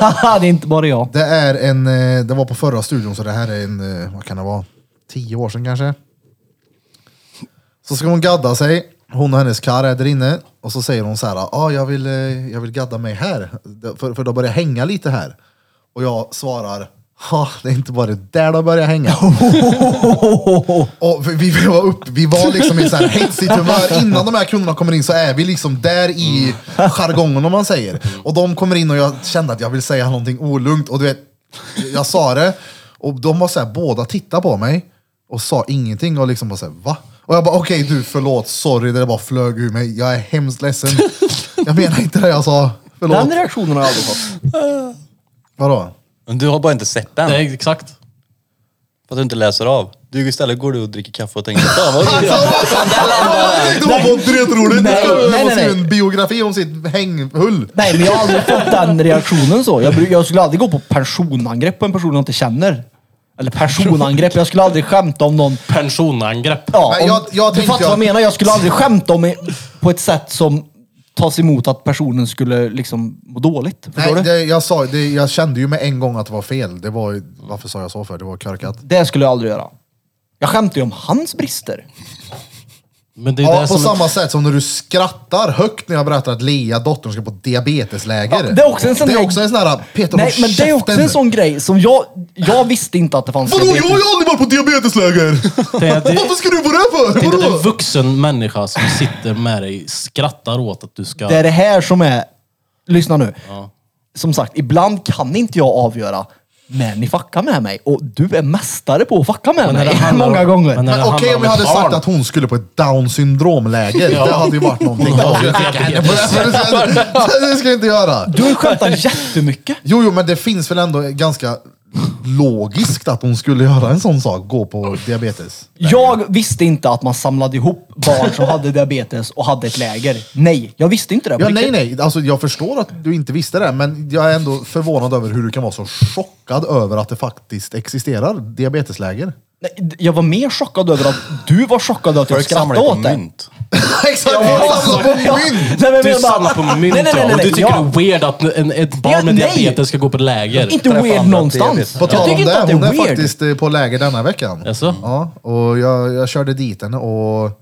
det är inte bara jag.
Det är en, eh, det var på förra studion så det här är en, eh, vad kan det vara, tio år sedan kanske. Så ska hon gadda sig, hon och hennes karl är där inne och så säger hon så här, ah, jag, vill, eh, jag vill gadda mig här, för, för då börjar jag hänga lite här. Och jag svarar, ja det är inte bara där de börjar hänga. Och vi, vi, var upp, vi var liksom i så här hetsigt humör. Innan de här kunderna kommer in så är vi liksom där i jargongen om man säger. Och de kommer in och jag kände att jag vill säga någonting olugnt. Och du vet, jag sa det. Och de var så här, båda tittade på mig och sa ingenting och liksom bara så här, va? Och jag bara, okej du förlåt, sorry, det där bara flög ur mig. Jag är hemskt ledsen. Jag menar inte det jag sa. Förlåt.
Den reaktionen har jag aldrig fått.
Vadå?
Men du har bara inte sett den.
Nej, exakt.
För att du inte läser av. Du istället går du och dricker kaffe och tänker fan vad roligt."
Det var bara dretroligt.
Nej, nej,
Jag
nej,
måste skriva
nej.
en biografi om sitt hänghull.
Nej men jag har aldrig fått den reaktionen så. Jag, bruk- jag skulle aldrig gå på personangrepp på en person jag inte känner. Eller personangrepp. Jag skulle aldrig skämta om någon
Personangrepp.
Ja,
Men
om,
jag- jag
du
tänkte
fattar vad
jag-
jag menar. Jag skulle aldrig skämta om på ett sätt som tas emot att personen skulle liksom må dåligt. Förstår
Nej,
du? Det...
det, jag, sa, det, jag kände ju med en gång att det var fel. Det var, ju- varför sa jag så för? Det var korkat.
skulle jag aldrig göra. Jag skämtar ju om hans brister.
Men det är
Ja,
det
på
som är-
samma sätt som när du skrattar högt när jag berättar att Lea, dottern, ska på diabetesläger.
Ja, det är också en sån
Det är
grej-
också en sån här, Peter
Nej,
håll
men det är också
käften.
en sån grej som jag, jag visste inte att det fanns.
Vadå, jag
diabetes.
har ju aldrig varit på diabetesläger!
Det är- det-
Varför ska du vara där
Det
för?
är inte en
Vadå?
vuxen människa som sitter med dig, skrattar åt att du ska...
Det är det här som är... Lyssna nu. Som sagt, ibland kan inte jag avgöra när ni fuckar med mig. Och du är mästare på att fucka med
Men när det
mig.
handlar om-
Många gånger.
men när det
Men Okej
handlar
om jag
ett
hade sagt
barn.
att hon skulle på ett down syndromläger. Det hade ju varit någonting. Jag skulle tänka henne på det. Det ska jag inte göra.
Du har ju skämtat jättemycket.
Jo, jo, men det finns väl ändå ganska logiskt att hon skulle göra en sån sak, gå på diabetes.
Jag visste inte att man samlade ihop barn som hade diabetes och hade ett läger. Nej, jag visste inte det. på
Ja, nej,
riktigt.
nej. Alltså, jag förstår att du inte visste det, men jag är ändå förvånad över hur du kan vara så chockad över att det faktiskt existerar diabetesläger.
Nej, d- Jag var mer chockad över att du var chockad över att jag
Folk samlar
skrattade
ju på
åt dig.
mynt.
Exakt! vi samlar på mynt!
Nej, men jag
Du
menar-
samlar på mynt
Nej, nej, nej,
ja, och
nej,
du tycker
ja.
det är weird att en, ett barn med
nej.
diabetes ska gå på ett läger.
Inte
Träffa
weird
andra
någonstans.
diabetes.
På
jag
tal om
tycker inte
det,
att det
hon
är
är
weird.
faktiskt eh, på läger denna veckan.
Jaså?
Ja, och jag, jag körde dit henne och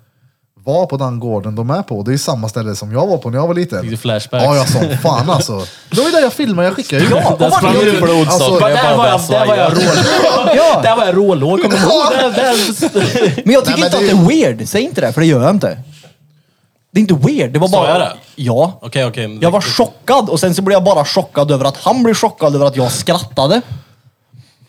var på den gården de är på. Det är samma ställe som jag var på när jag var liten.
Fick du flashbacks?
Ja, jag som fan alltså. Det var ju det jag filmade, jag skickade ju.
Ja, och
Där sprang
varför-
du blod
Alltså,
alltså,
jag
Där
bara
var jag,
började
där var jag
svaja.
rålå.
Ja.
Där var jag rålå, kommer du ihåg? Där- där-
Men jag tycker
Nej, men
inte
det-
att det är weird. Säg inte det, för det gör jag inte. Det är inte weird. Det var
Sa
bara...
jag det?
Ja.
Okej, okej. men-
Jag var chockad och sen så blev jag bara chockad över att han blev chockad över att jag skrattade.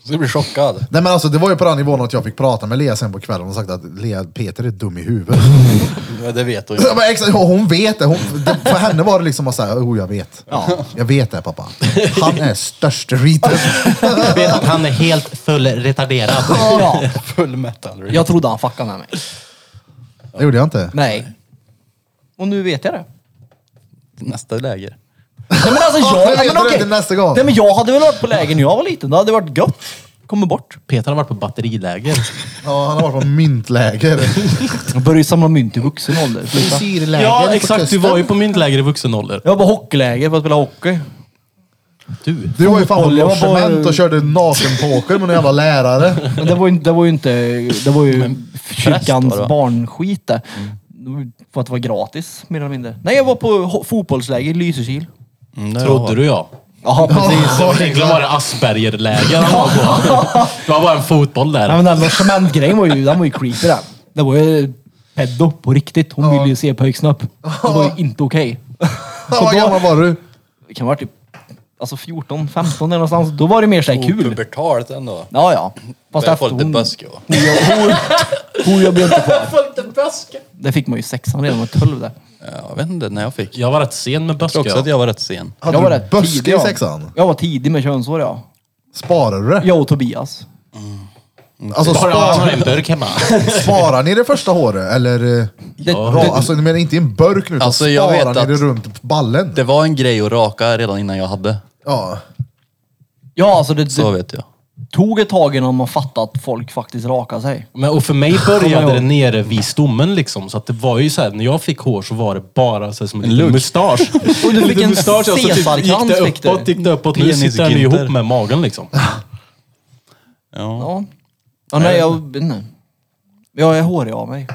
Så du blir chockad.
Nej men alltså det var ju på den nivån att jag fick prata med Lea sen på kvällen och sagt att Lea, Peter är dum i huvudet.
Ja, det vet du ju.
Ja, men exakt, ja, hon vet det. Hon, det. För henne var det liksom att säga, oh jag vet. Jag vet det pappa. Han är störst riten.
Jag vet att han är helt full retarderad.
Ja.
Full metal.
Jag trodde han fuckade med mig.
Det gjorde jag inte.
Nej. Och nu vet jag det.
Nästa läger.
Nej, men alltså, jag,
men
nej,
vet
men
du
okej.
det nästa gång?
Nej, men jag hade väl varit på läger när jag var liten. Det hade varit gött. Kommer bort.
Peter har varit på batteriläger.
Ja, han har varit på myntläger.
Jag började ju samla mynt i vuxen ålder. Sluta.
Syrläger
Ja,
på
exakt. Du
kusten.
var ju på myntläger i vuxen ålder.
Jag var på hockeyläger för att spela hockey.
Du.
Du var ju fan på
Fotboll, jag var på-
logement och körde nakenpoker med någon jävla lärare.
Men det var ju, det var ju inte... Det var ju kyrkans
var det, va?
barnskit det. Det var ju För att det var gratis, mer eller mindre. Nej, jag var på ho- fotbollsläger i Lysekil.
Mm, det
Trodde du ja.
Ja, precis.
Egentligen var det Aspergerläger han var på. Det var bara en fotboll
Nej,
där.
men den logementgrejen var ju, den var ju creepy den. Det var ju pedo på riktigt. Hon ville ju se pojksen upp. Det var ju inte okej.
Ja, Vad gammal var du?
Det kan vara typ alltså 14, 15 eller någonstans. Då var det mer såhär kul.
Opubertalt ändå.
Ja, ja. Fast
Oh, Börjar få lite
hon-
busk. ja.
hon- hon- Hon jag blev inte kvar. Det fick man ju sexan redan med 12 där.
Ja, Jag vet inte när jag fick. Jag
Jag var rätt sen med
tror också att
buskar.
jag var rätt sen.
Hade
var
du
rätt
buske
tidig,
i
ja.
sexan?
Jag var tidig med könshår ja.
Sparar du det?
Jag och Tobias.
Alltså,
Bara han har
spar,
en burk hemma.
sparar ni det första håret? Eller? eh, Bra, alltså, ni menar inte i en burk nu, utan
Alltså, jag
sparar
vet
ni
att-
det runt ballen?
Det var en grej att raka redan innan jag hade.
Ja.
Ja, alltså det,
Så
det
vet jag.
tog ett tag innan man fattade att folk faktiskt rakade sig.
Men, och för mig
Kommer
började
ihåg.
det nere vid stommen liksom. Så att det var ju så här, när jag fick hår så var det bara så här, som en liten
lugg.
mustasch.
Och
En
du fick
liten
en
mustasch, och så typ gick
cesarkrans
det
fick du.
uppåt, gick det uppåt. Nu sitter den ju
Penisginter.
ihop med magen liksom.
Ja.
Ja. ja nej, jag vet inte. Jag är hårig av mig.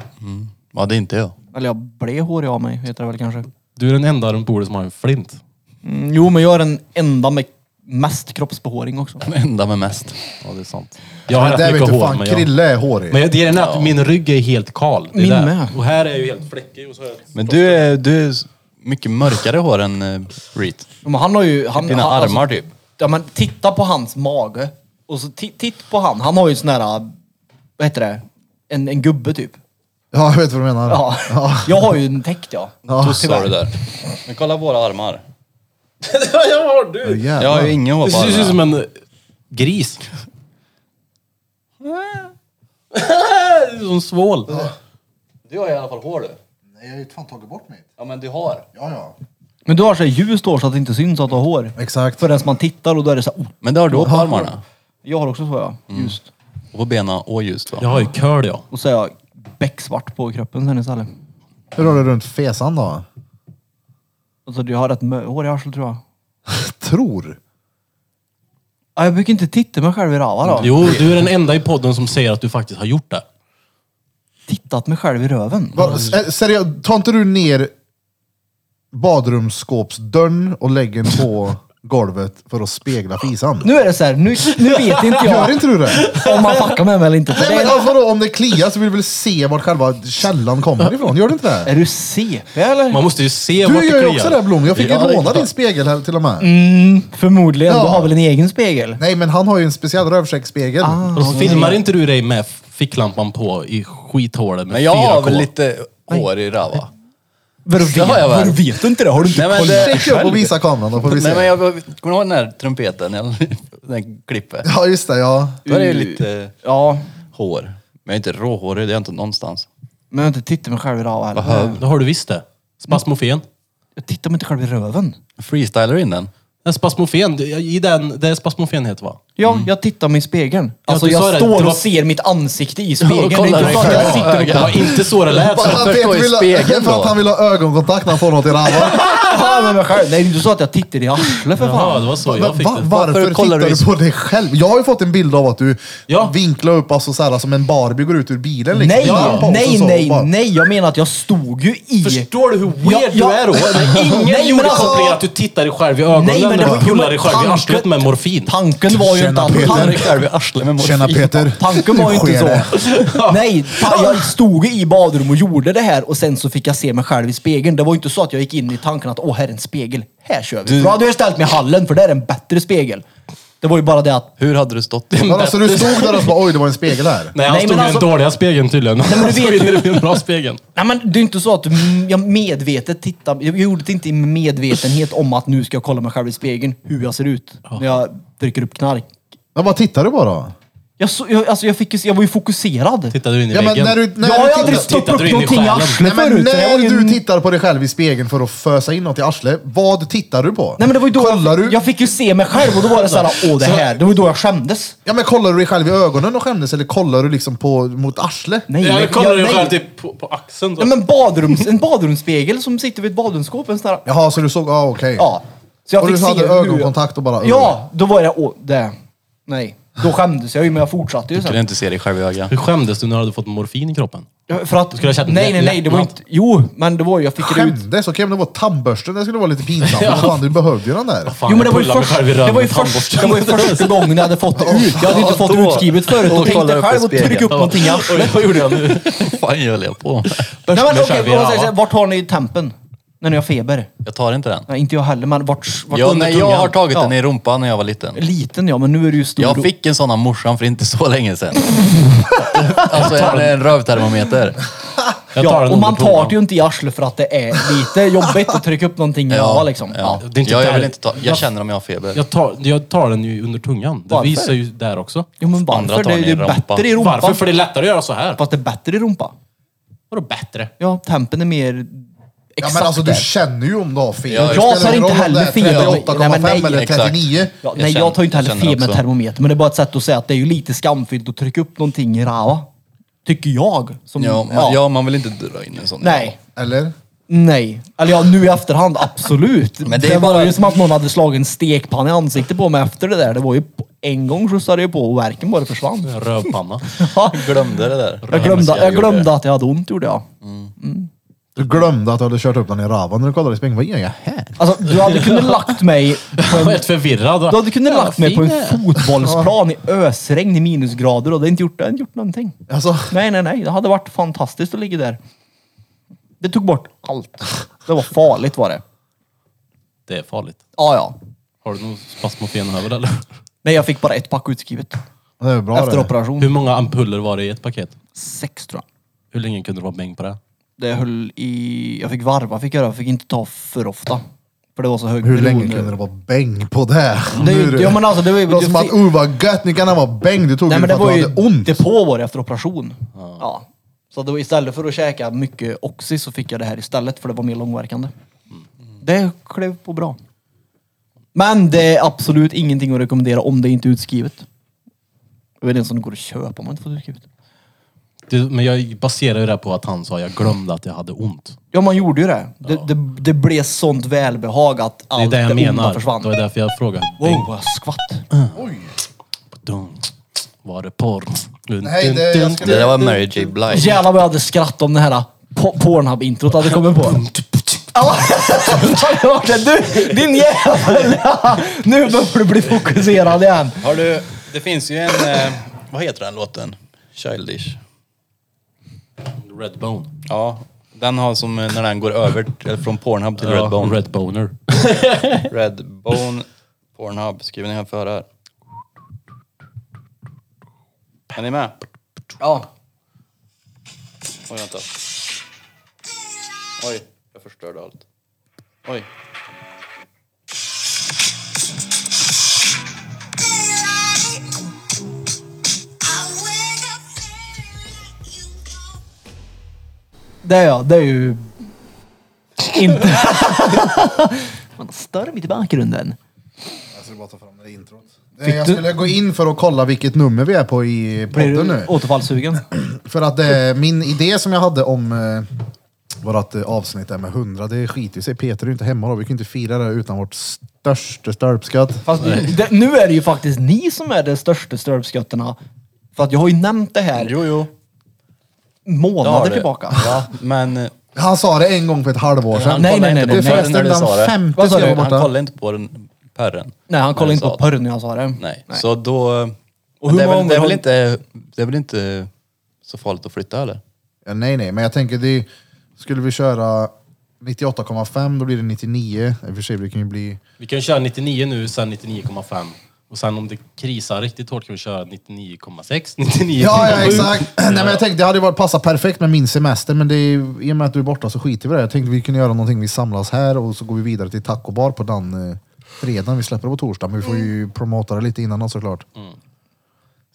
ja, det är inte jag.
Eller jag blev hårig av mig, heter det väl kanske.
Du är den enda runt bordet som har en flint.
Mm, jo, men jag är den enda med mest kroppsbehåring också.
Den enda med mest.
Ja, det är sant. Jag har
Det där
rätt
vet
mycket
du
hår.
fan,
Men, jag,
Krille är hårig.
men det är den att min rygg är helt kal. Det är
Min
där.
med.
Och här är ju helt fläckig. Och så här.
Men du är, du är mycket mörkare hår än uh, Reet.
Men han har ju... Han,
Dina
han, alltså-
armar typ.
Ja men titta på hans mage. Och så ti- titt på han. Han har ju sån här, vad heter det? En, en gubbe typ.
Ja, jag vet vad du menar.
Ja. Jag har ju en täckt ja.
Då sa du där. Men kolla våra armar.
jag har du!
Jävlar.
Jag har ju inga hår
Det
på
ser ut som
armarna.
en eh, gris. som svål.
Du har i alla fall hår du.
Nej, jag har ju fan tagit bort mig.
Ja men du har.
Ja, ja.
Men du har så här ljust hår så att det inte syns att du har hår.
Exakt.
Förrän man tittar och då är det så här, oh,
Men det har du på armarna.
Jag har också så ja. Ljust.
Och på benen och ljust va?
Jag har ju curl ja.
Och så är jag becksvart på kroppen sen istället.
Hur har du runt fesan då?
Alltså jag har rätt mö- hår i arslet tror jag.
Tror.
Ja, jag brukar inte titta mig själv i röva då.
Jo, du är den enda i podden som säger att du faktiskt har gjort det.
Tittat mig själv i röven.
Va, s- seriöst, tar inte du ner badrumsskåpsdörren och lägger den på golvet för att spegla fisan?
Nu är det så här, nu, nu vet inte
Gör
jag
inte du det?
om man fuckar med mig eller inte. För
Nej,
det
men
är,
alltså, då, om det kliar så vill du väl se vart själva källan kommer ifrån? Gör du inte det?
är du CP eller?
Man måste ju se vart
Du gör ju
det
också det Mm. Blom. Jag fick ju
Ja,
låna
det-
din spegel här till och med.
Förmodligen.
Ja.
Du har väl en egen spegel?
Nej, men han har ju en speciell rövkäcksspegel.
Och så filmar inte du dig med ficklampan på i skithålet med
Men jag har
4K.
väl lite hår i röva.
Vadå
Det har jag väl.
vet du inte det? Har du
Nej, men det-
Check upp och visa kameran då får vi
Nej, men
se.
jag, kommer du ihåg den där trumpeten? eller Den där klippet?
Ja, just det. Ja.
Då är det ju lite
Ja,
hår. Men jag är inte råhårig, det är jag inte någonstans.
men jag har inte tittat mig själv i röven heller.
Det har du visst det. Spasmofen.
Jag tittar mig inte själv i röven.
Freestylar in den.
Den spasmofen, det- i den, det är spasmofen heter va?
Ja, jag tittar mig i spegeln.
Mm. Ja,
Alltså
du sa
jag
det.
står
Det var-
och ser mitt ansikte i spegeln.
kollar
det är
dig
inte så att
själv.
jag sitter och
Det var inte så det lät.
Bara-
Han,
Först
Peter
går i
vill ha,
spegeln
för
då.
att han vill ha ögonkontakt när han får något i röven.
kollar med mig själv. Nej, det är inte så att jag tittar i arslet för
Jaha, det
fan.
var så
Men
jag fick
va,
det.
varför
Varför kollar
tittar
du
du
i-
liksom?
på dig själv? Jag har ju fått en bild av att du
Ja.
vinklar upp alltså, så här, som en Barbie går ut ur bilen. Liksom.
Nej,
Den här posen
nej,
så, och
nej,
bara-
nej. Jag menar att jag stod ju i...
Förstår du hur
Ja,
weird
ja.
du är då? Ingen
Nej, men
gjorde
alltså-
kopplingen att du tittar dig själv i ögonen
Nej, men det var-
och pullar dig själv i
tanken-
arslet med morfin.
Tanken var ju inte
Tjena,
att...
Peter.
Tan-
själv i arslet med
Tjena Peter.
Tanken var ju
Nu
inte
sker
så.
det.
Nej, fan, jag stod ju i badrum och gjorde det här och sen så fick jag se mig själv i spegeln. Det var ju inte så att jag gick in i tanken att åh, här är en spegel. Här kör vi. Då hade jag ställt mig i hallen för där är en bättre spegel. Det var ju bara det att...
Hur hade du stått?
Men alltså du stod där och så bara oj det var en spegel här.
Nej, han
Nej,
stod i
men
den
alltså-
dåliga spegeln tydligen. Nej,
men du
han stod
vet ju-
inne vid den bra spegeln.
Nej men det är ju inte så att mm, jag medvetet tittade. Jag gjorde det inte i medvetenhet om att nu ska jag kolla mig själv i spegeln, hur jag ser ut när jag dricker upp knark.
Men vad tittar du på då?
Jag, så, jag, alltså jag, fick, ju- jag var ju fokuserad.
Tittar du in i
Ja, men
väggen?
när du, när
jag har
du
ju aldrig
tittar,
stoppat
Tittar
upp
du in i
någonting i
själen?
nej,
arslet
men
förut. så jag har ju
när
en-
du tittar på dig själv i spegeln för att fösa in något i arslet, vad tittar du på?
Nej men det var ju då
kollar
jag,
du,
jag fick ju se mig själv och då var det såhär, åh det här. Det var ju då jag skämdes.
ja, men kollar du dig själv i ögonen och skämdes eller kollar du liksom på, mot arslet?
Nej,
Ja, jag kollar dig
nej.
själv typ på, på axeln. så.
Nej men badrums, en badrumsspegel som sitter vid ett badrumsskåp. En sån här,
Jaha, så du såg, ah, okej.
ja. Så
Och du hade ögonkontakt och bara,
hur, Ja, då var jag, åh det. Nej. Då skämdes jag ju men jag fortsatte ju
Du kunde
sen.
inte se dig själv i ögat.
Hur skämdes du när du hade fått morfin i kroppen?
För att,
skulle ha känt
nej nej nej, det var
lättnad.
inte, jo men det var ju, jag fick det ut.
Skämdes? Okej, men det var tandborsten, det skulle vara lite pinsamt. Men fan, du behövde ju den där.
Fan,
jo men det
jag
var ju,
pullar mig
först,
själv i
det,
röven
var ju
med
först, det
tandborsten.
var ju första gången jag hade fått det ut. Jag hade inte fått det
Då-
utskrivet förut
då
och tänkte
kollar du på
själv och trycka upp
spegeln.
någonting i arslet.
Oj, vad gjorde jag nu?
Vad fan höll jag på med?
Nej men
med
okej,
själv i
om man säger
röva.
så här, vart har ni tempen? När ni har feber?
Jag tar inte den.
Nej, inte jag heller, men vart, vart
Jag,
under
nej, jag
tungan?
har tagit
Ja.
den i rumpan när jag var liten.
Liten ja, men nu är du ju stor.
Jag fick en sån av morsan för inte så länge sedan. alltså en, en rövtermometer.
Jag tar
ja,
den
och man
under
tar
tungan.
det ju inte i arslet för att det är lite jobbigt att trycka upp någonting i röva liksom. Ja.
Det är inte
ja, jag
där-
vill inte ta, jag
Jag-
känner om jag har feber.
Jag tar, jag tar den ju under tungan. Det
Varför?
visar ju där också.
Jo men
Andra
varför?
tar
Det är
ni
ju
i rumpan.
bättre i rumpan.
Varför? För det är lättare att göra så här.
Fast det är bättre i rumpa.
Vadå bättre?
Ja, tempen är mer
Ja,
exakt
men alltså du
där.
känner ju om du har fel.
Ja,
Det spelar
jag
tar
ingen
inte
roll om det är
heller fel.
38,5
Nej, men nej.
eller 39.
Ja,
Jag
nej,
känner-
jag tar ju inte heller
jag känner
fel med
också.
termometer, men det är bara ett sätt att säga att det är ju lite skamfyllt att trycka upp någonting i röva. Tycker jag. Som,
Ja, man, ja, man vill inte dra in en sån.
Nej.
Eller?
Nej. Eller ja, nu i efterhand, absolut.
Men det
det,
är
var
bara-
ju som att någon hade slagit en stekpanna i ansiktet på mig efter det där. Det var ju en gång skjutsade jag på och värken bara försvann.
En Rövpanna.
Jag glömde det där.
Jag glömde, jag glömde att jag hade ont gjorde jag.
Du glömde att du hade kört upp den i ravan när du kollade i spegeln. Vad gör jag här?
Alltså, du hade kunnat lagt mig på
Jag var
en,
helt förvirrad.
du hade kunnat lagt mig på
fin
en
är.
fotbollsplan i ösregn i minusgrader och det hade inte gjort, det hade inte gjort någonting.
Alltså,
Nej, nej, nej. Det hade varit fantastiskt att ligga där. Det tog bort allt. Det var farligt var det.
Det är farligt.
Ja, ja.
Har du någon spasmofen över eller?
Nej, jag fick bara ett pack utskrivet
det är bra
efter
det.
operation.
Hur många ampuller var det i ett paket?
Sex tror jag.
Hur länge kunde du vara bäng på det?
Det höll i... Jag fick varva fick jag göra. Jag fick inte ta för ofta. För det var så hög
Hur länge
beroende.
kunde det vara bäng på det?
det? är
Nu
ju-
du.
Ja men alltså det var ju...
Det låter som att, oh vad gött, nu kan han vara bäng. Du tog
nej
ju för
men det
att du
var ju
hade ont.
depå var det efter operation. Ja. Så då istället för att käka mycket Oxy så fick jag det här istället för det var mer långverkande.
Mm.
Det klev på bra. Men det är absolut ingenting att rekommendera om det inte är utskrivet. Jag vet inte ens om det går att köpa om man inte får det utskrivet.
Du, men jag baserar ju det här på att han sa jag glömde att jag hade ont.
Ja man gjorde ju det. Det, det, det blev sånt välbehag att
Det är
allt
det jag
onda
menar.
försvann.
Det var därför jag frågade.
Wow vad jag skvatt.
Dun. Var det porr? Dun,
Nej,
dun,
det- jag
dun,
skulle-
Det där var Mary J Blige.
Jävlar vad jag hade skrattat om det här po- Pornhub-introt hade kommit på. Ja, det var det. du, din jävel! Nu behöver du bli fokuserad igen.
Har du, det finns ju en, eh, vad heter den låten? Childish.
dun. Redbone.
Ja, den har som eh, när den går över t- eller från Pornhub till
Ja,
Redbone.
Redboner.
Redbone, Pornhub. Skriver ni här för här? Är ni med?
Ja.
Oj, vänta. Oj, jag förstörde allt. Oj.
Det är jag, det är ju... Inte... Man stör mitt i bakgrunden.
Alltså, Jag skulle bara ta fram det introt. Eh, Jag skulle gå in för att kolla vilket nummer vi är på i
Blir
podden
du
nu.
återfallssugen?
För att eh, min idé som jag hade om eh, vårt eh, avsnitt där med 100, det skiter ju sig. Peter är ju inte hemma då. Vi kan ju inte fira det utan vårt största störpskatt.
Fast det, nu är det ju faktiskt ni som är de största strövskötterna. För att jag har ju nämnt det här
Jo, jo. det har
månader
du.
tillbaka.
Ja, men eh,
Han sa det en gång för ett halvår sedan.
han
nej,
kollade
nej,
inte
nej,
på
Du
nej.
perren när
förresten,
du sa
den
det.
50
Vad sa
ska
du?
vara
Han
borta.
kollade inte på den perren.
Nej, han kollade
När
inte
du
på
sa det.
porren när jag sa det.
Nej, så då...
Och
Men
hur
det, är
många
väl, det,
gånger
är väl
har-
inte, det är väl inte så farligt att flytta eller?
Ja, nej, nej, men jag tänker det skulle vi köra 98,5 då blir det 99. I och för sig, det kan ju bli...
Vi kan ju köra 99 nu, sen 99,5. Och sen om det krisar riktigt hårt kan vi köra 99,6, 99,7.
Ja, ja exakt. Nej, men jag tänkte det hade ju varit passat perfekt med min semester, men det är, ju- i och med att du är borta så skiter vi i det. Jag tänkte vi kunde göra någonting, vi samlas här och så går vi vidare till Taco Bar på den eh, fredagen vi släpper på torsdag. Men vi får
Mm.
ju promota det lite innan då, såklart.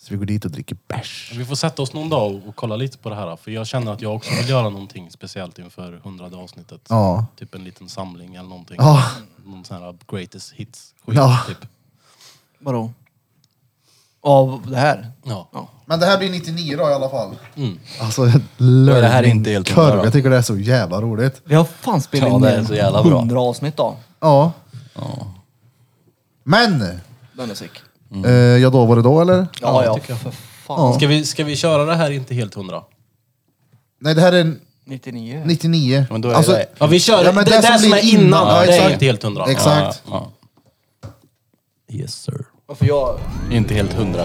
Så vi går dit och dricker bärs.
Vi får sätta oss någon dag och- och kolla lite på det här. För jag känner att jag också vill göra någonting speciellt inför hundrade avsnittet.
Ja.
Typ en liten samling eller någonting.
Ja.
Någon sån här greatest hits.
Ja.
Typ.
Vadå? Av det här?
Ja.
Men det här blir 99 då i alla fall.
Mm.
Alltså, det
här är inte helt hundra
kurv.
då.
Jag tycker det är så jävla roligt.
Vi har fan spelat
Ja,
in
det
mer
är
än
så jävla bra.
100 avsnitt då.
Ja. Men!
Den är sick.
Mm.
Eh, ja, då var det då eller?
Ja, ja, för fan.
Ska, vi, ska vi köra det här inte helt hundra?
Nej, det här är Alltså,
99.
99.
Men då är det-
Ja, vi kör
Ja, men
det, det där som
blir
är innan.
Ja,
det är
exakt.
inte helt hundra.
Exakt.
Ja. Yes sir.
Varför jag...
Inte helt 100,1.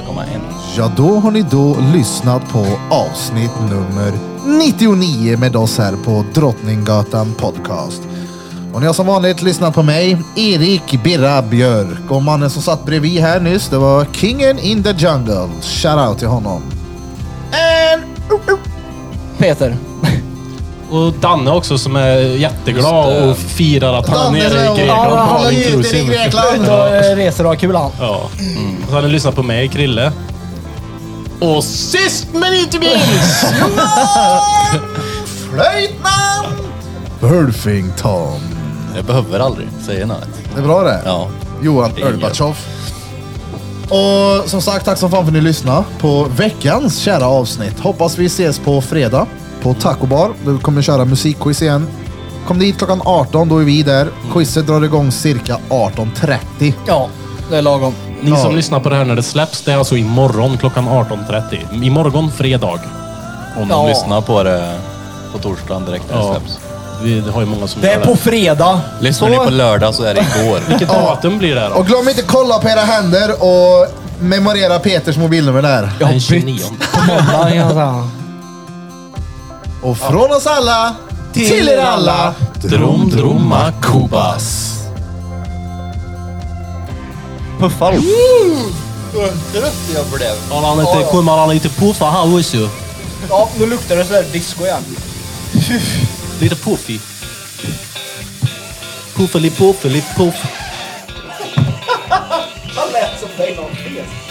Ja, då har ni då lyssnat på avsnitt nummer 99 med oss här på Drottninggatan Podcast. Och ni har som vanligt lyssnat på mig, Erik Birra Björk. Och mannen som satt bredvid här nyss, det var Kingen in the Jungle. Shoutout till honom.
Peter.
Och Danne också som är
Just
jätteglad
det.
och firar att han
Danne,
är nere i Grekland.
ja, han
all
är ute i
inclusive.
Grekland.
Ut och eh, reser och har kul han.
Ja. Mm. Och så har ni lyssnat på mig, Krille. Och sist men inte minst!
Flöjtnant! Burfington.
Jag behöver aldrig säga namnet.
Det är bra det.
Ja.
Johan Ölbatschov. Och som sagt, tack som fan för att ni lyssnade på veckans kära avsnitt. Hoppas vi ses på fredag på Taco Bar. Vi kommer köra musikquiz igen. Kom dit klockan 18, då är vi där. Quizet drar igång cirka 18.30.
Ja, det är lagom.
Ni
Ja.
som lyssnar på det här när det släpps, det är alltså imorgon klockan 18.30. Imorgon fredag.
Om
Ja.
de lyssnar på det på torsdagen direkt när det
Ja.
släpps.
Vi har ju många som
Det
gör
är på fredag.
Lyssnar ni på lördag så är det igår.
Vilket datum blir det här då?
Och glöm inte kolla på era händer och memorera Peters mobilnummer där.
Jag har
Den
bytt
29.
på måndag. kan jag säga.
Och från oss alla till, er alla.
Drom, droma, kubas.
Puffar. Mm.
Har han inte, kommer han inte puffa här också?
Ja, nu luktar det sådär disco igen.
Lite puffig. Puffeli, puffeli, puff.
Han lät som Bengt Holmqvist.